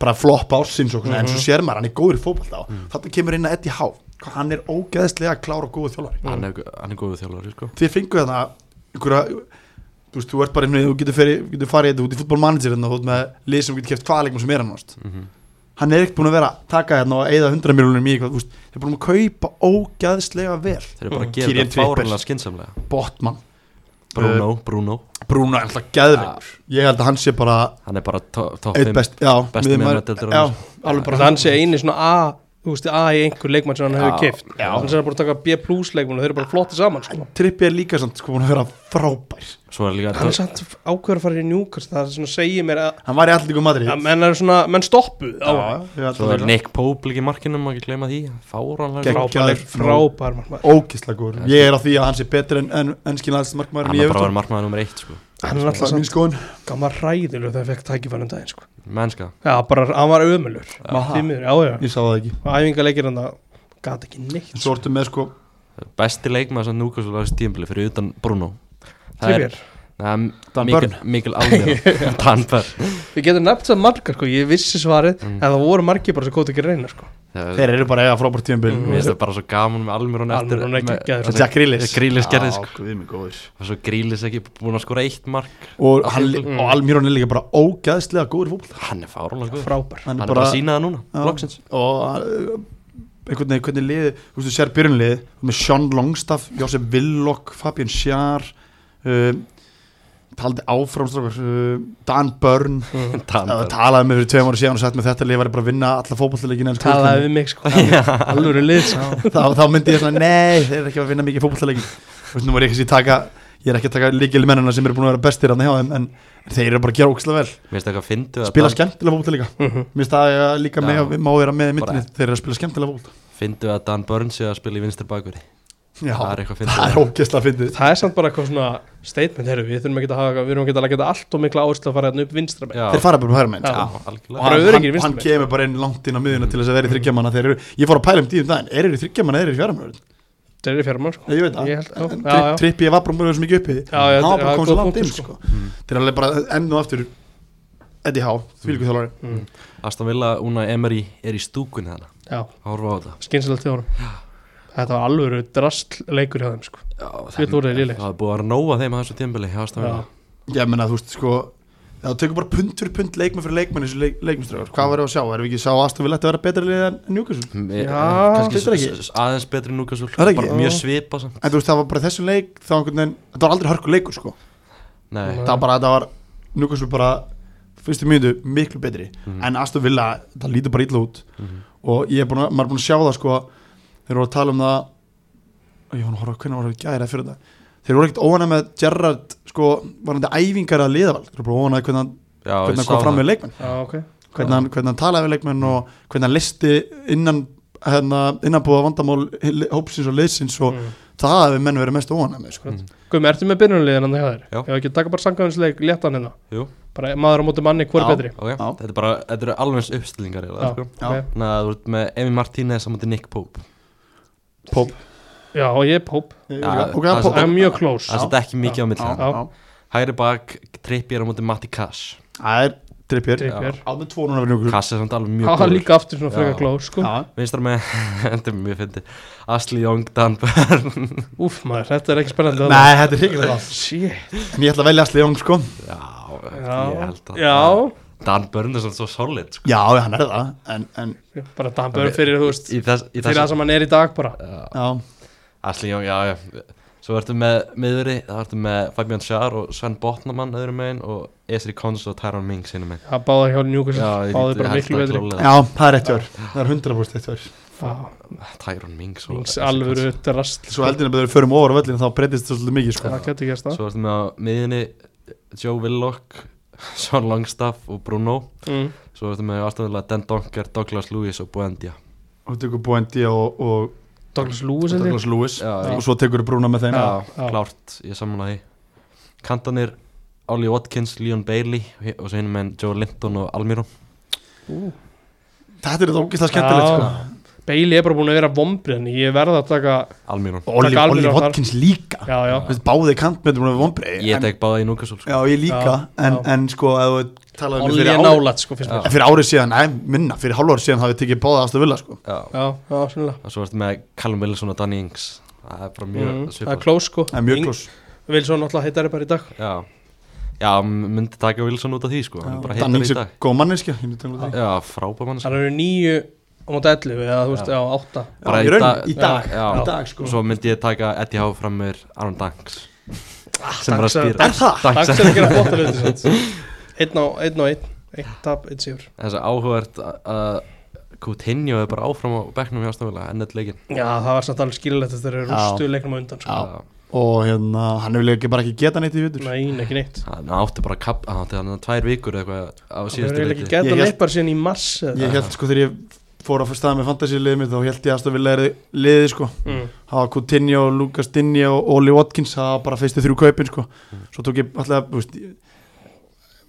Speaker 4: bara flop ársins og mm -hmm. en svo sér maður, hann er góður í fótbolta og
Speaker 2: Mm.
Speaker 4: þetta kemur inn að Eddie Há hann er ógeðslega klár og góður þjólari
Speaker 1: Mm.
Speaker 2: hann, er- hann er góður þjálfari sko
Speaker 4: þið fengu þarna einhverja þú veist, þú ert bara einhvern veginn, þú getur, feri, getur farið þetta út í fútbolmanager hérna, þú ert með lið sem getur keft hvaða leikum sem er hann
Speaker 2: Mhm.
Speaker 4: hann er ekkert búin að vera að taka hérna og eigða 100 miljonum í eitthvað, þú veist, þeir er búin að kaupa ógeðslega vel,
Speaker 2: Þeir eru bara að
Speaker 4: Mm.
Speaker 2: gera
Speaker 4: Kyrian
Speaker 2: þetta
Speaker 4: Trippers.
Speaker 2: fáralega skinsamlega
Speaker 4: Botman
Speaker 2: Bruno,
Speaker 1: Eh.
Speaker 2: Bruno
Speaker 4: Bruno er alltaf geðveikur ég held að hann sé bara
Speaker 2: Hann er bara to- topp
Speaker 4: eitt
Speaker 2: 5
Speaker 4: best, já,
Speaker 2: besti
Speaker 4: miðjumaður-
Speaker 2: miðjumaður deildarinnar.
Speaker 4: já, alveg
Speaker 1: Bara hann sé eini svona A, þú veist, A í einhver leikmann sem hann hefur
Speaker 2: Já,
Speaker 1: kift Þannig sem hann bara að taka B plus leikmann og þeir eru bara flotti saman sko
Speaker 4: Trippi er líka samt sko búin að vera frábær
Speaker 2: Svo er líka
Speaker 1: Hann er samt ákveður að fara í njúkast Það er svona segir mér að,
Speaker 4: Hann var í allir Madrid
Speaker 1: að menn er svona, menn stoppuð á hann
Speaker 2: Svo er
Speaker 4: Madrid
Speaker 2: Nick Pope líka í markinu, maður ekki gleyma því Fáralega
Speaker 4: Gegn-
Speaker 2: góður
Speaker 1: Frábær,
Speaker 4: Geggjaður.
Speaker 1: frábær markmaður.
Speaker 4: Ókisla góður Ég er á því að hans er betur en, en ennskinn
Speaker 2: sko.
Speaker 4: landsmarkmaður
Speaker 2: Hann er bara að vera markmaður nummer 1 sko
Speaker 1: Hann er alltaf
Speaker 4: Það er mín
Speaker 1: samt
Speaker 4: skoðun
Speaker 1: gammar ræðilur þegar hann fekk tækifærum daginn sko
Speaker 2: Mennska
Speaker 1: Já, bara, hann var ömulur
Speaker 4: Maha.
Speaker 1: Tímiður, já, já
Speaker 4: Ég sá það ekki
Speaker 1: Æfingarleikir hann það gat ekki neitt
Speaker 4: En svo ertu með sko
Speaker 2: Besti leikmaður sem núkast og lagast tímbili fyrir utan Bruno Það er
Speaker 1: Trippier.
Speaker 2: Nei,
Speaker 4: Dan
Speaker 2: Mikkel, Mikkel
Speaker 4: (laughs)
Speaker 2: Almir Danbörn
Speaker 1: Við getum nefnt það margar sko, ég vissi svarið
Speaker 2: Mm.
Speaker 1: en það voru margir bara sem kóti ekki að reyna sko
Speaker 2: Mér
Speaker 4: Þeir eru bara að eiga frábært tímabil
Speaker 2: finnst það bara svo gaman með Almirón eftir
Speaker 1: Almirón er
Speaker 2: með-
Speaker 1: geggjaður.
Speaker 2: með-
Speaker 4: Það er Jack Grealish
Speaker 2: Grealish gerði
Speaker 4: Já,
Speaker 2: sko
Speaker 4: guð minn góður.
Speaker 2: og svo Grílis ekki búin að skora eitt mark
Speaker 4: Og,
Speaker 2: Á
Speaker 4: hann,
Speaker 2: tímabilinu.
Speaker 4: og Almirón er líka bara ógeðslega góður fólk
Speaker 2: hann er fárúlega góð
Speaker 1: frábær
Speaker 2: hann er bara að sína það núna,
Speaker 4: Já.
Speaker 2: loksins
Speaker 4: og uh, einhvern veginn hvernig liði, þú veist þú sér byrjunliði með Sean Longstaff, Josef Willock Fabian Sjar um, taldi áframstrákar uh, Dan Byrne það
Speaker 2: Danbörn
Speaker 4: talaði með fyrir tveim ára síðan og sagt með þetta lið var bara að vinna alla fótballtalegin
Speaker 1: talaði við mig sko, alvöru lið sko.
Speaker 4: (laughs) þá, þá myndi ég svona, nei, þeir eru ekki að vinna mikið fótballtalegin þú veist, nú er ég ekki að taka ég er ekki að taka líkilmennina sem eru búin að vera bestir hann hjá þeim, en þeir eru bara að gera ókslega vel
Speaker 2: mér finnst það eitthvað fyndu að
Speaker 4: spila skemmtilega fótballta líka
Speaker 1: Mhm.
Speaker 4: mér finnst það að líka með,
Speaker 2: Já.
Speaker 4: má vera með í myndinni,
Speaker 2: Bara-
Speaker 4: þeir eru að spila skemmtilega fótballta
Speaker 2: fyndu að Dan Börn sé að spila í vinstri bakveri það er eitthvað
Speaker 4: það er
Speaker 2: fyndu
Speaker 4: ógeðslega fyndið
Speaker 1: það er samt bara eitthvað svona statement herru, við þurfum ekki að hafa, við erum ekki að leggja þetta allt og mikla áherslu að fara hérna upp vinstra með
Speaker 4: þeir fara bara um hæra megin
Speaker 1: Já.
Speaker 4: sko. og
Speaker 1: Bara Mm.
Speaker 2: algjörlega
Speaker 4: hann,
Speaker 1: öruggir
Speaker 4: hann,
Speaker 1: vinstri
Speaker 4: hann
Speaker 1: megin.
Speaker 4: kemur bara inn langt inn á miðuna til þess að vera í þryggjamanna þeir eru, ég fór að pæla um tíðum daginn eru þeir í þryggjamanna eða eru þeir í fjáramörðin
Speaker 1: þeir eru fjármál sko.
Speaker 4: ég veit það,
Speaker 1: Ég held- já,
Speaker 4: en
Speaker 1: já,
Speaker 4: tripp,
Speaker 1: já.
Speaker 4: tripp ég var bara mjög mikið uppi
Speaker 1: Já, já,
Speaker 4: hann var
Speaker 1: já,
Speaker 4: bara komið
Speaker 1: góð
Speaker 4: svo langt
Speaker 1: punktur, Mm.
Speaker 4: inn sko. þeir eru alveg bara enn og aftur Eddie Há, þvílíku þjálfari
Speaker 2: Aston Villa, Una Emery er í stúkunni þannig
Speaker 1: já,
Speaker 2: að horfa á þetta
Speaker 1: skynsilegt til honum Þetta var alvöru drast leikur hjá þeim sko.
Speaker 2: Já,
Speaker 1: Ég trúi þeir lélegir.
Speaker 2: það er búið að vera nóa þeim að þessu tímbili hjá Aston Villa
Speaker 1: Já.
Speaker 4: Ég menna, þú veist, sko Það tekur bara pund fyrir pund leikmenn fyrir leikmenn þessu leik, leikmennströður, hvað verður að sjá? Erum við ekki að sjá Aston Villa ætti að vera betra liðið en Newcastle?
Speaker 2: Me-
Speaker 1: Já,
Speaker 2: eh, kannski
Speaker 4: þetta er
Speaker 2: s-
Speaker 4: ekki-
Speaker 2: s- aðeins betri núkasúl
Speaker 4: Það er ekki-
Speaker 2: mjög svipa samt
Speaker 4: En þú veist, það var bara í þessum leik, þá einhvern veginn Þetta var aldrei hörku leikur, sko
Speaker 2: Nei,
Speaker 1: Nei.
Speaker 4: Það var bara, þetta var Newcastle bara fyrstu mínútu miklu betri en Aston Villa, það lítur bara illa út og ég er búin að, maður er búin að sjá það, sko þeir voru að tala um það og ég var að horfa, hvernig voru að gæra fyrir það þeir voru ekkert óanæg með Gerrard sko, varandi æfingar að liðavald þeir voru bara óanæg hvernig hann,
Speaker 2: já,
Speaker 4: hvernig
Speaker 2: ég sá
Speaker 4: hann kom fram
Speaker 2: það.
Speaker 4: með leikmenn
Speaker 1: Já, ok
Speaker 4: hvernig hann, hvernig hann talaði við leikmenn og hvernig hann listi innan hérna, innanbúða vandamál hi- hópsins og liðsins og
Speaker 1: Mm.
Speaker 4: það hefur menn verið mest óanæg með sko.
Speaker 1: Guðmi, ertu með byrjunliðin hann hjá þér?
Speaker 2: Já.
Speaker 1: Ef ekki taka bara sangaðinsleik, létta hann hérna
Speaker 2: Jú.
Speaker 1: Bara maður á móti manni, hvor er
Speaker 4: Já.
Speaker 1: betri?
Speaker 2: Ok,
Speaker 4: Já.
Speaker 2: Þetta er bara, þetta eru alveg eins uppstillingar
Speaker 1: Já,
Speaker 2: eiginlega, sko.
Speaker 4: Já.
Speaker 1: ok.
Speaker 2: Þannig að þú ert með Emi Martínez saman til Nick Pope
Speaker 4: Pop
Speaker 1: Já, og ég er Pope
Speaker 2: Já,
Speaker 4: Ok,
Speaker 2: það er
Speaker 4: Pop
Speaker 1: Það er mjög klós
Speaker 2: Það setja ekki mikið á milli
Speaker 1: Já.
Speaker 2: þarna. Hægri bak, trippjir á móti Matti Kass
Speaker 4: Það er drippjör
Speaker 1: Trippier
Speaker 4: Á með tvo núna verið njögur
Speaker 2: Kass er samt alveg mjög
Speaker 1: Há
Speaker 2: góður.
Speaker 1: líka aftur svona
Speaker 2: Já.
Speaker 1: frekar klós sko
Speaker 2: Vinstra með, (laughs) þetta er mjög fyndi Asli Young, Dan Byrn
Speaker 1: Úf maður, þetta er ekki spennandi
Speaker 4: Nei,
Speaker 2: (laughs)
Speaker 4: þetta er hrigilega
Speaker 1: Shit
Speaker 4: En ég ætla að velja Asli Jón sko
Speaker 2: Já, ég
Speaker 1: Já,
Speaker 2: held að
Speaker 1: já
Speaker 2: Dan Byrn er samt svo solid sko.
Speaker 4: Já, hann er það En, en,
Speaker 1: Bara dampur fyrir, þú veist
Speaker 2: Í þess, í
Speaker 1: Fyrir það
Speaker 2: þess
Speaker 1: sem hann er í dag bara
Speaker 4: já
Speaker 2: Asli Young, já, já Svo ertu með miðurri, það ertu með Fabian Schaar og Sven Botnamann öðru megin og Esri Kons og Tyron Mings hinu megin
Speaker 1: Það báða hjá Newcastle
Speaker 2: ég
Speaker 1: Báði bara
Speaker 2: held
Speaker 1: miklu
Speaker 2: að
Speaker 1: betri
Speaker 2: klálega.
Speaker 4: Já, það er eitt jör Það er 100% eitt jör
Speaker 1: Já,
Speaker 2: Tyron Mings og
Speaker 1: Mings
Speaker 2: Ezri
Speaker 1: alvöru
Speaker 2: Konsa.
Speaker 1: drast
Speaker 4: Svo heldin að við förum ofar á völlin þá breytist það svolítið mikið sko
Speaker 1: Það getur gerst það
Speaker 2: Svo ertu með á miðinni Joe Willock, Sean Longstaff og Bruno
Speaker 1: Mm.
Speaker 2: Svo ertu með aðstæðulega Dan Donker, Douglas Lewis og Buendia
Speaker 4: Og tekur Buendi og, og,
Speaker 1: Douglas Lewis
Speaker 4: og
Speaker 1: held ég.
Speaker 4: Douglas Lewis
Speaker 2: Já,
Speaker 4: Og svo tekur Bruna með þeim
Speaker 2: Já,
Speaker 1: Já.
Speaker 2: klárt, ég samla því Kantanir, Ollie Watkins, Leon Bailey og svo hinn með Joe Linton og Almiro
Speaker 1: Ú.
Speaker 4: Þetta er þetta ógeðslega skemmtilegt
Speaker 1: Já.
Speaker 4: sko
Speaker 1: Bailey er bara búin að vera vombriðan Ég verða að taka
Speaker 2: Almiro
Speaker 4: Og Olli,
Speaker 1: Taka alveg
Speaker 4: Olli
Speaker 1: á þar.
Speaker 4: Watkins líka
Speaker 1: Já, já
Speaker 4: Þú veist, báði kantmyndur voru vonbreið
Speaker 2: Ég tek báða í Núkasól sko.
Speaker 4: Já, ég líka,
Speaker 1: Já,
Speaker 4: en,
Speaker 1: já.
Speaker 4: en sko að þú talaði um
Speaker 1: Olli
Speaker 4: fyrir,
Speaker 1: er
Speaker 4: ári,
Speaker 1: nálægt sko fyrst
Speaker 2: Já.
Speaker 1: mér
Speaker 4: fyrir árið síðan, nei, minna, fyrir hálf árið síðan hafði ég tekið báða aðstu vilja sko
Speaker 2: Já,
Speaker 1: Já, já, sannlega
Speaker 2: og svo ertu með Callum Wilson og Danny Ings Það er bara mjög
Speaker 1: Mm, Það er
Speaker 2: svipað
Speaker 1: klós sko
Speaker 4: Það er mjög klós
Speaker 1: Vilsson alltaf heitar er bara í dag
Speaker 2: Já, já m- myndi taka Wilson út af því sko Hann er bara heitar
Speaker 4: Danning
Speaker 2: í
Speaker 4: sér
Speaker 2: dag
Speaker 4: góð manneskja ég myndi tala um það.
Speaker 2: Já, frábæð mann
Speaker 1: Það eru nýju á móti 11 eða þú veist,
Speaker 2: Já.
Speaker 1: já, 8
Speaker 2: bara
Speaker 4: Já,
Speaker 2: í
Speaker 4: í raun,
Speaker 2: dag-
Speaker 4: í dag
Speaker 2: Já,
Speaker 4: Í dag sko
Speaker 2: og svo myndi ég taka Eddie Howe fram meður Aron Danks sem er
Speaker 1: Danks
Speaker 2: að
Speaker 1: er-
Speaker 2: spýra
Speaker 4: Er það?
Speaker 1: Takk
Speaker 2: Danks
Speaker 1: sem að gera flotta hluti samt. Einn á einn og einn Einn tap, einn sigur
Speaker 2: Þess að áhugavert að Coutinho er bara áfram á bekknum hjá Stofila enn eitt leikinn
Speaker 1: Já, það var samt alveg skilulegt að þeir eru
Speaker 4: Já.
Speaker 1: rústu leiknum á undan sko.
Speaker 4: Já. Og hérna, hann hefur ekki bara ekki geta neitt í vitur
Speaker 1: Nei, ekki neitt
Speaker 2: Hann átti bara kap, hann átti hann tvær vikur eitthvað á
Speaker 1: Það
Speaker 2: síðustu
Speaker 1: eru
Speaker 2: leiki
Speaker 1: ekki gett
Speaker 4: Ég
Speaker 1: að
Speaker 4: hélt-
Speaker 1: leipar síðan í mars eða-
Speaker 4: Ég held sko þegar ég fór á stað með fantasy liðið mitt þá held ég aðstu vilja er liðið sko
Speaker 1: Mm.
Speaker 4: Það var Coutinho, Lucas Dinni og Oli Watkins það var bara fyrstu þrjú kaupin sko Svo tók ég alltaf, þú veist ég-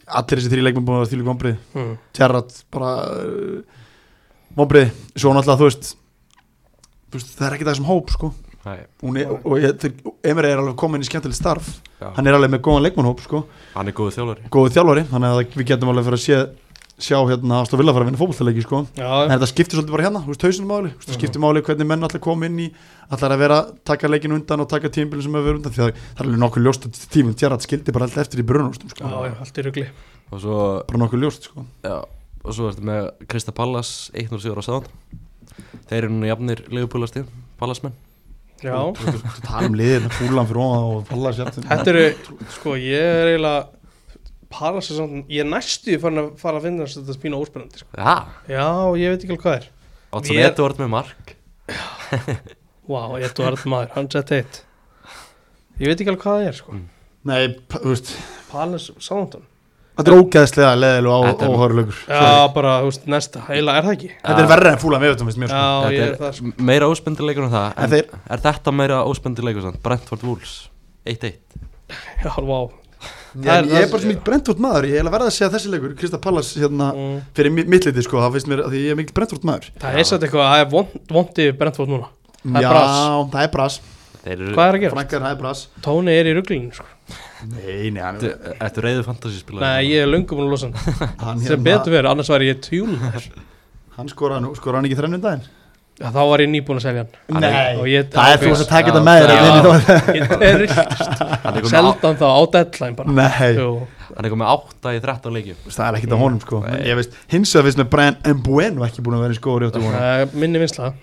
Speaker 4: Allir þessi þrjú leikmenn búin að vera þvílík vonbrigði.
Speaker 1: Mm.
Speaker 4: Gerrard bara uh, vonbreið, svo náttúrulega þú veist, þú veist það er ekki það sem hóp sko
Speaker 2: Nei,
Speaker 4: Hún er, og ég, þeir, Emre er alveg komin í skemmtileg starf
Speaker 2: já.
Speaker 4: hann er alveg með góðan leikmannhóp sko
Speaker 2: hann er góðu þjólari
Speaker 4: góðu þjálfari, þannig að við getum alveg fyrir að sé, sjá hérna að vilja fara að vinna fótballtaleiki sko en
Speaker 1: Já,
Speaker 4: þetta skiptir svolítið bara hérna, þú veist hausinu máli þú veist, það skiptir máli hvernig menn allar koma inn í allar að vera, taka leikin undan og taka tímbilin sem hefur verið undan, því að það er alveg nokkuð ljóst að tíminn tjara skildi bara alltaf eftir í brunastum
Speaker 1: já,
Speaker 4: sko.
Speaker 1: já, allt í rugli
Speaker 2: og svo,
Speaker 4: bara nokkuð ljóst sko.
Speaker 2: já, og svo ertu með Krista Pallas 1-0 sigur á sáðan þeir eru núna jafnir leigubúlastíð Pallasmenn
Speaker 1: Já,
Speaker 4: Þú veist, þú tala um liðin, fúlan fyrir ofan og falla sér aftur.
Speaker 1: þetta eru, sko, ég er eiginlega Parla sér samt, ég er næstu farin að fara að finna þess að þetta spína óspennandi sko.
Speaker 2: Já,
Speaker 1: Já, ég veit ekki alveg hvað er
Speaker 2: átt sem
Speaker 1: Ég-
Speaker 2: Edvard með mark
Speaker 1: Vá, wow, ég þú erð maður, hann sett heitt Ég veit ekki alveg hvað það er, sko
Speaker 4: Nei, p- þú veist,
Speaker 1: Palace Southampton
Speaker 4: þetta er ógeðslega leðil og
Speaker 2: Þetta er-
Speaker 4: áhörlögur
Speaker 1: Já, bara, þú veist, næsta, heila, er það ekki?
Speaker 4: þetta er
Speaker 2: Já.
Speaker 4: verra en fúlan við auðvitað finnst mér, sko.
Speaker 1: Já, ég
Speaker 2: Ah, Þetta
Speaker 1: er það, sko
Speaker 2: m- meira óspendileikur en það
Speaker 4: En
Speaker 2: en
Speaker 4: þeir-
Speaker 2: er þetta meira óspendileikur samt Brentford Wolves 1-1
Speaker 1: Já, vá
Speaker 4: Ég
Speaker 1: er-
Speaker 4: ég er
Speaker 1: það-
Speaker 4: bara sem mitt brentúrt maður, ég er að verða að segja þessi leikur, Krista Pallas hérna,
Speaker 1: mm.
Speaker 4: fyrir mi- mitt liti sko, það finnst mér að því ég er mikil brentúrt maður
Speaker 1: Það er satt eitthvað, það er vond, vondið Brentford núna Það er
Speaker 4: Já,
Speaker 1: bras.
Speaker 4: það er bras,
Speaker 2: Þeir eru
Speaker 1: Hvað er að gera?
Speaker 4: frankar það er bras
Speaker 1: Tóni er í ruglinu, sko
Speaker 4: Nei, nei, hann,
Speaker 2: Ertu- Ertu reyðu fantasyspilar
Speaker 1: Nei, ég er löngum búin að losa
Speaker 4: (laughs)
Speaker 1: hann
Speaker 4: hann,
Speaker 1: Sem
Speaker 4: hérna,
Speaker 1: betur verið, annars væri ég tjúl
Speaker 4: hann skoraði nú, skoraði hann ekki þrennu um daginn
Speaker 1: Já, þá var ég nýbúin að selja hann
Speaker 4: Nei,
Speaker 1: Og ég-
Speaker 4: það er þú
Speaker 1: ákveðst.
Speaker 4: sem takir
Speaker 3: Já,
Speaker 4: þetta með þér
Speaker 3: já.
Speaker 4: hérna í dag.
Speaker 1: Ég er rilltist
Speaker 2: Hann er komið
Speaker 1: Seldan þá á deadline bara
Speaker 4: Nei,
Speaker 1: Jú,
Speaker 2: með 8 í 13 leikjum
Speaker 4: það er ekkert á honum sko
Speaker 2: Nei.
Speaker 4: Ég veist, hins vegar finnst með Brian Mbueno ekki búin að vera í skóri áttu
Speaker 1: (laughs)
Speaker 4: vona
Speaker 1: það er minni vinsla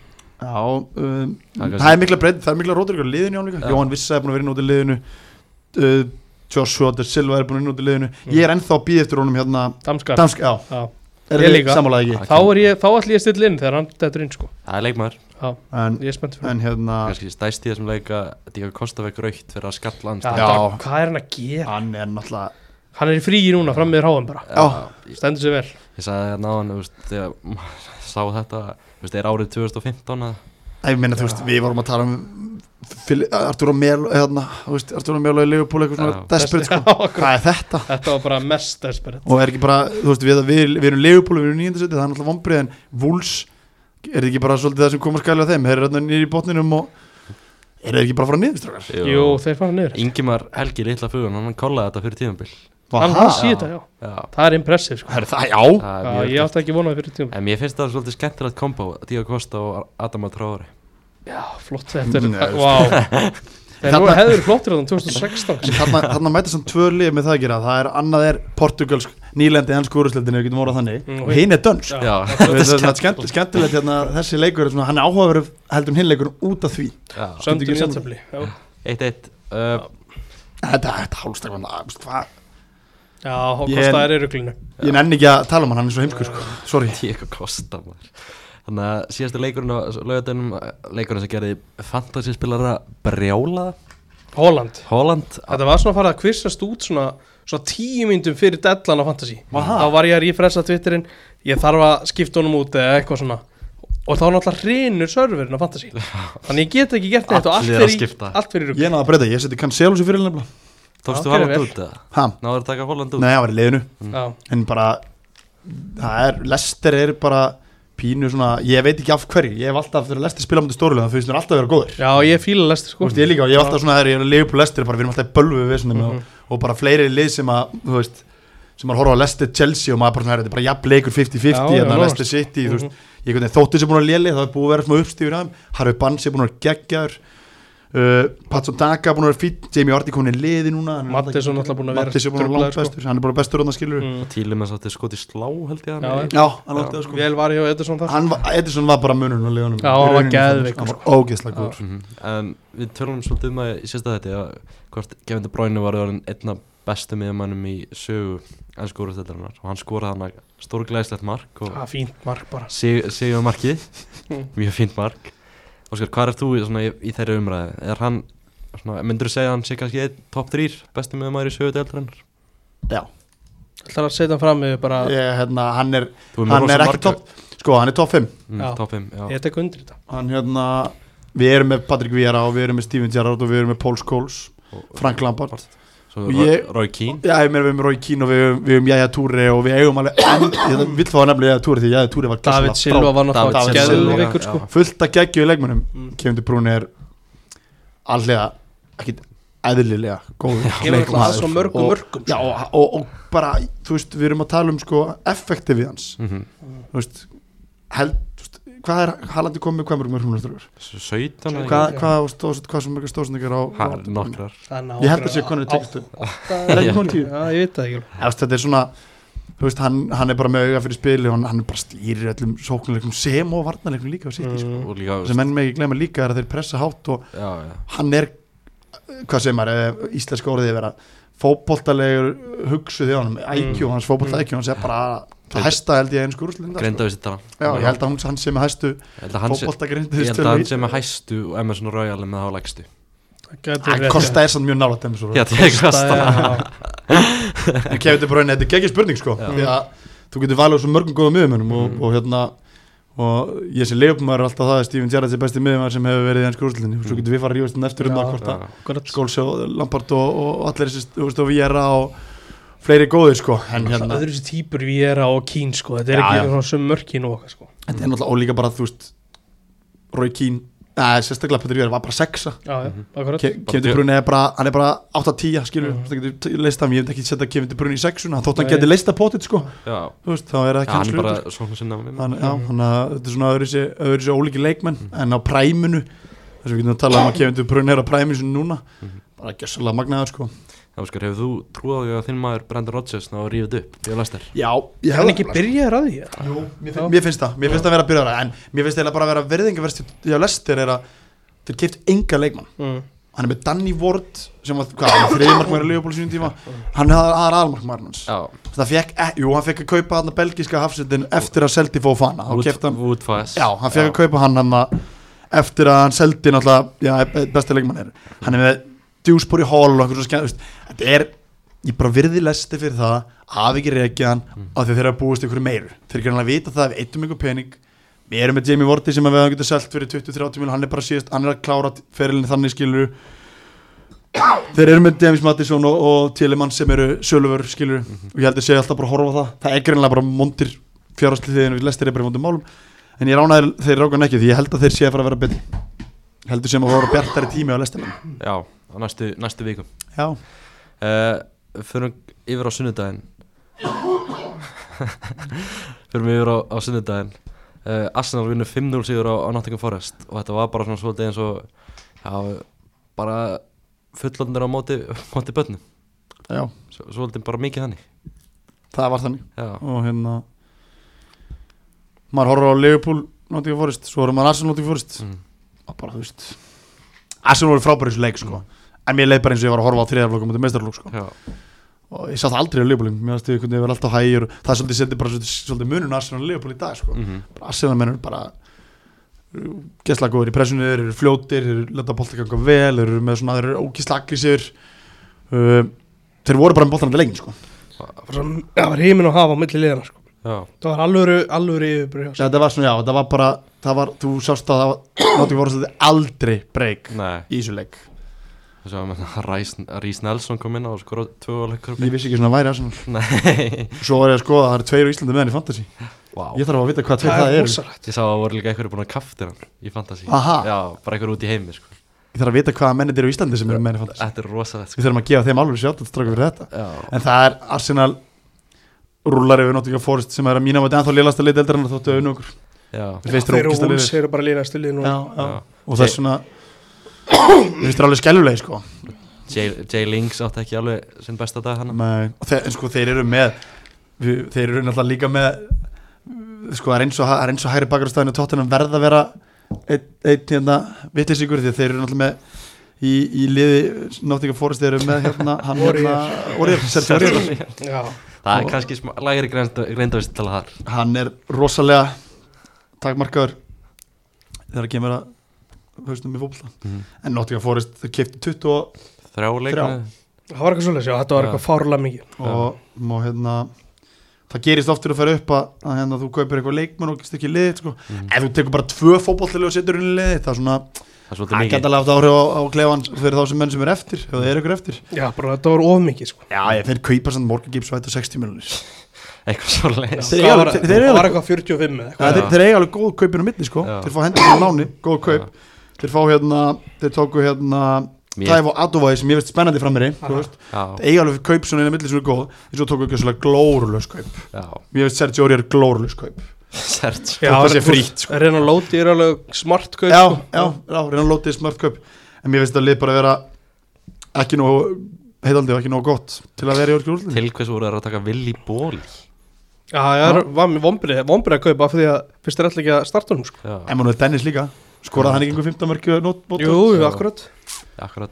Speaker 4: Já, um,
Speaker 2: Það er kannski-
Speaker 4: það er mikla breynd, það er mikla rótur ykkur liðinu án líka
Speaker 2: Já.
Speaker 4: Jóhann Vissa er búin að vera inn út í liðinu uh, Joshua de Silva er búin að vera inn út í liðinu
Speaker 1: Mm.
Speaker 4: Ég er ennþá að býð eftir honum hérna
Speaker 1: Damskar
Speaker 4: Dansk, já,
Speaker 1: Já.
Speaker 4: er
Speaker 1: Ég
Speaker 4: þið
Speaker 1: líka.
Speaker 4: sammálaði ekki
Speaker 1: Þá er ég, þá ætlum ég að stilla inn þegar hann dettur inn sko
Speaker 2: Það er leikmaður
Speaker 4: En,
Speaker 1: Ég er spennt fyrir hann
Speaker 4: en hérna,
Speaker 2: kannski stæst í þessum leika Díka Kostavek raukt fyrir að skalla hans
Speaker 1: Já,
Speaker 4: Já.
Speaker 1: þetta- Hvað er hann að gera?
Speaker 4: hann er náttúrulega
Speaker 1: Hann er í fríi núna, fram meður háum bara
Speaker 4: Já.
Speaker 2: ég,
Speaker 1: Stendur sér vel
Speaker 2: eh, ég sagði það náðan veist, þegar (laughs) maður sá þetta þú veist, er árið 2015 að
Speaker 4: Æ, ég meina, þú veist, við vorum að tala um Fili- Arturo Melo, hérna, þú veist, Arturo Melo í Liverpool eitthvað svona
Speaker 2: Já.
Speaker 4: desperate
Speaker 1: (laughs)
Speaker 4: sko
Speaker 1: Já, akkurat.
Speaker 4: Hvað er þetta?
Speaker 1: Þetta var bara mest desperate
Speaker 4: og er ekki bara, þú veist, við, við, við erum leifupúli, við erum nýjöndarsætti, það er náttúrulega vombrið en Wolves, er þetta ekki bara svolítið það sem kom að skæla þeim, þeir eru þarna nýri í botninum og er það ekki bara að fara niður, strákar?
Speaker 1: Jú, þeir fara niður
Speaker 2: Ingimar Helgi Lilla Fugan, hann kollaði þetta fyrir tíðanbíl
Speaker 1: Hann, hann sé
Speaker 4: já.
Speaker 1: þetta, já
Speaker 2: Já,
Speaker 1: Það er impressiv sko
Speaker 4: Það er það, já,
Speaker 2: það
Speaker 1: Já,
Speaker 2: er
Speaker 1: ég
Speaker 2: mjög
Speaker 1: átti ekki vonaði fyrir tíum
Speaker 2: En mér finnst það svolítið skemmtilegt kombo Díka Kosta og Adam Atrári
Speaker 1: Já, flott þetta er,
Speaker 4: Nei,
Speaker 1: Vá wow.
Speaker 2: (laughs)
Speaker 1: Þeir
Speaker 4: Þarna-
Speaker 1: voru hefur flottir þannig 2016
Speaker 4: þarna, þarna mætast hann tvö lið með það að gera, það er, annað er portugalsk, nýlendi, ennsku úrúsleitin, við getum orðað þannig,
Speaker 1: Mm.
Speaker 4: og hinn er dönsk.
Speaker 2: Já,
Speaker 4: Það er skemmt, skemmtilegt hérna, þessi leikur, er svona, hann er áhugaverð heldur en hinn leikur út af því.
Speaker 2: já
Speaker 1: Söndum
Speaker 4: ekki
Speaker 1: í
Speaker 4: saman.
Speaker 1: setjafli Já,
Speaker 2: 1-1 uh,
Speaker 4: Þetta, þetta hálfstakvann, hvað,
Speaker 1: Já, og
Speaker 4: Ég-
Speaker 1: kostaði er í ruglinu
Speaker 4: ég nenni ekki að tala um hann, hann er svo heimskur, sko, sorry.
Speaker 2: Díka Kosta maður Þannig að síðasti leikurinn á laugatunum Leikurinn sem gerði fantasyspilara brjála
Speaker 1: Holland
Speaker 2: Holland
Speaker 1: Þetta var svona farið að kvissast út svona, svona tíu myndum fyrir dellan á Fantasí
Speaker 4: Var það?
Speaker 1: Þá var ég að rífressa Twitterinn Ég þarf að skipta honum út eða eitthvað svona Og þá náttúrulega hrinur serverinn á Fantasí Þannig ég get ekki gert neitt og allt
Speaker 2: Allir að
Speaker 1: fyrir, í-
Speaker 2: skipta.
Speaker 1: allt fyrir í rugl
Speaker 4: Ég náði að breyta, ég seti Cancelo sér fyrir nefnilega.
Speaker 2: Tókstu
Speaker 1: Já,
Speaker 2: Holland
Speaker 1: gerðu vel.
Speaker 2: út eða?
Speaker 4: Ha?
Speaker 2: Náður að taka Holland út?
Speaker 4: Nei, það var í liðinu
Speaker 1: Já,
Speaker 4: En bara, það er, Lester er bara pínu svona Ég veit ekki af hverju, ég hef alltaf þegar Lester spila á mútið stórulega Það finnst mér alltaf að vera góður
Speaker 1: já ég fíla lestir
Speaker 4: Þú
Speaker 1: sko
Speaker 4: veist, ég líka, og ég hef alltaf svona þegar ég er að lifa upp Lester bara, Við erum alltaf í bölvu við svona
Speaker 1: Mhm.
Speaker 4: og, og bara fleiri lið sem að, þú veist sem að horfa á Lester Chelsea og maður bara, svona, "Herra, þetta er bara jafn leikur
Speaker 1: Já, já,
Speaker 4: 50-50, þannig að
Speaker 1: nánast.
Speaker 4: Lester City þú veist,
Speaker 1: Mhm.
Speaker 4: ég veit að þóttir sem búin að léli það er búið að vera smá uppstífur aðeim, Harfi Bansi búin að vera geggjaður uh, Patson Daka búin að vera fýtt, Jamie Vardy komin í liði núna hann er
Speaker 1: Mattisson náttúrulega búin að vera
Speaker 4: Mattis er búin að vera
Speaker 1: truflaður, sko.
Speaker 4: langt bestur, hann er bara bestur hann skilur
Speaker 1: Mm.
Speaker 2: Tíli með sátti skoti slá held ég að
Speaker 1: Já,
Speaker 2: hann
Speaker 4: Já, hann
Speaker 2: Já.
Speaker 4: átti það sko
Speaker 1: Vel var ég á Edison þar
Speaker 4: Hann var, Edison var bara munurinn á liðunum
Speaker 1: Já, hann
Speaker 4: Í
Speaker 1: var
Speaker 4: rauninni þannig,
Speaker 1: geðveikur,
Speaker 4: sko. Hann var ógeðslega góður
Speaker 2: Mhm. En við tölum svolítið um það í sérsta þetta að hvort Kevin De Bruyne var orðin einna bestu miðjumannum í sögu ennsku úrstættarinnar og hann skoraði hann stórglæðislegt mark og
Speaker 1: ah, Fínt mark bara
Speaker 2: sig, sigur markið
Speaker 4: (laughs)
Speaker 1: Mm.
Speaker 2: mjög fínt mark Óskar, hvað er þú í, svona, í, í þeirri umræði? Er hann, svona, myndur þú segja að hann sé kannski einn top 3 bestu miðjumannur í sögu deildarinnar?
Speaker 1: Það er að setja hann fram yfir bara
Speaker 4: Ég, hérna, Hann er,
Speaker 2: Þú með
Speaker 4: hann
Speaker 2: rosa
Speaker 4: er ekki
Speaker 2: marga-
Speaker 4: topp Sko, hann er topp 5
Speaker 2: Mm,
Speaker 1: Já.
Speaker 2: top 5, já.
Speaker 1: Ég tek undir þetta
Speaker 4: Hann hérna Við erum með Patrick Vieira og við erum með Steven Gerrard og við erum með Paul Scholes
Speaker 2: Og-
Speaker 4: Frank Lampard
Speaker 2: Svo
Speaker 4: og ég-
Speaker 2: Roy- Roy Keane
Speaker 4: Já, ég meina við erum Roy Keane og við erum, við erum Jæja Túri og við eigum alveg Ég vil fá nefnilega Jæja Túri því Jæja Túri var
Speaker 1: David Silva var
Speaker 4: David
Speaker 1: náttúrulega
Speaker 4: Silva,
Speaker 1: geðveikur sko
Speaker 2: já.
Speaker 4: Fullt að geggju í leikmunum
Speaker 1: Mm.
Speaker 4: Kevin De Bruyne er allega ekkit eðlilega góður
Speaker 1: Kemur alltaf að
Speaker 4: leikmaður.
Speaker 1: svo mörgum
Speaker 4: Og-
Speaker 1: mörgum sko.
Speaker 4: Já, og, og, og bara, þú veist, við erum að tala um sko effektivið hans,
Speaker 2: Mhm.
Speaker 4: þú veist held, þú veist, hvað er Haalandi komið, hvað mörgum er hún eftir
Speaker 2: S- 17 eða
Speaker 4: hvað,
Speaker 1: Já.
Speaker 4: hvað, stóð, hvað sem mörgum stóðsendingar á
Speaker 2: ekki? Ha, Nokkrar
Speaker 4: Ég held að sé konur tekstu Er ekki konur tíu?
Speaker 1: Já, ég veit það ekki
Speaker 4: Þú veist, Þetta er svona, þú veist, hann, hann er bara með auga fyrir spili og hann, hann er bara stýrir öllum sóknuleikum sem og varnarleikum líka á sitt mm.
Speaker 1: Mm.
Speaker 2: og líka
Speaker 4: sem menn með ekki glemma líka er að þeir pressa hátt og
Speaker 2: já, já.
Speaker 4: hann er hvað sem er, íslenska orðið vera fótboltalegur hugsuð í honum IQ,
Speaker 1: Mm.
Speaker 4: hans fótbolta IQ, hans er bara það hæsta held ég einsku úrslinda
Speaker 2: grinda við sitt hann
Speaker 4: Já, ég held að hún, hann sem er hæstu
Speaker 2: held að hann sé
Speaker 4: fótboltagrindið
Speaker 2: ég held að hann sem er hæstu og Emerson Royal er með þá lægstu
Speaker 1: Það
Speaker 4: Kosta er sann mjög nálægt þeim svo
Speaker 2: já, það er kasta
Speaker 4: En Kevin De Bruyne, þetta er geggjur spurning sko
Speaker 2: Já.
Speaker 4: Því að þú getur valið úr svo mörgum góðum miðumönum og,
Speaker 2: Mm.
Speaker 4: og hérna og ég sem leifumæður er alltaf það að Steven Gerrard er besti miðumæður sem hefur verið í ennsku úrslinni og svo
Speaker 2: Mm.
Speaker 4: getur við fara að rífast hann eftir um
Speaker 1: Já.
Speaker 4: það hvort að
Speaker 1: Kosta
Speaker 4: Skóls og Lampard og, og allir þessi þú veist og Viera og fleiri góðir sko en hérna,
Speaker 1: Öðru sér týpur við er á Kín sko Þetta er
Speaker 4: Já,
Speaker 1: ekki
Speaker 4: já.
Speaker 1: svona sem mörkin og okkar sko
Speaker 4: þetta er náttúrulega ólíka bara þú veist Roy Keane Nei, sérstaklega Petri Jörg var bara sexa
Speaker 1: já, já, akkurat
Speaker 4: Mhm. Ke- Kevin De Bruyne er bara, hann er bara 8-10 skilur, mm. það getur t- leist hann, ég hef ekki setja Kevin De Bruyne í sexuna, þótt hann
Speaker 1: Nei.
Speaker 4: geti leist að potið sko,
Speaker 2: já,
Speaker 4: þú veist, þá er það
Speaker 2: já
Speaker 4: ekki
Speaker 2: hann
Speaker 4: hans
Speaker 2: er bara
Speaker 4: hlutur.
Speaker 2: svona sinna
Speaker 4: Hann- já, þannig að þetta er svona öðruvísi, öðruvísi ólíki leikmenn en á præminu þess að við getum að tala um að Kevin De Bruyne er á præminu sem núna bara gjössalega magnaður sko
Speaker 2: Já, Óskar, hefur þú trúið á því að þinn maður Brandon Rodgers ná að rífið upp í Leicester?
Speaker 4: já,
Speaker 1: Er hann ekki byrjaður að því? eða?
Speaker 4: Jú, mér, fin- mér finnst það, mér finnst það að vera byrjara en mér finnst það bara að vera verðingarverst hjá Lester er að þeir keift enga leikmann
Speaker 1: Mm.
Speaker 4: hann er með Danny Ward sem var, hvað, hann var þriðmarkmæri Leopold sínum tíma hann er aðra aðalmarkmærin hans
Speaker 2: Já,
Speaker 4: það fekk, eh, jú, hann fekk að kaupa hann belgiska hafsendin eftir að seldi fóð fana þá kefti hann,
Speaker 2: Woodfass
Speaker 4: já, hann fekk að kaupa hann hann eftir að hann seldi náttúrulega, já, besti leikmann er hann er með djúspor í hól og okkur svo skemmt, veist, þetta er ég bara virði lesti fyrir það hafi ekki reikið hann mm. af því að þeir eru að búast ykkur meiru þeir eru að vita það að við eittum ykkur pening við erum með Jamie Vorti sem að við hafum getið selt fyrir 20-30 mil, hann er bara síðast, hann er að klára ferilin þannig skilur þeir eru með James Mattisson og, og Telemann sem eru söluvör skilur og ég held að segja alltaf bara að horfa á það það er greinlega bara mondir fjárhastlið þegar við lestir er bara í vondum málum en ég ránaði þeir rákan ekki því ég held að þeir sé að fara að vera betri Ég heldur sem að voru bjartari tími á lestir
Speaker 2: Já, á næstu, næstu vikum
Speaker 4: já,
Speaker 2: uh, Förum yfir á sunnudaginn (laughs) Förum yfir á, á sunnudaginn uh, Arsenal vinnur 5-0 sigur á, á Nottingham Forest og þetta var bara svona svolítið eins og já, bara fullondur á móti, (laughs) móti börnum
Speaker 4: já,
Speaker 2: Svo- Svolítið bara mikið þannig
Speaker 4: það var þannig
Speaker 2: Já,
Speaker 4: og hérna maður horfður á Liverpool Nottingham Forest, svo horfður maður Arsenal Nottingham Forest
Speaker 2: Mm.
Speaker 4: og bara þú veist Arsenal voru frábæri í þessu leik sko en mér leið bara eins og ég var að horfa á þriðarflokkum og meistarflokk sko
Speaker 2: já,
Speaker 4: og ég satt aldrei á Leopoldin mér finnst einhvern veginn að vera alltaf hægir og það er svolítið setið bara svolítið, svolítið munun Arsenal og Leopold í dag sko.
Speaker 2: mm
Speaker 4: bara Arsenal mennur bara gæsla góður í pressunni þeir eru fljótir, þeir eru leta bolti ganga vel þeir eru með svona, þeir eru ógísla aggressífur uh, þeir voru bara með boltan allir lengin sko.
Speaker 1: Bara svona- Það var heiminn að hafa á milli liðana sko.
Speaker 2: já,
Speaker 1: Það var alvöru, alvöru yfirbröð
Speaker 4: þetta var svona, já, þetta var bara það var, þú sást að það var náttu voru svolítið aldrei breyk
Speaker 2: nei
Speaker 4: í þessu leik
Speaker 2: Þess að Rís Nelson kom inn á og skora tvö valökkur
Speaker 4: ég vissi ekki svona væri Arsenal
Speaker 2: Nei
Speaker 4: svo var ég að skoða, það eru tveir á Íslandi með hann í Fantasy
Speaker 2: (laughs) Vá
Speaker 4: ég þarf að vita hvað tveir
Speaker 1: Það
Speaker 4: það
Speaker 1: er
Speaker 4: eru
Speaker 1: rosalegt
Speaker 2: Ég sá að voru líka einhverju búin að kaftir hann í Fantasí
Speaker 4: Aha.
Speaker 2: Já, bara einhverju út í heimi sko.
Speaker 4: ég þarf að vita hvaða mennir eru á Íslandi sem eru með hann í Fantasy
Speaker 2: Þetta er rosalegt sko.
Speaker 4: við þurfum að gefa þeim alveg sjátt að straka fyrir þetta
Speaker 2: Já,
Speaker 4: en það er Arsenal rúlar yfir Nottingham Forest sem er að mína mati ennþá lélast að leita eldar en þóttu auðvun okkur
Speaker 2: já,
Speaker 4: Mér finnst
Speaker 1: Þeir
Speaker 4: þeir
Speaker 1: eru húls,
Speaker 4: ógeðslega liðir.
Speaker 1: þeir eru bara líðast til liðin
Speaker 4: Já, já.
Speaker 2: já.
Speaker 4: og það er svona mér finnst þeir alveg skelluleg sko
Speaker 2: Jay, Jay Links átti ekki alveg sinn besta dag hann
Speaker 4: Nei. og þeir, en sko, þeir eru með við, þeir eru náttúrulega líka með sko það er eins og, það er eins og hægri bakarstæðinu tóttunum verða að vera einn ein, hérna, vitlisíkur því að þeir eru náttúrulega með í, í liði Nottingham Forest þeir eru með hérna hann hérna Orier, Sergio Orier
Speaker 1: Já,
Speaker 2: (laughs) Það er
Speaker 4: Og-
Speaker 2: kannski smá, lægri greindavísi tala þar
Speaker 4: hann er rosalega takmarkaður þegar kemur að haustum í fótbolta
Speaker 2: Mhm.
Speaker 4: en Nottingham Forest þau kefti 20 og,
Speaker 2: Þrjá leikmenn
Speaker 1: það var eitthvað svolítið, já, þetta var
Speaker 2: Já.
Speaker 1: eitthvað fárlega mikið
Speaker 4: og, og hérna, það gerist oft fyrir að fara upp að, að hérna, þú kaupir eitthvað leikmann og gist ekki í liðið sko.
Speaker 2: Mhm.
Speaker 4: ef þú tekur bara tvö fótboltalið og setur hún í liðið það er svona
Speaker 2: Það er svolítið
Speaker 4: það
Speaker 2: mikið
Speaker 4: geta alveg áhrif á, á klefan fyrir þá sem menn sem er eftir ef það er ykkur eftir
Speaker 1: Já, bara þetta var of mikið sko.
Speaker 4: já ég finn kaupa sann morgun gips og 60 miljonir
Speaker 2: Eitthvað svo leiðis
Speaker 4: Þeir
Speaker 1: Það
Speaker 4: eiga-
Speaker 1: var-
Speaker 4: þeir- þeir eiga-
Speaker 1: það var eitthvað 45 eða eitthvað
Speaker 4: þeir, þeir eiga alveg góð kaupin á milli sko.
Speaker 2: Já.
Speaker 4: þeir fá hendur á náni, góð kaup þeir fá hérna, þeir tóku hérna Dæf og Adovæði sem ég veist spennandi frammeiri þú veist.
Speaker 2: Já,
Speaker 4: eiga alveg kaup svona inn að milli sem er góð en svo tóku ekki svona glórulaus kaup
Speaker 2: já,
Speaker 4: ég veist Sergio Orier glórulaus kaup
Speaker 2: Serge
Speaker 1: Já,
Speaker 4: það sé
Speaker 1: þú-
Speaker 4: frítt, sko.
Speaker 1: Reyna Lóti er alveg smart gauð,
Speaker 4: já,
Speaker 1: sko.
Speaker 4: já, já, reyna lótið smart kaup en mér veist að lið bara vera ekki nóg heitaldi og ekki nóg gott til að vera í orkjur úrlunni
Speaker 2: Til hvers voru þeir að taka Willi Ból
Speaker 1: Já, það er- var mér vombrið Vombrið að kaupa af því að fyrst er alltaf ekki að starta hún sko.
Speaker 2: Já,
Speaker 4: Emanuel Dennis líka skoraði hann ekki einhver 15 mörkju nót mót-
Speaker 1: Jú,
Speaker 2: Já.
Speaker 1: akkurat
Speaker 2: akkurat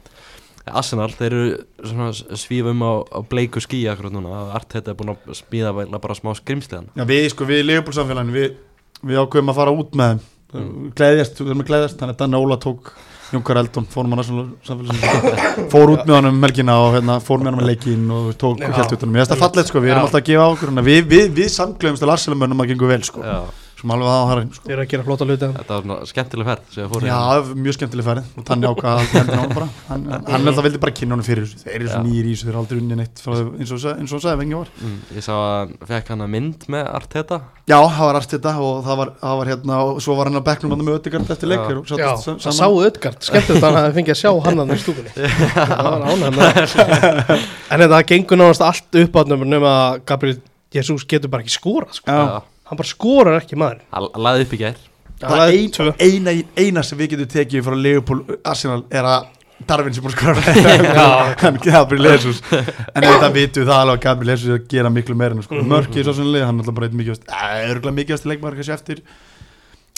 Speaker 2: Arsenal, þeir eru svona s- svífa um á, á bleiku skíi akkurat núna Arteta er búin að smíða væla bara smá skrimsliðan
Speaker 4: já, við sko, við í Leopoldsamfélaginu við, við ákveðum að fara út með þeim
Speaker 2: Mm.
Speaker 4: gleðjast, við erum að gleðjast þannig að Dan Óla tók Junkar Eldon fórum á
Speaker 2: (laughs)
Speaker 4: næstunarsamfélagsins fór út með hann um melgina og hérna, fór með hann með leikin og tók
Speaker 1: Já.
Speaker 4: og kjælt út hann, ég veist það fallið sko, við erum
Speaker 1: Já.
Speaker 4: alltaf að gefa á okkur hérna. við, við, við samgleðumst til Arsenal mönnum að gengur vel sko.
Speaker 2: Já,
Speaker 4: sem alveg að á harinn sko.
Speaker 1: Þeir eru að gera flóta hluti
Speaker 2: Þetta var svona skemmtileg ferð sem ég fór
Speaker 4: Já, mjög skemmtileg færið og þannig ákvað að hendur hann bara hann, hann alltaf vildi bara kynna honum fyrir þessu þeir eru svo
Speaker 2: Já.
Speaker 4: nýjir í þessu, þeir eru aldrei unnið neitt frá, þau- eins og hann sagði, sagði vengi var
Speaker 2: Mm, Ég sá að hann fekk hann að mynd með Arteta
Speaker 4: Já, það var artið þetta og það var, það var hérna og svo var hann að bekknum hann með öttingard eftir
Speaker 2: Já.
Speaker 4: leikur og
Speaker 1: Já,
Speaker 4: sáttist sam-
Speaker 1: það
Speaker 4: saman.
Speaker 1: sáu öðgard Skemmtilegt að hann fengi að sjá hann að það í
Speaker 4: (laughs)
Speaker 1: stúkunni Það var ánægð með það. En þetta gengur náðast allt upp átnum nema að Gabriel Jesus getur bara ekki skora sko.
Speaker 4: Já,
Speaker 1: Hann bara skorar ekki maður
Speaker 2: Hann laði upp í gær
Speaker 4: það er
Speaker 1: tvö
Speaker 4: ein- eina, eina sem við getum tekið frá Leopold Arsenal er að Darvin sem
Speaker 1: (laughs)
Speaker 4: búin skora (laughs) en Gabriel Jesus en þetta vitum við það alveg að Gabriel Jesus er að gera miklu meira en að
Speaker 1: Mhm.
Speaker 4: skora mörkið svo svona leið hann er alltaf bara eitt mikilvægast örgulega mikilvægast leikmaður kannski eftir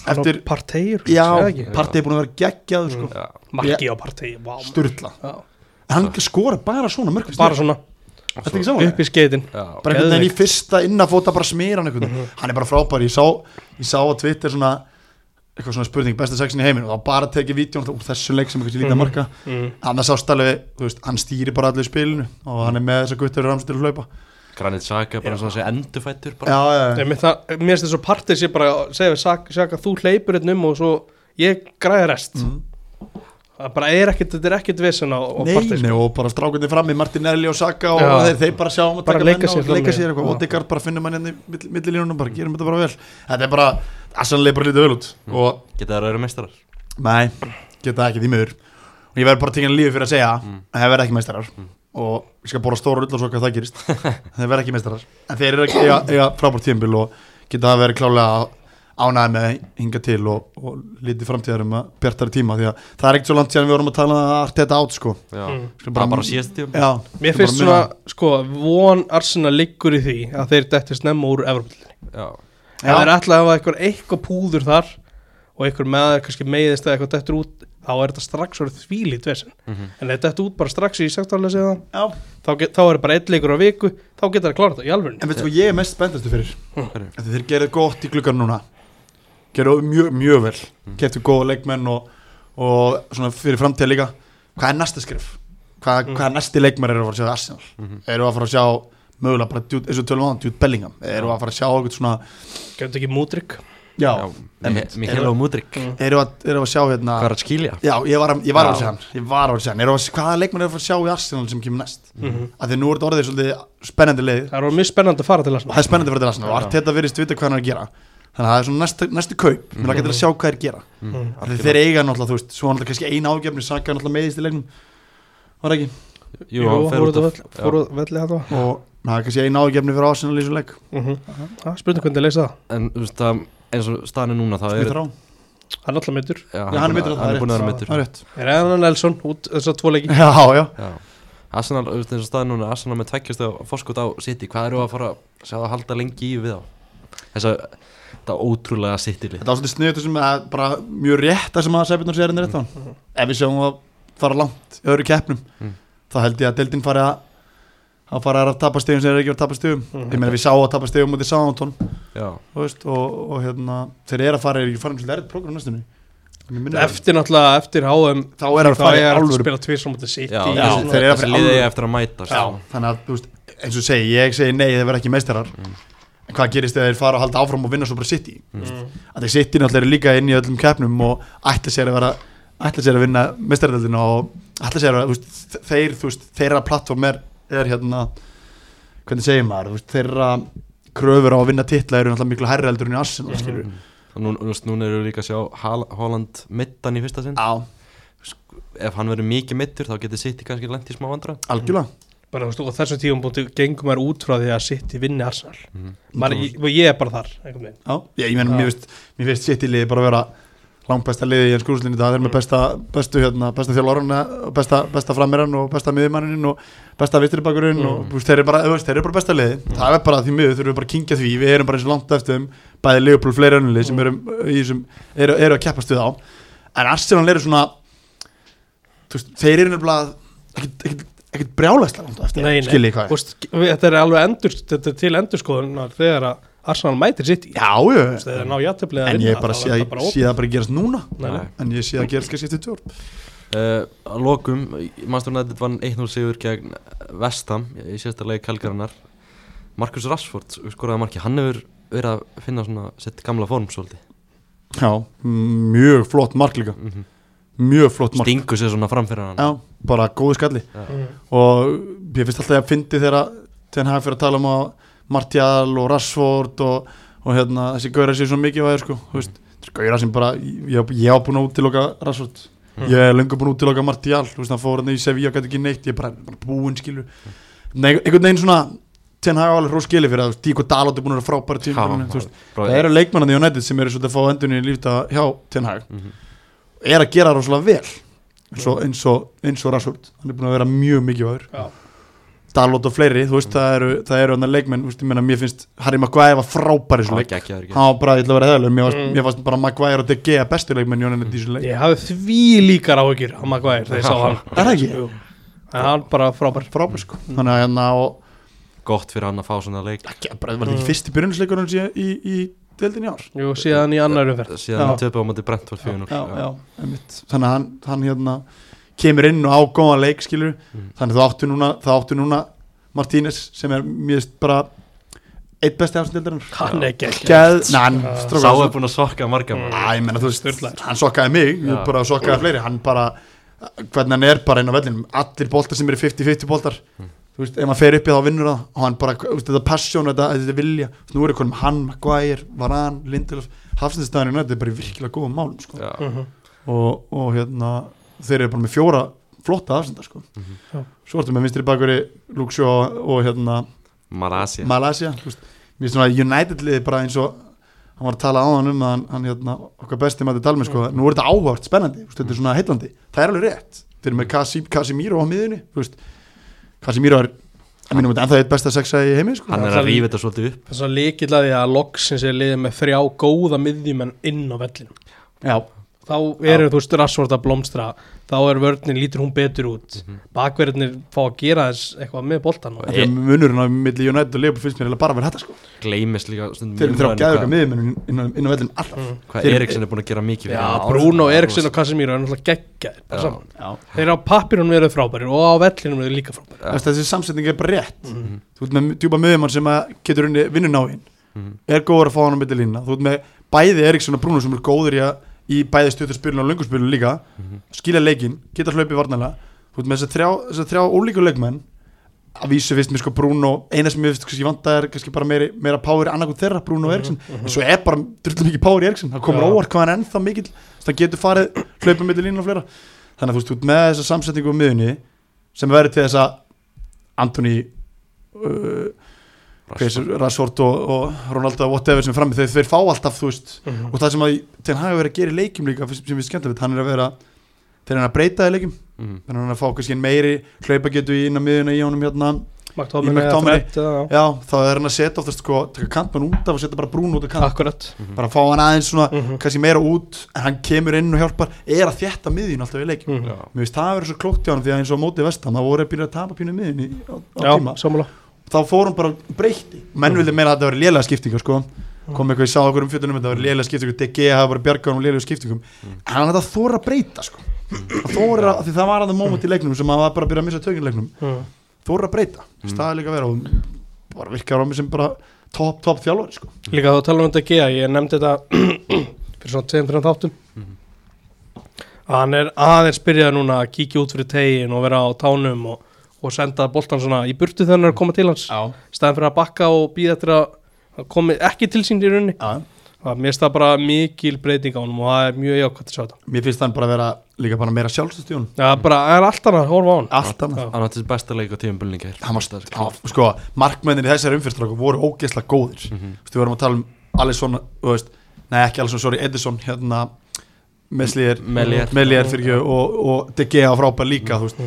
Speaker 4: eftir,
Speaker 1: Parteyur
Speaker 4: já,
Speaker 2: ekki?
Speaker 4: partið er búin að vera geggjað sko,
Speaker 2: Já,
Speaker 1: Marki á parteyur wow.
Speaker 4: sturla
Speaker 1: Mhm. Já.
Speaker 4: hann skora bara svona mörkið
Speaker 1: Bara svona sko.
Speaker 4: þetta er ekki saman
Speaker 1: upp í skeitin
Speaker 2: já,
Speaker 4: bara einhvern veginn í
Speaker 1: Geðveikt. Mhm.
Speaker 4: fyrsta innafóta bara smýr hann einhvern veginn hann er bara frábær, ég sá, ég sá að Twitter svona eitthvað svona spurning, besta sexin í heiminum og þá bara tekið vídjón úr þessum leik sem eitthvað lítið að marka
Speaker 1: mm.
Speaker 4: annars sást alveg, þú veist, hann stýri bara allir spilinu og hann er með þess að guttur ramsa til að hlaupa
Speaker 2: Granit Xhaka bara svona þessi endurfættur bara
Speaker 4: já, já,
Speaker 1: Nei,
Speaker 4: já,
Speaker 1: Mér það- mér finnst þess að partey sé bara að segja við Saka- Saka þú hleypur einn um og svo ég græði rest
Speaker 4: Mhm.
Speaker 1: Það bara er ekkert, þetta er ekkert vesen á, á sko. partey
Speaker 4: neini og bara strákunni fram í Martinelli og Saka og
Speaker 1: Já.
Speaker 4: þeir, þeir bara sjá um að
Speaker 1: Bara
Speaker 4: taka
Speaker 1: leika
Speaker 4: menn
Speaker 1: sér
Speaker 4: og leika
Speaker 1: fram í.
Speaker 4: sér eitthvað
Speaker 1: Já.
Speaker 4: og Degard bara finnum hann hérna í millilínunum bara gerum þetta bara vel þetta er bara, Aslan leipur lítið vel út
Speaker 1: Mhm.
Speaker 4: og
Speaker 2: Geta það að vera meistarar
Speaker 4: Nei, geta ekki því miður Og ég verð bara tekinn lífi fyrir að segja
Speaker 2: Mm.
Speaker 4: að þeir verða ekki meistarar og ég skal bóra stóra rull og svo hvað
Speaker 2: (laughs)
Speaker 4: það gerist þeir verða ekki meistarar en þeir eru ekki eiga, eiga frábært tímbil og geta að vera klálega ánæði með hinga til og, og lítið framtíðar um að bjartari tíma því að það er ekkert svo langt síðan við vorum að tala að allt þetta átt sko
Speaker 2: Já,
Speaker 1: Mm.
Speaker 4: Skulum
Speaker 2: bara, bara síðast tíum
Speaker 4: Já,
Speaker 1: Mér
Speaker 4: skulum
Speaker 1: finnst
Speaker 4: bara
Speaker 1: svona,
Speaker 4: muna-
Speaker 1: sko, von Arsena liggur í því að þeir dætti snemma úr Evropildinni.
Speaker 2: Já,
Speaker 1: Ef þeir ætlaði að hafa eitthvað, eitthvað púður þar og eitthvað með þeir kannski meiðist eða eitthvað dættur út, þá er þetta strax orðið þvílít vesen.
Speaker 2: Mhm.
Speaker 1: En ef dættu út bara strax í sektorlega eða
Speaker 4: Já.
Speaker 1: þá, get, þá er bara eitt leikur á viku, þá getur það klárat það í alvörinu.
Speaker 4: En veitu hvað ég er mest spenntastu fyrir
Speaker 2: hverju?
Speaker 4: Þegar þeir gerðu gott í gluggan núna Gerðu mjög, mjög vel
Speaker 2: Hm.
Speaker 4: mm. Keftu góða leikmenn og, og svona fyrir framtíða líka Hvað er næsta skrif? Hvað,
Speaker 2: Hm.
Speaker 1: Mm.
Speaker 4: hvað er næsti leikmenn eru að fara að sjá í Arsenal?
Speaker 2: Mhm.
Speaker 4: Eru að fara að sjá mögulega bara djút, eins og tölum áðan, djút Bellingham Eru að fara að sjá eitthvað svona
Speaker 1: Gjönd ekki mútrygg.
Speaker 4: Já,
Speaker 2: Já,
Speaker 4: einmitt.
Speaker 2: Mikael og Mudrik
Speaker 1: Mm.
Speaker 4: Eru, að, eru að sjá hérna
Speaker 2: Hvað er að skilja?
Speaker 4: Já, ég var, að- ég var að
Speaker 2: Já.
Speaker 4: sjá hann Ég var að sjá hann Eru að Hvaða leikmenn eru að fara að sjá í Arsenal sem kemur næst? Af því að nú er þetta orðið svolítið spennandi leið
Speaker 1: Mhm. Það er orðið mjög spennandi að fara til
Speaker 4: og
Speaker 1: þess.
Speaker 4: það er spennandi fyrir til Arsenal og allt þetta verðist vita hvað hann er að gera þannig að það er svona næsta, næstu kaup mér lakar til að sjá hvað þeir gera
Speaker 1: Mm.
Speaker 4: af því þeir eiga náttúrulega, þú veist, svo náttúrulega kannski eina ágefni saga náttúrulega meiðist í leiknum var ekki
Speaker 2: Jú, hann fer út af
Speaker 1: fór út velli þetta.
Speaker 4: og það er kannski eina ágefni fyrir Arsenal í þessu leik
Speaker 1: Það Mhm. Ah, spurning hvernig þið leysa það.
Speaker 2: En þú veist það, eins og staðan er núna þá
Speaker 4: Smith
Speaker 2: er
Speaker 4: Rá
Speaker 1: Hann er alltaf meiddur.
Speaker 2: Já,
Speaker 4: Já, hann er meiddur, það
Speaker 2: hann
Speaker 4: er
Speaker 2: er búin að vera
Speaker 1: rétt.
Speaker 2: mittur
Speaker 4: það er rétt
Speaker 1: Er Eðan Nelson út þess tvo leiki.
Speaker 4: já, já
Speaker 2: Já Arsenal, þú veist eins og staðan núna, Arsenal með tveggjast og fórskot á City, hvað eru að fara sjá það að halda lengi í við á? Þess að þetta ótrúlega City-lið
Speaker 4: þetta var svolítið sniðut sem að bara mjög rétt það sem að Sæbjörn sér henni rétt á hann ef við sjáum að fara langt í öðru keppnum
Speaker 2: Mm.
Speaker 4: þá held ég að deildin fari að að fara að tapa stegum sem er ekki að tapa stegum
Speaker 1: Mhm.
Speaker 4: ég meina við sáum að tapa stegum mútið Sántón
Speaker 2: Já,
Speaker 4: þú veist, og, og hérna þeir eru að fara, er ekki farin um svolítið erðið prógram næstunni
Speaker 1: Eftir náttúrulega, eftir HM
Speaker 4: þá er að
Speaker 1: þá
Speaker 4: fara í
Speaker 1: er að
Speaker 4: alvöru
Speaker 1: spila tvísum á City
Speaker 2: já,
Speaker 1: og
Speaker 4: já,
Speaker 1: svona.
Speaker 4: þeir eru að
Speaker 2: þessi
Speaker 4: fara í
Speaker 2: liði
Speaker 4: alvöru.
Speaker 2: eiga eftir að mætast
Speaker 4: Já,
Speaker 2: sko.
Speaker 4: þannig að, þú veist, eins og segi, ég segi nei þeir verða ekki meistarar en hvað gerist þegar þeir fara að halda áfram og vinna svo bara City
Speaker 1: Mm.
Speaker 4: að þeir City náttúrulega eru líka inn í öllum keppnum og ætla sér að vera ætla sér að vinna meistaradöldina og ætla sér að, þú veist, þeir, þú veist, þeirra plattform er, er hérna hvernig segir maður, þú veist, þeirra kröfur á að vinna titla eru náttúrulega miklu hærri heldur en í Arsenal, skilur
Speaker 2: Mm. Og nú, nú, núna eru við líka að sjá Hal- Haaland mittan í fyrsta sinn
Speaker 4: Já,
Speaker 2: Ef hann verður mikið mittur þá getur City kannski lent í smá vandra
Speaker 4: algjörlega
Speaker 1: bara, þú veist, og þessu tíum búin gengum maður út frá því að City vinni Arsenal
Speaker 2: Mhm.
Speaker 1: maður, ég, og ég er bara þar einhvern veginn.
Speaker 4: Já, ég, ég menn,
Speaker 1: Já.
Speaker 4: mér finnst, mér finnst sitt í liði bara að vera langbæsta liði í enn skúrúslinni það er með besta, bestu, hérna, besta þjálfárunna og besta, besta framirinn og besta miðjumannin og besta vitribakurinn mm. og þú veist, þeir eru bara, þú veist, þeir eru bara besta liði það er bara því miður, þurfum við bara að kynkja því við erum bara eins og langt eftir um bæði Leopold fleiri önnulið sem, erum, í þessum, eru, eru að keppast við á en Arsenal eru svona þú veist, þeir eru nefnilega ekkert- ekkert- ekkert brjálæslega langt á eftir
Speaker 1: Nei, nei.
Speaker 4: skiljið
Speaker 1: Þú
Speaker 4: hvað ég.
Speaker 1: veist, við- þetta er alveg endur þetta er til endurskoðunar þegar að Arsenal mætir City
Speaker 4: Já, jú,
Speaker 1: Þú veist, þegar þeir ná jætteflega
Speaker 4: en ég bara sé að- sé það bara gerast núna
Speaker 1: Nei.
Speaker 4: en ég sé að gerast kannski eftir tvö ár
Speaker 2: Uh, að lokum, Manstur United vann 1-0 sigur gegn Vestham í sérsta leik Helgarinnar Markus Rashford skoraði marki, hann hefur verið að finna svona sitt gamla form svolítið
Speaker 4: Já, mjög flott mark líka
Speaker 2: mm -hmm.
Speaker 4: Mjög flott mark
Speaker 2: Stingu sér svona framfyrir hann
Speaker 4: Já, bara góðu skalli
Speaker 1: Mm.
Speaker 4: og ég finnst alltaf að fyndi þegar þegar hann fyrir að tala um að Martial og Rashford og, og hérna, þessi gauðra séu svo mikið væðir sko, þú veist, þessi gauðra sem bara ég, ég á búin að útiloka Rashford
Speaker 2: Mm.
Speaker 4: ég er lengur búin að útiloka Martial þú veist, hann fór hann í Sevilla, gæti ekki neitt, ég er bara, bara búinn skilur, Nei, einhvern veginn svona þegar hann hafa alveg hrós skili fyrir það, þú veist, Díko Dalot er búin að vera frábæra tíma, þú veist það eru leikmannan í United sem eru svolítið að fá endunni í lífta hjá Ten Hag
Speaker 2: Mhm.
Speaker 4: er að gera rosalega vel eins og, eins og, eins og Rashford hann er búin að vera mjög mikið væður
Speaker 1: Já.
Speaker 4: Dalot og fleiri, þú veist, það eru, það eru hann leikmenn, þú veist, ég meina, mér finnst Harry Maguire var frábæri svo leik,
Speaker 2: leik
Speaker 4: hann var bara, ég ætla að vera heðalur mér,
Speaker 1: Mm.
Speaker 4: mm. mér fannst bara Maguire og De Gea bestu leikmenn í United í þessu leik,
Speaker 1: Ég hafði því líkar áhyggjur á Maguire þegar ég sá hann
Speaker 4: (laughs) er það ekki?
Speaker 1: Jú. En hann bara frábær
Speaker 4: frábæri sko, þannig að hérna og
Speaker 2: Gott fyrir hann að fá svona leik
Speaker 4: ekki, bara, var þetta
Speaker 1: Mm.
Speaker 4: ekki fyrsti byrjunisleikur hans í, í, í deildin í ár
Speaker 1: Jú, síðan í annar umferð
Speaker 2: Síðan hann
Speaker 4: Já.
Speaker 2: töpu á móti Brentford 4-0
Speaker 4: já, já, einmitt þannig að hann, hann hérna kemur inn og ágóðan leik skilur
Speaker 2: Mm.
Speaker 4: þannig að það áttu núna, það áttu núna Martínez sem er mjög bara eitt besti afsnildarinn
Speaker 1: Hann er gegn
Speaker 4: Gæð, næ, hann
Speaker 1: Já.
Speaker 2: Sá
Speaker 4: strókaði
Speaker 2: er búin að sokka marga
Speaker 1: Mm.
Speaker 2: mm.
Speaker 4: Æ, menna, þú veist,
Speaker 1: Sturlaður.
Speaker 4: hann sokkaði mig
Speaker 2: Já.
Speaker 4: já. bara sokkaði fleiri, hann bara hvernig hann er bara inn á vellinum allir boltar sem eru 50-50 boltar
Speaker 2: Mm.
Speaker 4: þú veist, ef hann fer upp í þá vinnur það og hann bara, þú veist, þetta passion, þetta, þetta vilja nú eru konum hann, Maguire, Varan, Lindelöf Hafsindstæðinu, þetta er bara í virkilega góðum málum sko
Speaker 2: Já,
Speaker 1: Mhm.
Speaker 4: og, og hérna þeir eru bara með fjóra flotta afsendar sko.
Speaker 2: Mhm.
Speaker 1: Já.
Speaker 4: svo ertu með vinstri bakveri Luxjó og hérna
Speaker 2: Malasia
Speaker 4: Malasia þú veist. mér finnst svona United liði bara eins og hann var að tala á hann um að hann, hann hérna, okkar besti maður dalmi sko, nú er þetta áhört spennandi, þú veist, þetta er svona heitlandi það er alveg rétt, þeir eru með Kasi- Casimiro á miðunni, þú veist Casimiro er, að mínum þetta ennþá eitt besta sexa í heimi sko.
Speaker 2: Hann er að rífa þetta svolítið upp
Speaker 1: Þess að líkil að því að loksins er liðið með þrjá góða miðjumenn inn á vellinum
Speaker 4: já,
Speaker 1: Þá eru þú veist rassvort að blómstra Þá er vörnin, lítur hún betur út Bakverðinir fá að gera þess eitthvað með boltan
Speaker 2: Og
Speaker 4: þetta er munurinn á milli United og Leopold finnst mér eiginlega bara verið þetta sko.
Speaker 2: Gleimist líka stundum
Speaker 4: þeir
Speaker 2: í
Speaker 4: eru þrjá
Speaker 2: umræðunni
Speaker 4: gæðu
Speaker 2: hvað-
Speaker 4: okkar miðunni inn á- inn á vellinum alltaf
Speaker 1: Mm.
Speaker 2: Hvað
Speaker 4: Þeir-
Speaker 2: Eriksson er búin að gera mikið fyrir
Speaker 1: Já,
Speaker 2: hann.
Speaker 1: Bruno, Eriksson og Casemiro er náttúrulega geggjaðir bara
Speaker 2: Já.
Speaker 1: saman.
Speaker 4: Já.
Speaker 1: Þeir á pappirunum eru frábærir og á vellinum eru líka frábærir
Speaker 4: Þú veist, þessi samsetning er bara rétt þú ert með djúpa miðjumann sem að getur unni vinnun á hinn er góður að fá hann á milli línna þú ert með bæði Eriksson og Bruno sem eru góður í, að, í bæði stuttarspilun og löngurspilun líka skilja leikinn, geta hlaupið varnalega þú ert með þess að þrjá, þessa þrjá ólíku leikmenn að vísu finnst mér sko Bruno eina sem ég finnst kannski vanta er kannski bara meiri, meira power annarkoð þeirra Bruno og Eriksson en svo er bara drullum mikið power í Eriksson það komur
Speaker 1: Já.
Speaker 4: óvart hvað hann er ennþá mikill þannig að getur farið hlaupið milli línna og fleira þannig að þú veist, þú ert með þessa samsetningu á miðunni sem verður til þess að Anthony uh, Rashford. Rashford og, og Ronaldo whatever sem er frammi, þeir, þeir fá alltaf þú veist
Speaker 1: Mhm.
Speaker 4: og það sem að Ten Hag er að vera að gera í leikjum líka finnst- sem við skemmtilegt, hann er að vera þeir eru að breyta í leikjum,
Speaker 1: Mm.
Speaker 2: Mhm.
Speaker 4: þannig að hann er að fá kannski einn meiri hlaupa getu í inn á miðuna í honum hérna
Speaker 1: McTominay,
Speaker 4: Í McTominay.
Speaker 1: Fred, já,
Speaker 4: já, þá er hann að setja oftast sko, taka kantmann út af og setja bara brún út af kant
Speaker 1: Akkurat
Speaker 4: bara fá hann aðeins svona,
Speaker 1: Mhm.
Speaker 4: kannski meira út en hann kemur inn og hjálpar, er að þjætta miðjun alltaf í leikjum,
Speaker 1: Mhm.
Speaker 4: mér finnst það að vera svo klókt hjá hann því að eins og á móti vestan, þá voru að byrja að tapa pínu miðjun á, á
Speaker 1: Já,
Speaker 4: tíma
Speaker 1: sammála
Speaker 4: þá fór hún bara og breytti menn vildi meina að þetta var lélega skiptingar sko kom eitthvað, ég sá okkur um fjöldunum þetta var lélega skiptingar DG hafa bara bjargað um lélega skiptingum hann hætti að þóra að breyta sko að þóra, af því það var að það moment í leiknum sem hann var bara að byrja að missa tökinn í leiknum þóra að breyta, staði líka að vera og bara virkar á mig sem bara top, top þjálfari sko
Speaker 1: Líka þá tala um þetta Gea, ég nefndi þetta (clears throat) fyrir svona 2-3 þáttum
Speaker 4: Mhm.
Speaker 1: að hann er aðeins byrjað núna að kíkja út fyrir tegin og vera á tánum og, og senda boltan svona í burtu þegar hann er að koma til hans
Speaker 4: já,
Speaker 1: staðan fyrir að bakka og býða eftir að að komi ekki til sín í rauninni
Speaker 4: já
Speaker 1: að mér stað bara mikil breyting á honum og það er mjög jákvæmt að sjá þetta
Speaker 4: mér finnst hann bara að vera líka bara meira sjálfstustjón
Speaker 1: Já, bara, það er allt annað að horfa á hann
Speaker 4: allt annað
Speaker 1: Já.
Speaker 2: Hann átti þessi besta leik á tíum bulningar
Speaker 4: hann var stöð sko, markmennir í þessari umfyrstráku voru ógeðslega góðir mm við vorum að tala um Alisson þú veist, nei ekki Alisson, sorry, Edison hérna, Meslier
Speaker 2: Melier.
Speaker 4: Melier fyrir ekki og, og De Gea frábær líka þú veist,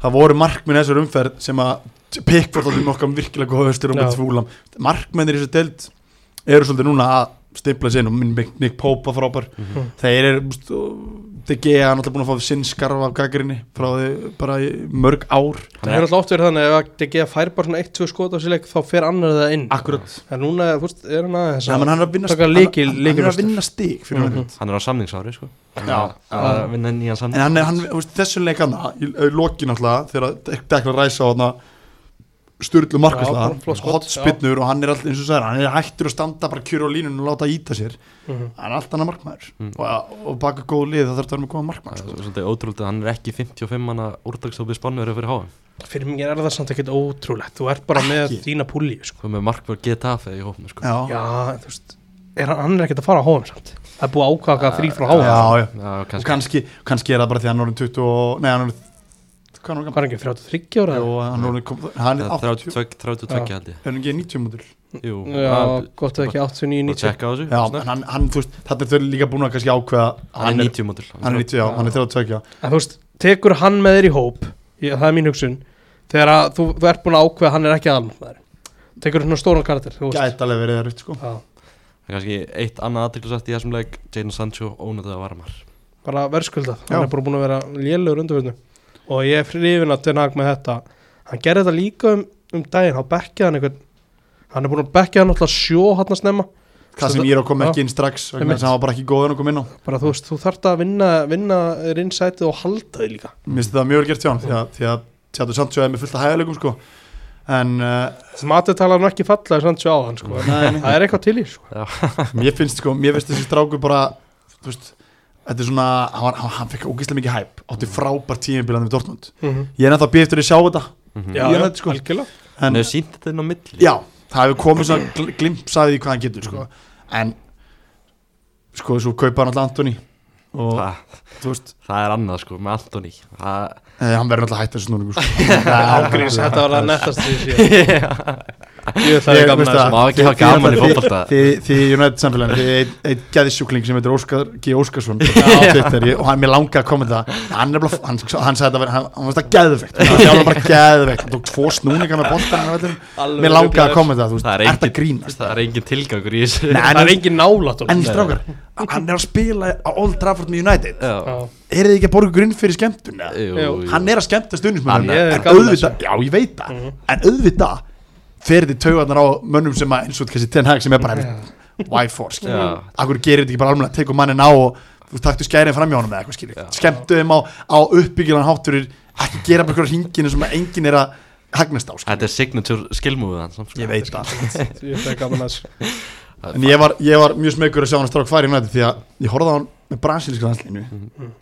Speaker 4: það voru markmenn í þessari umferð sem að Pickford átti með okkar virkilega góða höstur og
Speaker 1: Já.
Speaker 4: með fúlam markmennir í þessu deild eru svolítið núna að stimpla sér og minn Nick- Nick Pope var frábær þeir eru þú veist, og De Gea er náttúrulega búin að fá sinn skarf af gaggrinni frá því bara í mörg ár
Speaker 1: Það er alltaf oft verið þannig að ef De Gea fær bara svona 1-2 skot á sér leik þá fer annar það inn
Speaker 4: akkurat
Speaker 1: En núna þú veist, er hann aðeins
Speaker 4: Já, menn hann er Ah. að vinna
Speaker 1: taka
Speaker 4: hann-
Speaker 1: lykil- Mhm.
Speaker 4: hann- hann er að
Speaker 1: lykilvörstur.
Speaker 4: vinna stig fyrir mm
Speaker 2: Hann er á samningsári sko
Speaker 4: Já.
Speaker 2: Að vinna nýjan
Speaker 4: en
Speaker 2: samning
Speaker 4: hann er, hann, þú veist, þessum leik hann í í lokin alltaf þegar dekla ræsa á hann sturlu
Speaker 1: Já,
Speaker 4: markvæsla
Speaker 1: flott skot,
Speaker 4: hotspinnur og hann er alltaf eins og sagði, hann er hættur að standa bara kjur á línun og láta íta sér
Speaker 1: Mhm.
Speaker 4: hann er allt annað markmaður
Speaker 2: Mm.
Speaker 4: og, og baka góð lið það þarf að vera með góða
Speaker 2: Það
Speaker 4: markmaður sko.
Speaker 2: er svolítið ótrúldið að hann er ekki 55 manna úrtagstópið spannverið fyrir háum
Speaker 1: fyrir mig er það samt ekkert ótrúlegt þú ert bara með
Speaker 4: Ekki. Ah.
Speaker 1: þína púli sko.
Speaker 2: Hvað með markverð Getafe í hópinu sko
Speaker 4: já, já,
Speaker 1: já, þú veist er hann, hann er ekkert að fara á háum samt það er búið að ákaka frí frá háum
Speaker 4: Ah, já,
Speaker 2: Já,
Speaker 4: já. og
Speaker 2: kannski
Speaker 4: kannski, kannski er það bara því að hann er orðin 20 og, nei, hann er hvað er
Speaker 1: hvað
Speaker 4: hann gammal?
Speaker 1: er ekki 33 ára
Speaker 4: Jó, hann er orðinn kom- hann er
Speaker 2: Það er
Speaker 4: 80
Speaker 2: 32 32 held ég
Speaker 4: er hann ekki 90 mútur
Speaker 2: Jú,
Speaker 1: já,
Speaker 4: Ah,
Speaker 1: gott að ekki 89, 90
Speaker 2: Bara tjekka á þessu
Speaker 4: já,
Speaker 2: snöggt.
Speaker 4: en hann, hann, þú veist, þetta er þau líka búin að kannski ákveða
Speaker 2: Hann er 90 mótil
Speaker 4: hann er 90, já, hann er 32 já.
Speaker 1: en þú veist, tekur hann með þér í hóp ég, það er mín hugsun þegar að þú, þú ert búin að ákveða að hann er ekki aðalmaður tekur svona stóran karakter þú veist
Speaker 4: gæti alveg verið erfitt sko
Speaker 1: Já,
Speaker 2: Kannski eitt annað aðtryggsagt í þessum leik Jadon Sancho ónættið að varamar
Speaker 1: bara verðskuldað,
Speaker 4: Já.
Speaker 1: hann er bara búin að vera lélögur undirvörnu og ég er frifin að tenna með þetta, hann gerði þetta líka um, um daginn, hann bekkið hann einhvern hann er búin að bekkið hann alltaf sjó hann að snemma,
Speaker 4: hvað sem ég er að koma ekki inn strax vegna
Speaker 1: Einmitt.
Speaker 4: þess að hann var bara ekki góður að koma inn á
Speaker 1: bara þú veist, þú þarft að vinna vinna rinnsætið og halda þig líka
Speaker 4: Mér finnst það mjög vel gert hjá hann því að, því að Tjátur Sandsjó er með fullt af hæðalegum sko en uh,
Speaker 1: sem aðeins tala hann ekki falla þess að sjá hann sko. en það er eitthvað til í sko.
Speaker 4: (laughs) mér finnst sko, mér finnst þessi strákur bara þú veist, þetta er svona hann, var- hann, hann fekk ógeðslega mikið hæp átti frábært tímabilan við Dortmund ég er ennþá býð eftir að sjá þetta
Speaker 1: já,
Speaker 4: Mhm. Ég
Speaker 1: já,
Speaker 4: veit, sko.
Speaker 1: algjörlega
Speaker 2: Hann
Speaker 4: en,
Speaker 2: hefur sínt þetta inn á milli
Speaker 4: já, það hefur komið svona gl- glimps að því hvað hann getur sko
Speaker 2: Mhm.
Speaker 4: en sko svo kaupa hann alltaf Antoni og
Speaker 2: Þa,
Speaker 4: þú veist,
Speaker 2: Það er annað sko með Antoni Það
Speaker 4: eh, hann verður alltaf hægt þessu núningu
Speaker 2: (laughs)
Speaker 4: sko.
Speaker 1: Ágríns, þetta var að nettast því sé
Speaker 2: Ég
Speaker 4: Ég- veistu
Speaker 2: Má ekki hafa gaman í fótbolta
Speaker 4: Þið þið í United samfélaginu Þið er einn gæðisjúkling sem heitir Óskar G. Óskarsson á
Speaker 2: (laughs)
Speaker 4: Twitter, ég- og hann mér langa að koma það hann, er bara- hann, hann sagði þetta verið- hann, hann var þetta gæðvegt hann sjálf bara gæðvegt hann tók tvo snúninga með boltan mér langa að koma það þú veist,
Speaker 2: Það er
Speaker 4: ert að
Speaker 2: engin-
Speaker 4: grínast
Speaker 2: Það er engin tilgangur í þessu
Speaker 4: Nei,
Speaker 1: það
Speaker 4: en,
Speaker 1: er engin nálat honum.
Speaker 4: en strákar, hann er að spila á Old Trafford með United
Speaker 2: (laughs) Já,
Speaker 1: Já.
Speaker 4: er þið ekki að borga grinn fyrir skemmtun eða?
Speaker 2: jú,
Speaker 1: Jú.
Speaker 2: jú.
Speaker 4: hann er að skemmta stundismenn
Speaker 1: Hann er
Speaker 4: en
Speaker 1: gamla
Speaker 4: auðvitað, já ég veit það en auðvitað fer þið taugarnar á mönnum sem að eins og þessi Ten Hag sem er bara why for, skilur,
Speaker 2: Já.
Speaker 4: akkur gerir þetta ekki bara alveg að teka mannin á og þú veist, taktu skærin fram í honum eða eitthvað skilur, skemmtu þeim á, á uppbyggjulegan hátturir, ekki gera bara einhverja hringinu sem að enginn er að hagnast á skilur.
Speaker 2: Þetta er signature skilmúið hans sko.
Speaker 4: ég veit það,
Speaker 1: Ég ætla að gaman að þessu.
Speaker 4: en ég var, ég var mjög smekur að sjá hann strák færi í nætti því að ég horfði á hann með brasilíska landslinu
Speaker 1: Mhm.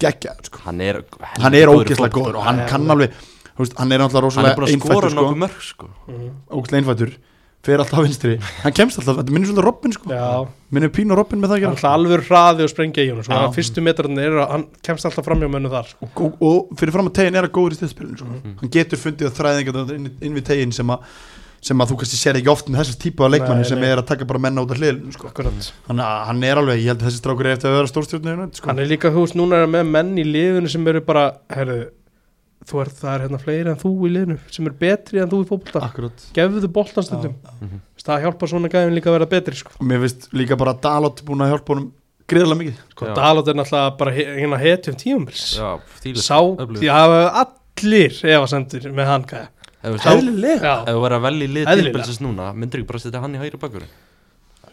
Speaker 4: geggja, sko
Speaker 2: Hann er
Speaker 4: hann er
Speaker 2: góður í
Speaker 4: ógeðslega
Speaker 2: fótbolta.
Speaker 4: góður og hann kann alveg þú veist, hann er náttúrulega
Speaker 2: Hann er
Speaker 4: rosalega
Speaker 2: búin að skora
Speaker 4: einfættur sko,
Speaker 2: nokkuð mörg sko
Speaker 4: ógeðslega einfættur fer alltaf á vinstri, hann kemst alltaf þetta minnir svolítið Robin sko,
Speaker 1: Já.
Speaker 4: minnir pínu Robin með það að
Speaker 1: hann
Speaker 4: gera
Speaker 1: er alveg hraði og sprengja í honum
Speaker 4: Já.
Speaker 1: svona, fyrstu metrarnir eru að hann kemst alltaf fram hjá mönnu þar sko.
Speaker 4: og, og, og fyrir fram að tegin er að góður í stöðspilinu sko.
Speaker 1: Mhm.
Speaker 4: hann getur fundið að þræðinga inn, inn við tegin sem að sem að þú kannski sér ekki oft með þessar típu af leikmanni
Speaker 1: Nei,
Speaker 4: sem
Speaker 1: nei.
Speaker 4: er að taka bara menna út af hliðinu sko.
Speaker 1: Akkurat.
Speaker 4: hann, hann er alveg, ég held að þessi strákur er eftir að vera stórstjórnir sko.
Speaker 1: hann er líka þú veist núna er hann með menn í liðinu sem eru bara herru þú er það er hérna fleiri en þú í liðinu sem eru betri en þú í fótbolta
Speaker 4: akkurat
Speaker 1: gefðu þú boltan stundum
Speaker 4: Ah,
Speaker 1: Veist, það hjálpar svona gæðin líka að vera betri sko.
Speaker 4: og mér finnst líka bara að Dalot búin að hjálpa honum greiðlega mikið
Speaker 1: sko,
Speaker 2: Já.
Speaker 1: Dalot er náttúrulega bara he- hérna hetjum tíumils
Speaker 2: Já, fílis
Speaker 1: sá því að allir efasendur með hann gæða
Speaker 2: Ef
Speaker 1: Sá-
Speaker 4: Eðlilega.
Speaker 1: Já.
Speaker 2: þú verður að velja í lið
Speaker 1: Eðlilega.
Speaker 2: tilbilsins núna myndir ekki bara setja hann í hægri bakkur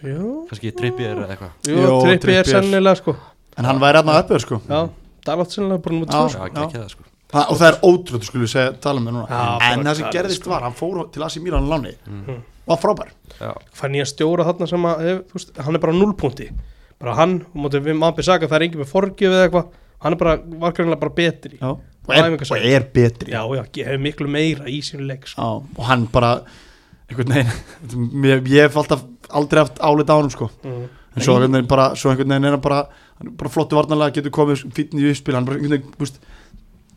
Speaker 1: Jú,
Speaker 2: kannski trippi er eitthvað
Speaker 1: jú,
Speaker 4: Jó,
Speaker 1: Trippi er
Speaker 4: Trippier.
Speaker 1: sennilega sko.
Speaker 4: en hann væri aðnað uppöður sko.
Speaker 1: Já, Dalot sennilega bara nummer 2
Speaker 4: Já.
Speaker 2: Já, ekki ekki það sko
Speaker 4: Þa, og það er ótrúð, skulum við segja, tala með núna
Speaker 1: Já, Sko. bara
Speaker 4: en það sem
Speaker 1: galið,
Speaker 4: gerðist var, hann fór til Asi Mílan láni
Speaker 1: Mhm.
Speaker 4: mm. og var frábær
Speaker 2: Já,
Speaker 1: fann ég að stjóra þarna sem að hef, veist, hann er bara á núllpunkti bara hann, og mótið við maður besaka það er engin með forgjöf eða eitthvað hann er bara, var greinlega bara betri já,
Speaker 4: og er,
Speaker 1: Æfingasæti.
Speaker 4: og er betri
Speaker 1: já, ég hef miklu meira í sínu leik sko.
Speaker 4: Já, og hann bara einhvern veginn, (laughs) mér- ég hef alltaf aldrei haft álið á hann sko.
Speaker 1: Mhm.
Speaker 4: en svo einhvern veginn bara, svo einhvern veginn er hann bara, hann er bara flottu varnarlega, getur komið fítni í uppspil, hann bara einhvern veginn, búst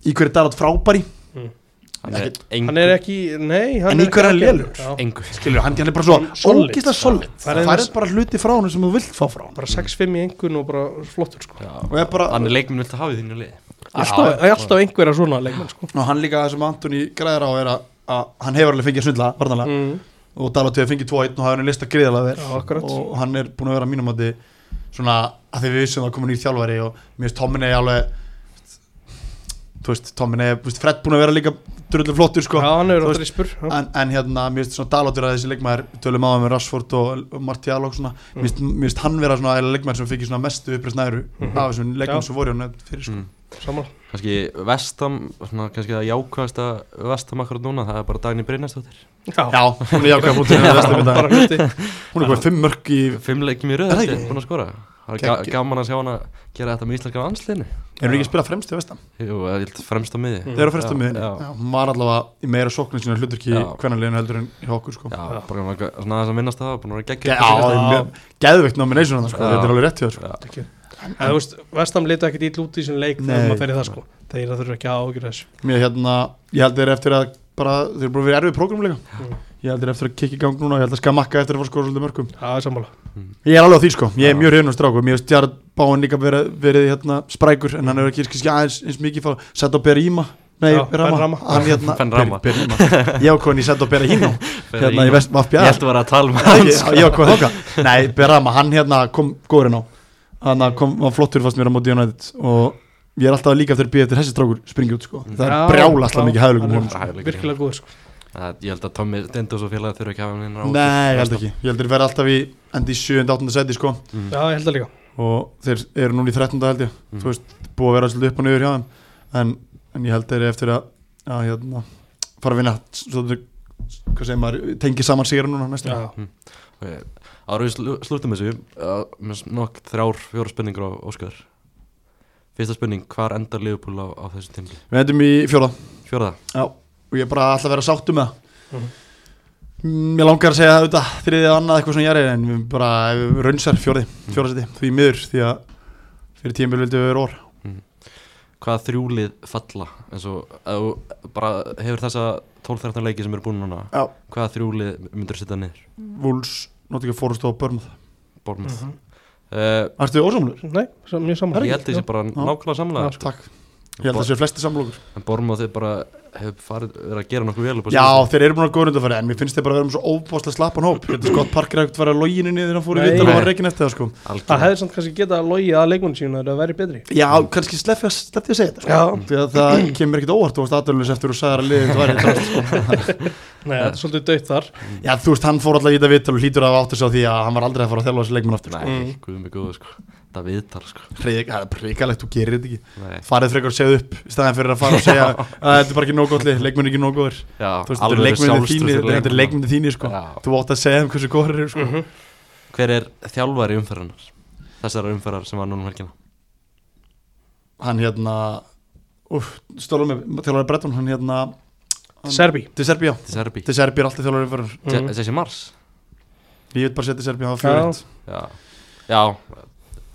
Speaker 4: í hverju dalat frábæri
Speaker 2: hann er
Speaker 4: Ekki-
Speaker 2: engu
Speaker 1: hann er ekki, nei hann
Speaker 4: En í hverju er hann
Speaker 1: ekki-
Speaker 4: lélegur?
Speaker 1: já,
Speaker 2: Engu
Speaker 4: skilur, hann, hann er bara svo
Speaker 1: Solid.
Speaker 4: ógislega solid,
Speaker 1: Það er
Speaker 4: það er bara hluti frá hann sem þú vilt fá frá hann
Speaker 1: bara 6-5 í engun og bara flottur sko.
Speaker 2: Já,
Speaker 4: og, er bara,
Speaker 2: hann er leikminn vilt að hafa í þínu lið
Speaker 1: alltaf, já, alltaf einhverja svona leikmenn sko.
Speaker 4: og hann líka það sem Antoni græðir á er að, að hann hefur alveg fengið að svindla varnarlega
Speaker 1: mm.
Speaker 4: og Dalot hefur fengið 2-1 og hafði hann lista greiðalega
Speaker 1: Já,
Speaker 4: vel
Speaker 1: akkurat.
Speaker 4: og hann er búin að vera mínum átti svona að því við vissum að koma nýr þjálfari og mér finnst Tomminei alveg þú veist, Tomminei, þú veist, Fred búin að vera líka drullur flottur sko
Speaker 1: já, hann
Speaker 4: Þú
Speaker 1: hefur
Speaker 4: veist,
Speaker 1: alltaf í spur já.
Speaker 4: en, en hérna, mér finnst svona Dalot vera þessi leikmaður við tölum á hann með Rashford og, og Martial og svona, mér
Speaker 1: Mm.
Speaker 4: finnst- mér finnst hann vera svona eiginlega leikmaður sem fikk svona mestu uppreist næru af þessum leikmaður
Speaker 1: Mhm. Já.
Speaker 4: sem voru hann fyrir sko
Speaker 2: Mm.
Speaker 1: saman
Speaker 2: kannski vestam, svona, kannski það jákvæðasta vestam akkurat núna, það er bara Dagný Brynjarsdóttir
Speaker 4: Já, hún er jákvæða (laughs) búin
Speaker 1: Já, bara hluti
Speaker 4: Hún er komið fimm mörg í
Speaker 2: Fimm leikjum í röð,
Speaker 4: Er það
Speaker 2: held ég,
Speaker 4: ekki?
Speaker 2: búin að skora Það er ga-
Speaker 4: Kekki.
Speaker 2: gaman að sjá hana gera þetta með íslenska landsliðinu
Speaker 4: Erum við ekki að spila fremst í vestam?
Speaker 2: Jú, það er eitthvað fremst á miði
Speaker 1: Mm.
Speaker 4: Þeir eru fremst á
Speaker 2: Já,
Speaker 4: miðinni
Speaker 2: já.
Speaker 4: Mhm. Já, Hún var allavega í meira sóknum sína hluturki
Speaker 2: Já.
Speaker 4: hvernig leginu heldur en hjá okkur sko
Speaker 2: Já, bara svona svona aðeins að minnast það, búin að vera
Speaker 4: Já,
Speaker 2: geggjum
Speaker 4: það er mjög geðveikt nomination hann sko,
Speaker 2: Já.
Speaker 4: þetta er alveg rétt hjá þér sko
Speaker 2: Já.
Speaker 1: En þú veist, Vestam litu ekkert ítl út í sinni leik
Speaker 4: Nei.
Speaker 1: þegar maður fer í það sko Þeir þurfa ekki að ágjöra þessu
Speaker 4: Mér hérna, ég held þeir eftir að bara, þeir eru búin að vera erfið prógram líka
Speaker 1: Mm.
Speaker 4: Ég held þeir eftir að kikki í gang núna, ég held að skamakka eftir að fara að skora svolítið mörgum
Speaker 1: Það er sammála
Speaker 4: Ég er alveg á því sko, ég er
Speaker 2: Já.
Speaker 4: mjög hrifnum stráku Mér veist Jared Báin líka verið, verið hérna, sprækur En hann hefur ekki kannski aðeins eins mikið fá Sett á Berima Nei,
Speaker 1: Já,
Speaker 4: Rama.
Speaker 1: Ben Rama.
Speaker 4: Hann, hérna,
Speaker 2: Ben Rama.
Speaker 4: (laughs) Ber, Berima. Ég ákvæðan í Sett á Berahino Hérna í vest
Speaker 2: Ég
Speaker 4: Vafbjæðar
Speaker 2: held að vera að
Speaker 4: (laughs)
Speaker 2: tala um með hann
Speaker 4: Ég ákvæðan þóka Nei, Berama, hann hérna kom góðurinn á Hann kom, var flottur fast mér á móti United Og ég er alltaf líka eftir að býja eftir þessi strákur springi út sko Það
Speaker 1: Já,
Speaker 4: er brjálast
Speaker 1: já,
Speaker 4: að mikið hæðlugum
Speaker 1: hann er
Speaker 4: honum sko.
Speaker 2: sko.
Speaker 1: Virkilega góður sko
Speaker 2: Það- Ég held að Tommy Stendos og félagi þurfa ekki að hafa hann inn
Speaker 4: Nei, ég held ekki Ég held þeir verða alltaf í endi í 7. 8. seti sko
Speaker 1: Já, ég held það líka
Speaker 4: og þeir eru núna í 13. held ég
Speaker 2: Mm.
Speaker 4: þú veist, búið að vera svolítið upp og niður hjá þeim en, en ég held þeir eru eftir að, að hérna, fara að vinna svolítið, hvað segir maður, tengi saman sigra núna næstu
Speaker 1: Já,
Speaker 4: já.
Speaker 2: Ára við slú- slúttum þessu uh, með nokk þrjár, fjóra spurningur á Óskar Fyrsta spurning, hvar endar Liverpool á, á þessu tímli?
Speaker 4: við endum í fjóla
Speaker 2: Fjórða,
Speaker 4: og ég er bara alltaf að vera sáttu með það
Speaker 1: Mhm.
Speaker 4: mm. ég langar að segja þetta þriðið annað eitthvað svona jæri en við bara við raunsar fjórði, fjóra seti því miður því að fyrir tímil vildum við vera orð
Speaker 2: hvaða þrjúlið falla? En svo, ef þú bara hefur þessa 12-13 leiki sem eru búin núna
Speaker 4: Já.
Speaker 2: Hvaða þrjúlið myndur setja niður?
Speaker 4: Vúls, notika fórust og börnum það
Speaker 2: Bormað mm
Speaker 1: Mhm.
Speaker 4: Ertu ósamlega?
Speaker 1: Nei, sam- mjög sammála
Speaker 2: Eh, Ég held þessi bara nákvæmlega samlega sko.
Speaker 4: Takk, ég held að þessu flesti samlokur
Speaker 2: En Bormað þeir bara hefur farið, verið að gera nokkuð vel upp á
Speaker 4: Já,
Speaker 2: síðustu.
Speaker 4: þeir eru búin að góða undanfæri en mér finnst þeir bara vera um svo óbáslega slappan hóp Þetta er Scott Parker ekkert var að loginu niður þegar hann fór í
Speaker 1: Nei.
Speaker 4: vittal og var
Speaker 2: Nei.
Speaker 4: reikin eftir það sko
Speaker 1: Það
Speaker 2: Algjörlega.
Speaker 1: hefði samt kannski getað að logið að leikmenn sína Það væri betri
Speaker 4: Já, kannski slefti að, sleppti að segja þetta sko
Speaker 1: Já,
Speaker 4: Því að það kemur ekkert óvart og staðalulis eftir og sagðar að liðið þetta væri í drast, sko.
Speaker 1: nei, þetta er svolítið döitt þar
Speaker 4: Já, þú veist, hann fór alltaf í þetta vittal og hlýtur að átta sig á því að hann var aldrei að fara að þjálfa þessi leikmenn aftur sko.
Speaker 2: Nei, guð mig góðu sko Það viðtal sko
Speaker 4: Hreik- Það er prikalegt, þú gerir þetta ekki
Speaker 2: Nei.
Speaker 4: Farið frekar og segja upp í staðan fyrir að fara og
Speaker 2: (laughs)
Speaker 4: segja að þetta er bara ekki nóg gott lið, leikmenn er ekki nóg góður
Speaker 2: Já,
Speaker 4: Þú veist, þetta er
Speaker 2: alvöru
Speaker 4: leikmenn
Speaker 2: sjálfstraust
Speaker 4: þínir,
Speaker 2: fyrir
Speaker 4: þetta er
Speaker 2: leikmann.
Speaker 4: leikmenn þínir sko
Speaker 2: Já. Mhm.
Speaker 4: Þú átt að segja þeim hversu góður er sko
Speaker 2: Hver er þjálfari umferðarnar? Þessar umferðar sem var núna um helgina
Speaker 4: hann hérna úf, stólum með þjálfari Bretton hann hérna hann-
Speaker 1: Serbi
Speaker 4: til Serbía
Speaker 2: Til Serbi
Speaker 4: til Serbía er alltaf þjálfari fyrir
Speaker 1: Mhm.
Speaker 2: Þessi Mars
Speaker 4: ég vil bara setja Serbía á
Speaker 1: Já.
Speaker 4: fjórið
Speaker 2: Já, já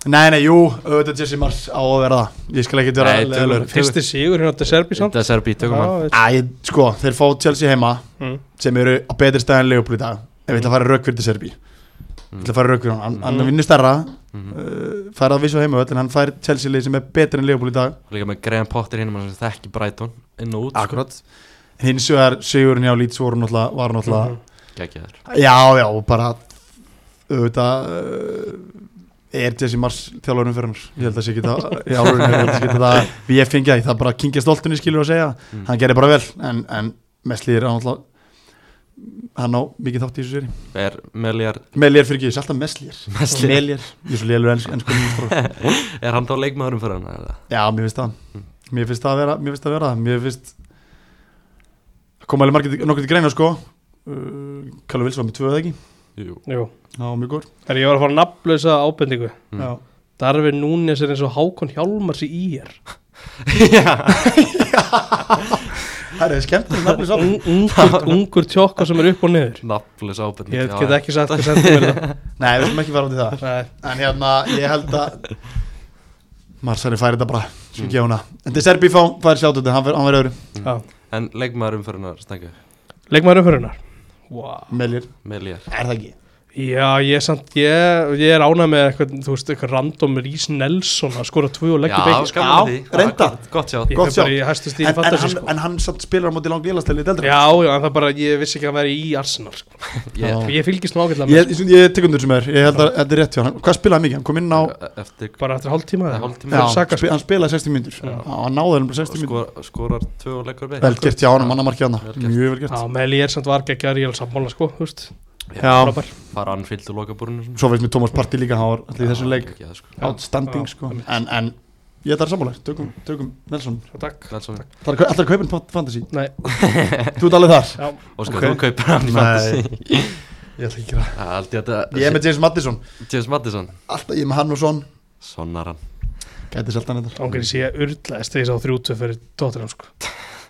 Speaker 4: nei nei jú auðvitað Jesse Mars á að vera það ég skal ekki vera
Speaker 2: Nei, tölum-
Speaker 4: leiðilegur.
Speaker 1: Fyrsti sigur hérna til Serbi samt
Speaker 2: Þetta er Serbi, tökum hann
Speaker 1: Já,
Speaker 4: Æ, sko þeir fá Chelsea heima
Speaker 1: Mm.
Speaker 4: sem eru á betri stað en Leopold í dag ef við ætla að fara rökkur til Serbí við ætla að fara rökkur hann hann, hann
Speaker 1: Mm.
Speaker 4: vinnur stærra
Speaker 2: Mhm.
Speaker 4: uh, fær að vissu heima en hann fær Chelsea leið sem er betri en Leopold í dag
Speaker 2: Líka með Graham Potter hinn sem þekki Brighton inn og út sko.
Speaker 4: akkurat hins vegar sigurinn hjá Leeds voru náttúrulega var
Speaker 1: Mhm.
Speaker 4: náttúrulega
Speaker 2: Gækjaður
Speaker 4: Já, já, og bara auðvitað uh, er Jesse Mars þjálfurinn fyrir hans ég held að sé ekki það ég held að sé ekki það við ég fengi það, það bara kingja stoltunni skilur að segja
Speaker 2: Mm.
Speaker 4: hann gerir bara vel, en, en Mesli er náttúrulega hann á mikið þátt í þessu séri
Speaker 2: Er Meliar
Speaker 4: Melier fyrir ekki, þessi alltaf Meslir
Speaker 2: Meslier.
Speaker 4: Melier, ég er svo lélur enn, enn
Speaker 2: Er hann þá leikmaður umferðarnar? eða?
Speaker 4: sko. Já, mér finnst það mér finnst það að vera, mér finnst það að vera það mér finnst það koma alveg margir, nokkur til greina sko uh, Kalu Vilsson með tvö eða ekki
Speaker 2: Jú
Speaker 1: Jú,
Speaker 4: Já, mjög gór
Speaker 1: þegar ég var að fara að nafnlausa ábendingu
Speaker 2: Mm.
Speaker 4: Já.
Speaker 1: Darfi Núnes er eins og Hákon Hjálmars í IR
Speaker 4: Það er skemmtileg nafnlis á
Speaker 1: Un- ungur, ungur tjókka sem er upp og niður
Speaker 2: Nafnlis ábyrning
Speaker 1: Ég get ekki sagt hvað sentum er það
Speaker 4: Nei, við skulum ekki fara út í það
Speaker 1: Nei,
Speaker 4: En hérna, ég held að Marsari færi þetta bara Svo ekki á hana En þetta er Serbi fá, færi sjátt þetta Hann verið öðru
Speaker 1: já.
Speaker 2: En leikmaður umferðarnar, stengu
Speaker 1: Leikmaður umfyrunar wow.
Speaker 4: Melir
Speaker 2: Meliar
Speaker 4: Er það ekki?
Speaker 1: Já, ég, er samt, ég, ég er ánað með eitthvað, þú veist, eitthvað random Rís Nelson að skora tvö og leggja beigis
Speaker 4: sko.
Speaker 2: gaman að því.
Speaker 4: Já, reyndar.
Speaker 2: gott- Gott sjá
Speaker 1: Ég
Speaker 4: gott
Speaker 1: fer bara
Speaker 4: sjá.
Speaker 1: í hæstu
Speaker 4: En,
Speaker 1: stíði
Speaker 4: en,
Speaker 1: fattar
Speaker 4: hann,
Speaker 1: sko
Speaker 4: en hann samt spilar á móti langt vélastæli í deldra
Speaker 1: Já, já, en það bara, ég vissi ekki að hann væri í Arsenal sko.
Speaker 2: Ég-
Speaker 4: Já.
Speaker 1: Ég fylgist nú ágætlega með
Speaker 4: Ég, ég, ég tekundur sem er Ég held að þetta er rétt hjá hann Hvað spilaði hann mikið? Hann kom inn á
Speaker 2: Eftir
Speaker 1: Bara eftir hálftíma eða?
Speaker 2: hálftíma
Speaker 4: Já,
Speaker 1: Saka,
Speaker 4: spi, hann spilaði 60 myndur Já, hann náði hann bara 60 myndur
Speaker 2: skor, Skorar tvö og leggur beigis
Speaker 4: Vel gert hjá hann, mannamarkið hann
Speaker 2: Vel gert.
Speaker 4: Mjög vel
Speaker 1: Já,
Speaker 4: gert
Speaker 1: Meli er samt var geggjar, ég er alveg sammála sko, þú veist
Speaker 4: Já,
Speaker 1: Frábær.
Speaker 2: Fara anfyllt og loka búrinu
Speaker 4: svo veist mér Thomas Parti líka Hann var allir í þessum leik
Speaker 2: Já, geggjað, sko.
Speaker 1: Já.
Speaker 4: Outstanding
Speaker 1: Já,
Speaker 4: sko
Speaker 1: einmitt.
Speaker 4: En, en ég ætla að sammála þér. tökum, tökum Nelson
Speaker 1: Takk
Speaker 2: Nelson.
Speaker 4: Það er alltaf kaupin fantasy
Speaker 1: Nei,
Speaker 4: Þú ert alveg þar
Speaker 1: já,
Speaker 2: Óskar,
Speaker 4: Ok.
Speaker 2: sko, þú kaupir hann í fantasy
Speaker 4: Ég ætla ekki að
Speaker 2: Það er Aldrei þetta
Speaker 4: Ég er með James Madison
Speaker 2: James Madison
Speaker 4: Alltaf ég er með hann og svon
Speaker 2: Sonar hann
Speaker 4: Gæti selt hann þetta
Speaker 1: ángrið sé ég urlaðist þegar ég sá þrjútu fyrir tóttirinn sko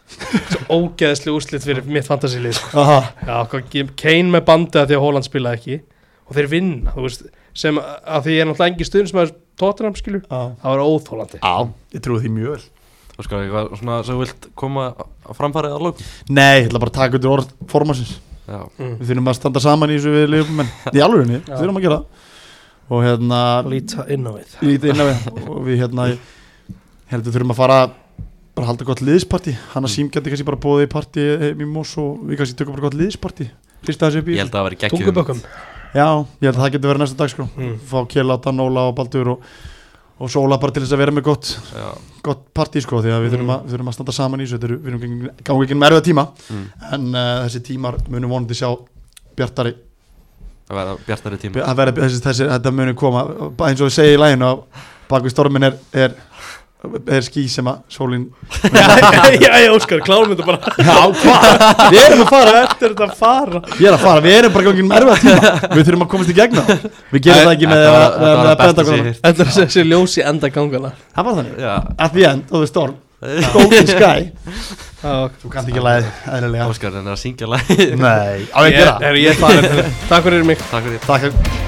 Speaker 1: Svo ógeðsli úrslit fyrir mitt fantasílið sko.
Speaker 4: Aha
Speaker 1: Já, hvað- Kane með bandið að því að Holland spilaði ekki og þeir vinna, þú veist sem að því ég er náttúrulega engin stuðn sem að tóttirinn skilu,
Speaker 4: Já
Speaker 1: það var óþólandi
Speaker 4: Ég trúi því mjög vel
Speaker 2: Óskar, sko, eitthvað svona sem þú vilt koma á framfærið að lókum
Speaker 4: Nei, ég ætla bara að taka undir orð formansins
Speaker 2: Já
Speaker 1: Mm.
Speaker 4: Við þurfum að standa saman í þessu við liðum menn Í alvörinni,
Speaker 1: Já.
Speaker 4: við þurfum að gera það. Og hérna
Speaker 1: Líta inn á við
Speaker 4: Lítið inn á við Og við hérna ég Heldur þurfum að fara Bara halda gott liðsparti Hanna sím gæti kannski bara bóðið í partí heim í mós Og við kannski tökum bara gott liðsparti Hrista þessu upp í
Speaker 2: Ég held að það væri geggjum
Speaker 4: um
Speaker 1: Tungubökkum
Speaker 4: Já, ég held að það getur verið næsta dagskrá
Speaker 1: Mm.
Speaker 4: Fá Kjelata, Nóla og Baldur og, og Sóla bara til þess að vera með gott
Speaker 2: Já
Speaker 4: gott partí sko því að við,
Speaker 1: Mm.
Speaker 4: þurfum, að, við þurfum að standa saman í þessu Þetta eru- við erum gengin- gangi ekki með erfiða tíma
Speaker 2: Mm.
Speaker 4: en uh, þessi tímar munum vonandi sjá bjartari
Speaker 2: Það væri bjartari tíma
Speaker 4: að vera, þessi, þessi, þetta munum koma bara eins og við segja í læginu að bak við stormin er, er, er ský sem að sólin
Speaker 1: (laughs) Já, já, Óskar, klárum þetta bara
Speaker 4: Já, hvað? Við erum að fara
Speaker 1: Þetta er þetta að fara
Speaker 4: Ég er að fara, við erum bara gangið með erfiða tíma Við þurfum að komast í gegna Við gerum það ekki með
Speaker 2: Þetta
Speaker 4: að
Speaker 2: var-
Speaker 4: með
Speaker 2: þetta var
Speaker 4: að
Speaker 2: besta
Speaker 4: benda okkur á-
Speaker 2: sem ég
Speaker 1: Þetta er þessi ljósi enda gangana
Speaker 4: Það var þannig
Speaker 2: heyrt.
Speaker 4: At the end of the storm
Speaker 2: Já (laughs)
Speaker 4: Golden sky
Speaker 1: Já,
Speaker 4: Þú kannt ekki að læði eðlilega
Speaker 2: Óskar, hann er að syngja lagið (laughs)
Speaker 4: Nei, á
Speaker 1: ég,
Speaker 4: ég að gera (laughs)
Speaker 1: er, ég farin Takk fyrir mig
Speaker 2: Takk fyrir
Speaker 4: Takk